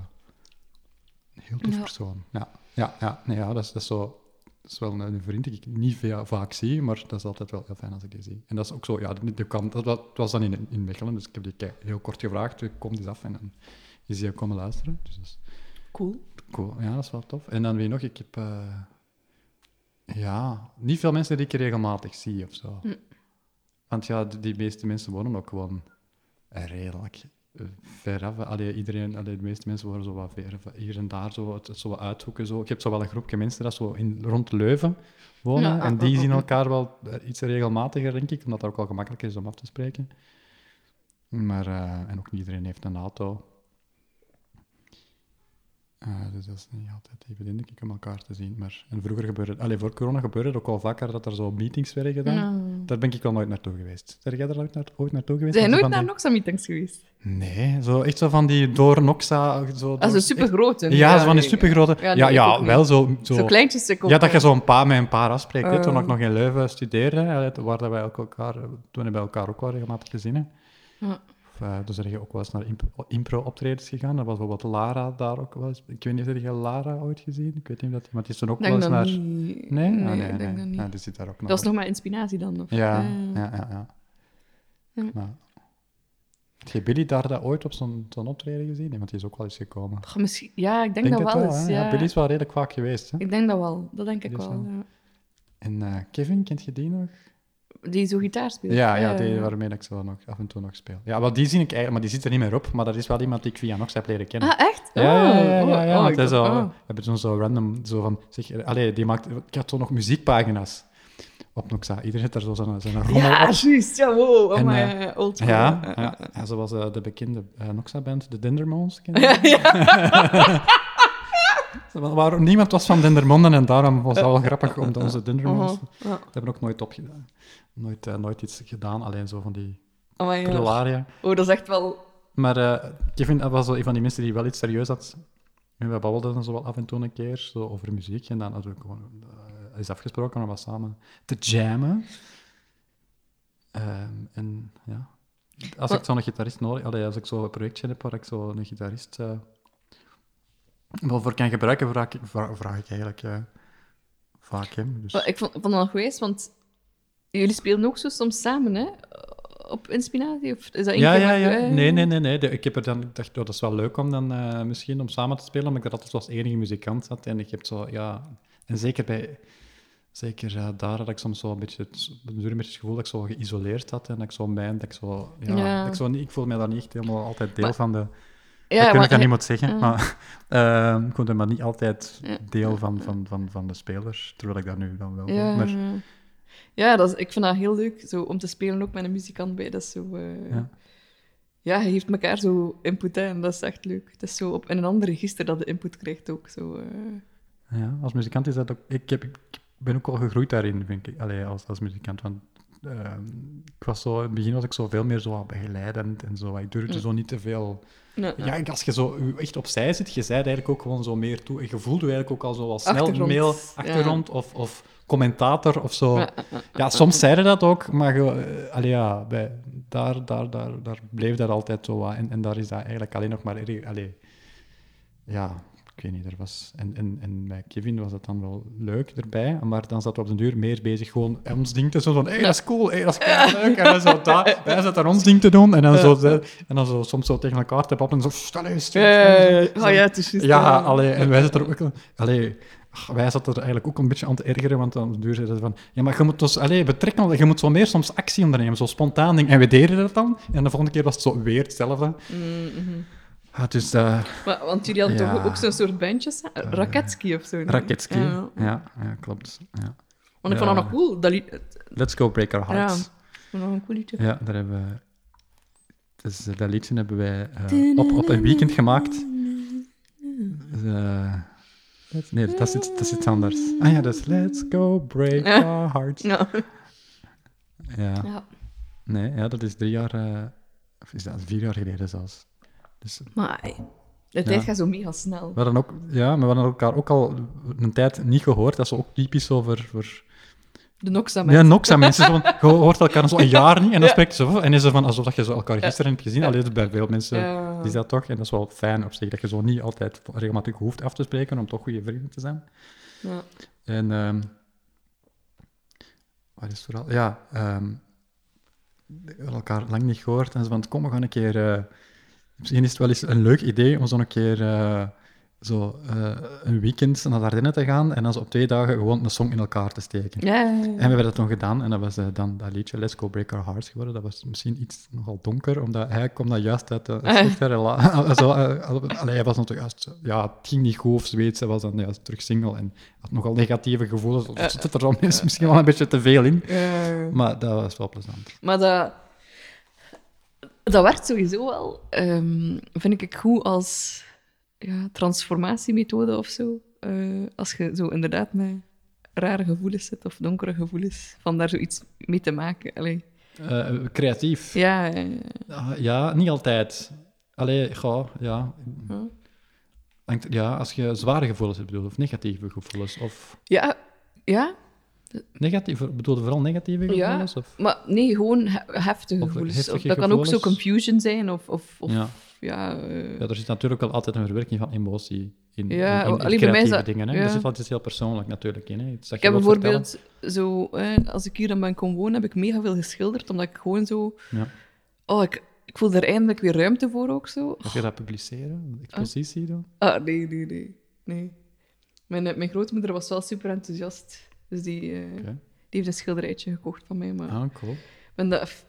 Speaker 1: heel tof
Speaker 2: Ja.
Speaker 1: persoon. Ja, ja, ja. Nee, ja dat, is, dat, is zo, dat is wel een, een vriend die ik niet veel, vaak zie, maar dat is altijd wel heel fijn als ik die zie. En dat is ook zo... Ja, die, die kwam, dat, wa- was dan in, in Mechelen, dus ik heb die kei- heel kort gevraagd. Ik kom eens af en dan is hij komen luisteren. Dus dat is
Speaker 2: Cool.
Speaker 1: cool. Ja, dat is wel tof. En dan weet je nog, ik heb... eh, ja, niet veel mensen die ik regelmatig zie of zo. Want ja, die- die meeste mensen wonen ook gewoon redelijk eh, ver af. Allee, iedereen, allee, de meeste mensen wonen zo wat ver, af. hier en daar, zo, het, het zo wat uithoeken. Zo. Ik heb zo wel een groepje mensen dat zo in, rond Leuven wonen.
Speaker 2: Ja, ah,
Speaker 1: en die
Speaker 2: ah,
Speaker 1: zien
Speaker 2: ah.
Speaker 1: elkaar wel eh, iets regelmatiger, denk ik, omdat dat ook wel gemakkelijker is om af te spreken. Maar, eh, en ook niet iedereen heeft een auto. Eh, dus dat is niet altijd even indrukwekkend om elkaar te zien. Maar, en vroeger gebeurde het, allee, voor corona gebeurde het ook al vaker dat er zo meetings werden gedaan. Daar ben ik wel nooit naartoe geweest. Zijn jij er ooit, naar, ooit naartoe geweest?
Speaker 2: Zijn
Speaker 1: Zo
Speaker 2: nooit
Speaker 1: van
Speaker 2: naar
Speaker 1: die- Oh,
Speaker 2: Noxa-meetings geweest?
Speaker 1: Nee, zo, echt zo van die door Noxa... Zo,
Speaker 2: Dat
Speaker 1: door-
Speaker 2: is Ah, super grote.
Speaker 1: Ja, zo van die supergrote...
Speaker 2: Ja,
Speaker 1: Ja,
Speaker 2: nee,
Speaker 1: ja,
Speaker 2: ik ook niet.
Speaker 1: wel zo... zo,
Speaker 2: Zo kleintjes te
Speaker 1: ja, dat je zo'n paar met een paar afspreekt. hè. Toen
Speaker 2: Eh.
Speaker 1: ik nog in Leuven studeerde, hè, het- waar dat wij ook elkaar, eh, toen hebben we elkaar ook wel regelmatig gezien. Hè.
Speaker 2: Ja.
Speaker 1: Of, eh, dus er je ook wel eens naar imp- impro-optredens gegaan. Er was bijvoorbeeld Lara daar ook wel eens. Ik weet niet, heb je Lara ooit gezien? Ik weet niet of dat... Maar die is toen ook wel
Speaker 2: denk
Speaker 1: eens
Speaker 2: dat
Speaker 1: naar...
Speaker 2: niet.
Speaker 1: Nee? Ah,
Speaker 2: ik
Speaker 1: nee,
Speaker 2: denk
Speaker 1: nee.
Speaker 2: dat niet.
Speaker 1: Ah, die zit daar ook nog.
Speaker 2: dat was nog maar inspiratie dan. Of,
Speaker 1: Ja,
Speaker 2: Eh,
Speaker 1: ja, ja. ja.
Speaker 2: Ja.
Speaker 1: Maar, heb je Billy daar dat ooit op zo'n zo'n optreden gezien? Nee, want die is ook wel eens gekomen.
Speaker 2: Goh, misschien, ja, ik denk, dat
Speaker 1: het
Speaker 2: wel eens.
Speaker 1: hè?
Speaker 2: Ja.
Speaker 1: Billy is wel redelijk vaak geweest. Hè?
Speaker 2: Ik denk dat wel. Dat denk ik
Speaker 1: Die is
Speaker 2: wel.
Speaker 1: wel-
Speaker 2: ja.
Speaker 1: En eh, Kevin, kent je die nog?
Speaker 2: Die zo gitaar speelt. Ah,
Speaker 1: Ja, ja, die waarmee ik zo nog, af en toe nog speel. Ja, wel, die zie ik eigenlijk, maar die zit er niet meer op. Maar dat is wel iemand die ik via Nox heb leren kennen.
Speaker 2: Ah, echt?
Speaker 1: Ja, ja, ja,
Speaker 2: Oh,
Speaker 1: ja, ja,
Speaker 2: oh,
Speaker 1: want
Speaker 2: ik
Speaker 1: hij
Speaker 2: dacht-
Speaker 1: zo,
Speaker 2: oh.
Speaker 1: we hebben toen zo random, zo van, zeg, allee, die maakt, ik had toen nog muziekpagina's op Noxa. Iedereen heeft daar zo zijn, zijn rommel
Speaker 2: Ja,
Speaker 1: op.
Speaker 2: juist. Ja, wow. Oh
Speaker 1: En,
Speaker 2: my,
Speaker 1: eh,
Speaker 2: eh, old
Speaker 1: Ja,
Speaker 2: school.
Speaker 1: ja. ja zoals eh, de bekende eh, Noxa-band, de Dendermonds. ken je
Speaker 2: Ja, ja.
Speaker 1: die? Waar niemand was van Dendermonden en daarom was het wel grappig om de- onze Dendermonds...
Speaker 2: Oh, ja.
Speaker 1: Dat hebben we ook nooit opgedaan. Nooit, eh, nooit iets gedaan, alleen zo van die
Speaker 2: Oh my, ja.
Speaker 1: prularia.
Speaker 2: Oh, dat is echt wel...
Speaker 1: Maar eh, Kevin dat was zo een van die mensen die wel iets serieus had. En we babbelden dan zo wel af en toe een keer zo over muziek. En dan hadden we gewoon, eh, is afgesproken om wat samen te jammen. Ehm, en ja, als ik
Speaker 2: Wat-
Speaker 1: zo'n gitarist nodig allee, als ik zo'n projectje heb waar ik zo'n gitarist eh, wel voor kan gebruiken, vraag ik, vra- vraag ik eigenlijk eh, vaak hem. Dus,
Speaker 2: Wel, Ik vond, vond het wel geweest, want Jullie spelen ook zo soms samen, hè? Op inspiratie? Of is dat één
Speaker 1: Ja,
Speaker 2: keer
Speaker 1: ja,
Speaker 2: met-
Speaker 1: ja.
Speaker 2: eh,
Speaker 1: Nee, nee, nee. nee. De- ik heb er dan, ik dacht, oh, dat is wel leuk om dan eh, misschien om samen te spelen, omdat ik dat altijd als enige muzikant had. En ik heb zo, ja... En zeker bij... Zeker eh, daar had ik soms zo een beetje, het, een beetje het gevoel dat ik zo geïsoleerd had. En dat ik zo mijn... Dat ik zo... Ja,
Speaker 2: Ja.
Speaker 1: dat Ik, zo niet, ik voel mij daar niet echt helemaal altijd deel
Speaker 2: Maar-
Speaker 1: van de...
Speaker 2: Ja,
Speaker 1: dat kan
Speaker 2: maar,
Speaker 1: ik aan
Speaker 2: eh,
Speaker 1: niemand zeggen,
Speaker 2: ja.
Speaker 1: maar... eh, ik voel me maar niet altijd
Speaker 2: Ja.
Speaker 1: deel van, van, van, van de spelers, terwijl ik dat nu dan wel
Speaker 2: Ja,
Speaker 1: doe. Maar,
Speaker 2: ja. ja dat is, ik vind dat heel leuk zo, om te spelen ook met een muzikant bij. Dat is zo, eh,
Speaker 1: Ja.
Speaker 2: ja. je geeft elkaar zo input hè, en dat is echt leuk. Het is zo op in een ander register dat de input krijgt ook. Zo, eh.
Speaker 1: Ja, als muzikant is dat ook... Ik, heb, ik ben ook wel gegroeid daarin, vind ik. Allee, als, als muzikant. Want ehm, ik was zo... In het begin was ik zo veel meer zo wat begeleidend en zo. Ik durfde
Speaker 2: Mm.
Speaker 1: zo niet te veel...
Speaker 2: Ja, ja.
Speaker 1: Ja, als je zo u- echt opzij zit, je zei eigenlijk ook gewoon zo meer toe. En je voelde eigenlijk ook al zo wel snel
Speaker 2: Achtergrond,
Speaker 1: een mail,
Speaker 2: ja.
Speaker 1: achtergrond of, of commentator of zo.
Speaker 2: Ja,
Speaker 1: Ja, soms zeiden dat ook, maar je, eh, allee, ja, bij, daar, daar, daar, daar bleef dat altijd zo wat. En, en daar is dat eigenlijk alleen nog maar... erg- Allee, ja, ik weet niet, er was... En, en, en bij Kevin was dat dan wel leuk erbij, maar dan zaten we op den duur meer bezig gewoon ons ding te doen. Van, hé, hey, dat is cool, hé, dat is leuk. En dan zo daar, wij zaten ons ding te doen. En dan, zo, en dan zo, soms zo tegen elkaar te pappen en zo... Stel eens, stel eens, stel eens."
Speaker 2: Eh, oh ja, het is juist,
Speaker 1: Ja,
Speaker 2: eh,
Speaker 1: allee, en wij zaten er ook... Allee, ach, wij zaten er eigenlijk ook een beetje aan te ergeren, want aan de duur zeiden ze van... Ja, maar je moet dus... Allee, betrekken, je moet zo meer soms actie ondernemen, zo spontaan ding. En we deden dat dan. En de volgende keer was het zo weer hetzelfde.
Speaker 2: mm, mhm.
Speaker 1: Ah, dus... eh,
Speaker 2: Maar, want jullie hadden
Speaker 1: Ja. Eh,
Speaker 2: toch ook zo'n soort bandjes? hè? Raketski of zo? nee?
Speaker 1: Raketski.
Speaker 2: Ja.
Speaker 1: Ja, ja, klopt. Ja.
Speaker 2: Want ik vond dat nog cool. Dat lied, ik
Speaker 1: Let's go break our hearts.
Speaker 2: vond dat nog een cool liedje.
Speaker 1: Ja, daar hebben we... Dus eh, dat liedje hebben wij eh, op, op een weekend gemaakt. Eh, nee, dat is, iets, dat is iets anders. Ah ja, dus let's go break
Speaker 2: Ja.
Speaker 1: our hearts.
Speaker 2: Ja.
Speaker 1: Ja.
Speaker 2: Ja.
Speaker 1: Nee, ja, dat is drie jaar... eh, of is dat vier jaar geleden zelfs. Dus
Speaker 2: Maar ey, de tijd
Speaker 1: Ja.
Speaker 2: gaat zo mega snel.
Speaker 1: We hadden, ook, ja, maar we hadden elkaar ook al een tijd niet gehoord. Dat is ook typisch over... voor
Speaker 2: De Noxa
Speaker 1: Ja, nog zijn mensen. Zo, van, je hoort elkaar zo een jaar niet en dan spreekt ze zo. En is het van alsof dat je zo elkaar gisteren hebt gezien. Alleen bij veel mensen
Speaker 2: Ja.
Speaker 1: is dat toch. En dat is wel fijn op zich, dat je zo niet altijd regelmatig hoeft af te spreken om toch goede vrienden te zijn.
Speaker 2: Ja.
Speaker 1: En ehm wat is het vooral? Ja, ehm, we hadden elkaar lang niet gehoord. En ze van, kom, we gaan een keer... eh, misschien is het wel eens een leuk idee om zo'n keer eh, zo, eh, een weekend naar de Ardennen te gaan en dan zo op twee dagen gewoon een song in elkaar te steken.
Speaker 2: Ja, ja, ja.
Speaker 1: En we hebben dat dan gedaan en dat was eh, dan dat liedje Let's Go Break Our Hearts geworden. Dat was misschien iets nogal donker, omdat hij kwam dat juist uit eh, een slechte relatie. eh, Allee, hij was natuurlijk juist, eh, ja, het ging niet goed of zoiets. Hij was dan juist terug single en had nogal negatieve gevoelens.
Speaker 2: Eh.
Speaker 1: Er zit er dan mis- misschien wel een beetje te veel in,
Speaker 2: Ja.
Speaker 1: maar dat was wel plezant.
Speaker 2: Maar dat, dat werkt sowieso wel, ehm, vind ik goed als ja, transformatiemethode of zo. Eh, als je zo inderdaad met rare gevoelens zit of donkere gevoelens, van daar zoiets mee te maken. Allee.
Speaker 1: Eh, creatief?
Speaker 2: Ja, ja, ja.
Speaker 1: Ah, ja, niet altijd. Allee, goh, ja.
Speaker 2: Hm.
Speaker 1: Hangt- Ja, als je zware gevoelens hebt, bedoel, of negatieve gevoelens, of...
Speaker 2: ja, ja,
Speaker 1: Negatieve, bedoel je vooral negatieve
Speaker 2: Ja.
Speaker 1: gevoelens? Of?
Speaker 2: maar nee, gewoon he- heftige
Speaker 1: Of
Speaker 2: gevoelens.
Speaker 1: heftige
Speaker 2: Of dat kan ook
Speaker 1: gevoelens.
Speaker 2: zo confusion zijn of, of, of
Speaker 1: Ja.
Speaker 2: ja, eh,
Speaker 1: Ja, er zit natuurlijk wel altijd een verwerking van emotie in,
Speaker 2: Ja,
Speaker 1: in, in- in
Speaker 2: alleen bij mij
Speaker 1: creatieve
Speaker 2: is dat-
Speaker 1: dingen. Hè?
Speaker 2: ja.
Speaker 1: Er zit wel iets heel persoonlijk natuurlijk in. Hè? Iets dat
Speaker 2: Ik
Speaker 1: je
Speaker 2: heb
Speaker 1: wilt
Speaker 2: bijvoorbeeld zo, hè, als ik hier in mijn kom wonen, heb ik mega veel geschilderd, omdat ik gewoon zo.
Speaker 1: Ja.
Speaker 2: Oh, ik, ik voel er eindelijk weer ruimte voor ook zo.
Speaker 1: vertellen. Of je dat publiceren, een expositie doen.
Speaker 2: Ah, nee, nee, nee. nee. Mijn, eh, mijn grootmoeder was wel super enthousiast. Dus die, eh,
Speaker 1: Oké.
Speaker 2: die heeft een schilderijtje gekocht van mij. Maar
Speaker 1: Ah, cool.
Speaker 2: ik, ben dat,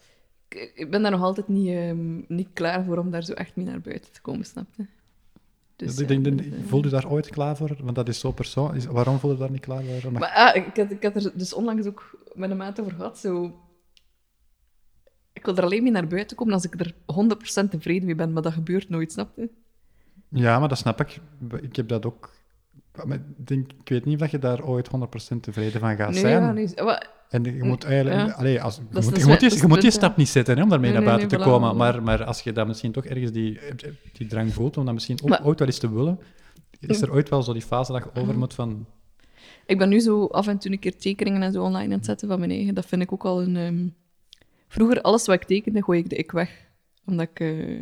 Speaker 2: ik, ik ben daar nog altijd niet, ehm, niet klaar voor om daar zo echt mee naar buiten te komen, snap je?
Speaker 1: Dus,
Speaker 2: ja,
Speaker 1: ik denk,
Speaker 2: dat,
Speaker 1: denk-
Speaker 2: eh.
Speaker 1: voel je daar ooit klaar voor? Want dat is zo persoonlijk. Waarom voel je daar niet klaar voor? Omdat-
Speaker 2: Maar ah, ik, had, ik had er dus onlangs ook met een maat over gehad. Zo... Ik wil er alleen mee naar buiten komen als ik er 100% tevreden mee ben, maar dat gebeurt nooit, snap je?
Speaker 1: Ja, maar dat snap ik. Ik heb dat ook. Maar ik, denk, ik weet niet of dat je daar ooit 100% tevreden van gaat
Speaker 2: Nee,
Speaker 1: zijn.
Speaker 2: ja, nee. Maar,
Speaker 1: En je moet eigenlijk...
Speaker 2: Ja.
Speaker 1: Allee, als, je
Speaker 2: is
Speaker 1: moet,
Speaker 2: dus
Speaker 1: je moet,
Speaker 2: mijn-
Speaker 1: die-
Speaker 2: dat is
Speaker 1: je moet die
Speaker 2: punt, hè.
Speaker 1: stap niet zetten hè, om daarmee
Speaker 2: Nee,
Speaker 1: naar
Speaker 2: nee,
Speaker 1: buiten
Speaker 2: nee,
Speaker 1: te komen.
Speaker 2: voilà.
Speaker 1: Maar, maar als je dan misschien toch ergens die, die drang voelt om dat misschien ook,
Speaker 2: Maar-
Speaker 1: ooit wel eens te willen, is er ooit wel zo die fase dat je over moet van...
Speaker 2: ik ben nu zo af en toe een keer tekeningen en zo online aan het zetten van mijn eigen. Dat vind ik ook al een... ehm, Vroeger, alles wat ik tekende, gooi ik de ik weg. Omdat ik eh,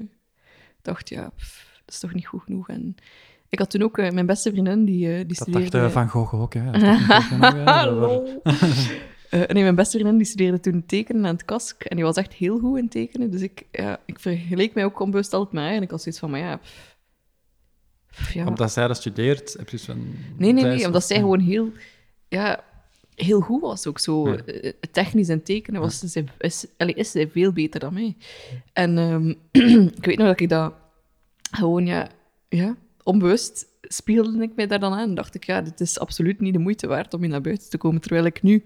Speaker 2: dacht, ja, pff, dat is toch niet goed genoeg. En ik had toen ook eh, mijn beste vriendin, die, eh, die
Speaker 1: Dat
Speaker 2: studeerde...
Speaker 1: dacht eh, Van Gogh ook, hè. Dat dacht Van Gogh ook, hè.
Speaker 2: Hallo. Eh, nee, mijn beste vriendin die studeerde toen tekenen aan het KASK. En die was echt heel goed in tekenen. Dus ik, ja, ik vergeleek mij ook onbewust altijd met haar. En ik had zoiets van, maar ja... pff, pff, ja.
Speaker 6: Omdat zij dat studeert, heb je zo'n...
Speaker 2: Nee, nee,
Speaker 6: zij
Speaker 2: nee.
Speaker 6: is-
Speaker 2: Omdat zij gewoon heel, ja, heel goed was ook zo.
Speaker 6: Ja.
Speaker 2: Eh, Technisch en tekenen was zij, is, allee, is zij veel beter dan mij. En ehm, ik weet nog dat ik dat gewoon, ja, ja, onbewust spiegelde ik mij daar dan aan. En dacht ik, ja, dit is absoluut niet de moeite waard om hier naar buiten te komen. Terwijl ik nu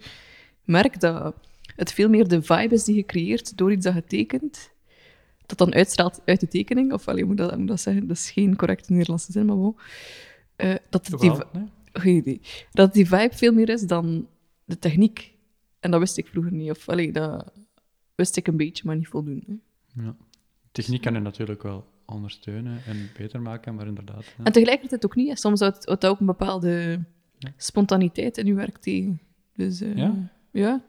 Speaker 2: merk dat het veel meer de vibe is die je creëert door iets dat je tekent. Dat dan uitstraalt uit de tekening. Of allee, moet dat, moet dat zeggen? Dat is geen correcte Nederlandse zin, maar bon. Eh, dat het
Speaker 6: Toch
Speaker 2: die,
Speaker 6: wel, nee?
Speaker 2: geen idee. Dat die vibe veel meer is dan de techniek. En dat wist ik vroeger niet. Of allee, dat wist ik een beetje, maar niet voldoende.
Speaker 1: Techniek kan je natuurlijk wel ondersteunen en beter maken, maar inderdaad. ja.
Speaker 2: En tegelijkertijd ook niet. hè. Soms houdt houdt dat ook een bepaalde spontaniteit in uw werk tegen. Dus eh,
Speaker 1: Ja?
Speaker 2: ja.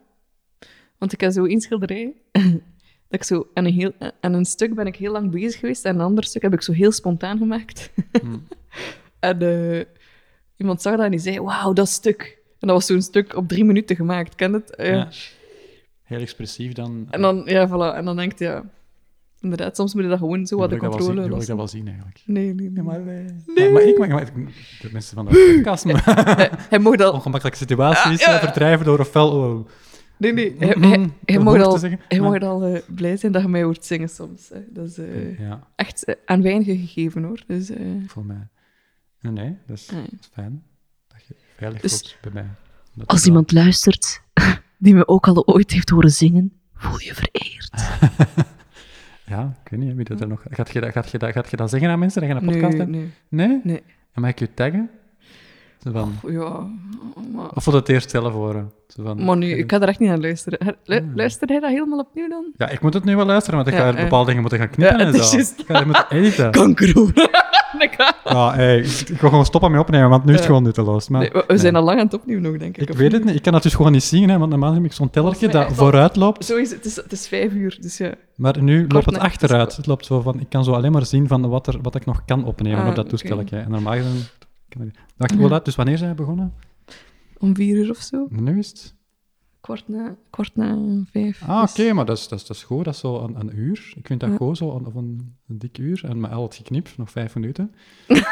Speaker 2: Want ik heb zo één schilderij. dat ik zo aan een, heel, aan een stuk ben ik heel lang bezig geweest. En een ander stuk heb ik zo heel spontaan gemaakt.
Speaker 1: Hmm.
Speaker 2: en eh, iemand zag dat en die zei: Wauw, dat stuk. En dat was zo'n stuk op drie minuten gemaakt. Ken het? Eh,
Speaker 1: Ja. Heel expressief dan.
Speaker 2: En dan, ja, voilà. En dan denkt hij, ja, inderdaad, soms moet je dat gewoon zo wat
Speaker 1: Wat
Speaker 2: de
Speaker 1: ik dat wel zien, nu wil
Speaker 2: controle
Speaker 1: ik
Speaker 2: lossen.
Speaker 1: dat wel zien eigenlijk.
Speaker 2: Nee, nee, nee.
Speaker 1: maar, eh, maar ik maar, maar, de mensen van de podcast maar
Speaker 2: Hij- Hij mocht al...
Speaker 1: ongemakkelijke situaties eh, verdrijven door ofwel oh,
Speaker 2: Nee, nee. Hij, hij, hij
Speaker 1: Mm-hmm. Om
Speaker 2: mocht
Speaker 1: horen te
Speaker 2: al,
Speaker 1: zeggen,
Speaker 2: hij
Speaker 1: maar-
Speaker 2: mocht al eh, blij zijn dat je mij hoort zingen soms. Hè. Dat is eh,
Speaker 1: ja,
Speaker 2: echt eh, aan weinigen gegeven, hoor. Dus, eh,
Speaker 1: voor mij. Nee, nee, dat is,
Speaker 2: Nee.
Speaker 1: dat is fijn. Dat je veilig
Speaker 4: Dus-
Speaker 1: voelt bij mij. Dat is
Speaker 4: Als
Speaker 1: wel-
Speaker 4: iemand luistert die me ook al ooit heeft horen zingen, voel je vereerd.
Speaker 1: Ah, Ja, ik weet niet hè, wie dat er nog... Gaat je dat, gaat je dat, gaat je dat zeggen aan mensen dat je een podcast
Speaker 2: Hm. nee,
Speaker 1: hebt?
Speaker 2: nee.
Speaker 1: Nee?
Speaker 2: Nee.
Speaker 1: En mag ik je taggen? Zo van,
Speaker 2: Ja, maar...
Speaker 1: of wil je het eerst zelf horen? Zo van,
Speaker 2: Maar nu, ik ga er echt niet naar luisteren. Her- lu-
Speaker 1: Hmm.
Speaker 2: Luistert hij dat helemaal opnieuw dan?
Speaker 1: Ja, ik moet het nu wel luisteren, want ik
Speaker 2: Ja,
Speaker 1: ga er
Speaker 2: eh.
Speaker 1: bepaalde dingen moeten gaan knippen
Speaker 2: Ja,
Speaker 1: en
Speaker 2: het is
Speaker 1: zo.
Speaker 2: juist.
Speaker 1: Ik ga er moeten editen.
Speaker 4: Kankerhoer.
Speaker 2: Ik ga-
Speaker 1: Ja, hey, ik ik wil gewoon stoppen met opnemen, want nu is het gewoon nutteloos. Maar
Speaker 2: Nee, we we zijn al lang aan het opnieuw nog, denk ik.
Speaker 1: ik
Speaker 2: of
Speaker 1: weet
Speaker 2: niet?
Speaker 1: het niet. Ik kan dat dus gewoon niet zien, hè, want normaal heb ik zo'n tellertje
Speaker 2: Volgens mij
Speaker 1: dat
Speaker 2: echt wel.
Speaker 1: vooruit loopt.
Speaker 2: Zo is het. Het is, het is vijf uur, dus ja.
Speaker 1: Maar nu loopt het
Speaker 2: na-
Speaker 1: achteruit. Het loopt zo van, ik kan zo alleen maar zien van wat, er, wat ik nog kan opnemen
Speaker 2: Ah,
Speaker 1: op dat
Speaker 2: oké.
Speaker 1: toestelletje. En normaal gezien... kan ik- Wacht, hoe laat? Dus wanneer zijn we begonnen?
Speaker 2: Om vier uur of zo.
Speaker 1: Nu is het...
Speaker 2: Kwart na, kwart na vijf.
Speaker 1: Ah,
Speaker 2: Dus-
Speaker 1: oké, maar dat is, dat, is, dat is goed. Dat is zo een, een uur. Ik vind dat
Speaker 2: Ja.
Speaker 1: goed, zo een, of een, een dik uur. En met al het geknipt, nog vijf minuten.
Speaker 2: Een,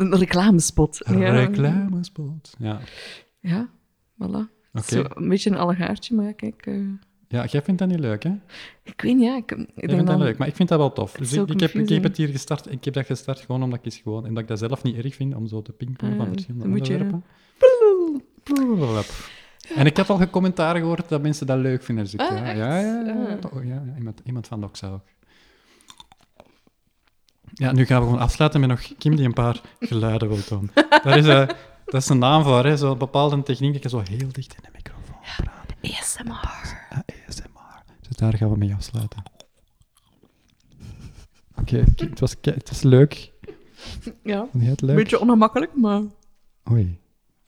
Speaker 2: een reclamespot. Ja.
Speaker 1: Reclamespot. Ja,
Speaker 2: Ja, voilà.
Speaker 1: oké.
Speaker 2: Zo, een beetje een allegaartje, maar ja, kijk. eh,
Speaker 1: Ja, jij vindt dat niet leuk, hè? Jij
Speaker 2: ik weet niet, ja. Ik, ik denk
Speaker 1: vindt dat
Speaker 2: dan-
Speaker 1: leuk, maar ik vind dat wel tof. Dus
Speaker 2: is zo
Speaker 1: ik, ik heb, ik heb
Speaker 2: confusing.
Speaker 1: het hier gestart. Ik heb dat gestart gewoon omdat ik, het gewoon, omdat ik dat zelf niet erg vind om zo te pingpongen
Speaker 2: Ah,
Speaker 1: van
Speaker 2: ja,
Speaker 1: verschillende
Speaker 2: dan moet je-
Speaker 1: onderwerpen. En ik heb al commentaren gehoord dat mensen dat leuk vinden. Dus ik,
Speaker 2: Ah,
Speaker 1: ja,
Speaker 2: echt?
Speaker 1: ja, ja, ja,
Speaker 2: Ah.
Speaker 1: Oh, ja, ja, iemand, iemand van Doxa ook. Ja, nu gaan we gewoon afsluiten met nog Kim die een paar geluiden wil doen. Daar is, eh, dat is een naam voor, hè? Zo'n bepaalde techniek dat je zo heel dicht in de microfoon praat.
Speaker 4: ASMR.
Speaker 1: Ja, ASMR. Dus daar gaan we mee afsluiten. Oké, het, was, ke- het was leuk.
Speaker 2: Ja,
Speaker 1: Vond jij het
Speaker 2: een
Speaker 1: leuk? Dus-
Speaker 2: beetje ongemakkelijk, maar...
Speaker 1: Oei.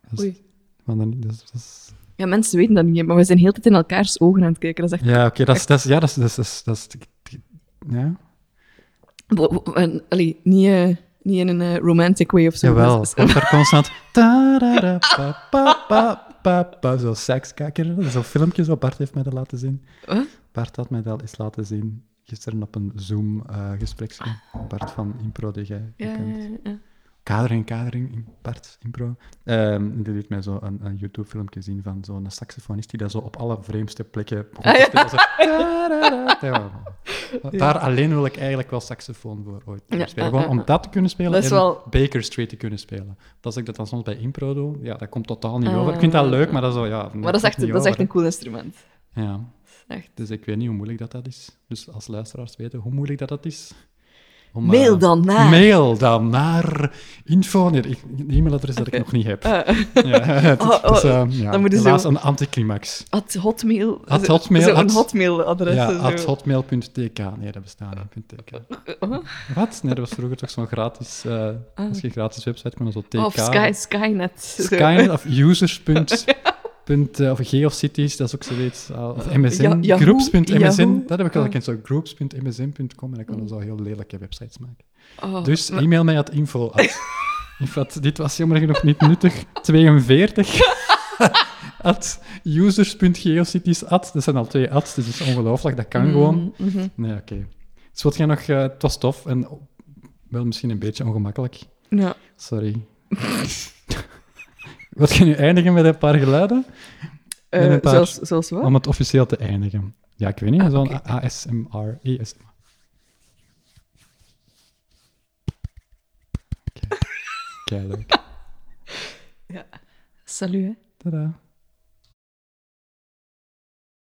Speaker 1: Dat is,
Speaker 2: Oei.
Speaker 1: Maar dan, dat is, dat is-
Speaker 2: Ja, mensen weten dat niet, maar we zijn heel tijd in elkaars ogen aan het kijken. Dat is echt...
Speaker 1: Ja, oké, dat is... Dat is, ja, dat is, dat is, dat is, dat is- ja.
Speaker 2: Wo- wo- en, allee, niet, eh, niet in een eh, romantic way of zo.
Speaker 1: Jawel,
Speaker 2: Dus-
Speaker 1: want daar constant... tarara, pa, pa, pa, pa, pa, Zo sekskakker. Dat is Zo'n filmpje zo Bart heeft mij dat laten zien.
Speaker 2: Wat?
Speaker 1: Bart had mij dat eens laten zien. Gisteren op een Zoom-gespreksje. Bart van Impro, die jij
Speaker 2: Ah. Ja,
Speaker 1: kent.
Speaker 2: ja, ja.
Speaker 1: kadering, kadering, in- Bart, impro. Ehm die liet mij zo een, een YouTube-filmpje zien van zo'n saxofonist die dat zo op alle vreemdste plekken begon te
Speaker 2: Ah,
Speaker 1: spelen. Zo, tarara, tarara. Daar alleen wil ik eigenlijk wel saxofoon voor ooit kunnen
Speaker 2: Ja,
Speaker 1: spelen.
Speaker 2: ah,
Speaker 1: Gewoon
Speaker 2: ah,
Speaker 1: om dat te kunnen spelen
Speaker 2: Dat is
Speaker 1: en
Speaker 2: wel-
Speaker 1: Baker Street te kunnen spelen. Want als ik dat dan soms bij impro doe, ja, dat komt totaal niet
Speaker 2: Ah,
Speaker 1: over. Ik vind dat leuk,
Speaker 2: ah.
Speaker 1: maar dat is zo, ja...
Speaker 2: Maar dat is, echt,
Speaker 1: komt niet
Speaker 2: dat is
Speaker 1: over,
Speaker 2: echt een cool instrument.
Speaker 1: hè. Ja,
Speaker 2: Echt.
Speaker 1: dus ik weet niet hoe moeilijk dat, dat is. Dus als luisteraars weten hoe moeilijk dat, dat is... om,
Speaker 4: Mail
Speaker 1: eh,
Speaker 4: dan naar.
Speaker 2: Ah.
Speaker 1: Mail dan naar info. Nee, ik- een e-mailadres dat ik nog niet heb. Ja, het is-
Speaker 2: Ah. Oh,
Speaker 1: het is,
Speaker 2: oh,
Speaker 1: ehm, ja,
Speaker 2: dan moeten ze-
Speaker 1: helaas een anticlimax.
Speaker 2: At hotmail.
Speaker 1: At
Speaker 2: Zo-
Speaker 1: hotmail,
Speaker 2: Zo'n
Speaker 1: at-
Speaker 2: hotmailadres.
Speaker 1: Ja,
Speaker 2: en
Speaker 1: at
Speaker 2: dus zo. Oh.
Speaker 1: hotmail.tk. Nee, dat bestaat niet. punt .tk. Wat? Nee, dat was vroeger toch zo'n gratis... eh Als je een gratis website kon, dan zo tk.
Speaker 2: Ah. Of Sky, Skynet. Zo.
Speaker 1: Skynet of users. punt- punt, eh, of g of cities, dat is ook zoiets. ah, of msn,
Speaker 2: Ja- Yahoo,
Speaker 1: groups.msn.
Speaker 2: Yahoo. Ah. Mm.
Speaker 1: Dat heb ik al gekend, zo groups.msn.com. En dan kan je zo heel lelijke websites maken.
Speaker 2: Oh,
Speaker 1: Dus e-mail mij at info. at- info at- dit was jammer genoeg niet nuttig. 42. At users.geocities at. Dat zijn al twee ads, dus dat is ongelooflijk. Dat kan gewoon.
Speaker 2: Mm, mhm.
Speaker 1: Nee, oké. Dus wat jij nog... eh, het was tof en wel misschien een beetje ongemakkelijk.
Speaker 2: Ja.
Speaker 1: Sorry. wat gaan nu eindigen met een paar geluiden?
Speaker 2: Eh,
Speaker 1: Met een paar-
Speaker 2: zelfs, zelfs wat?
Speaker 1: Om het officieel te eindigen. Ja, ik weet niet.
Speaker 2: Ah,
Speaker 1: zo'n
Speaker 2: oké.
Speaker 1: ASMR. ASMR. Oké. Keileuk.
Speaker 2: Salut, hè.
Speaker 1: Tada.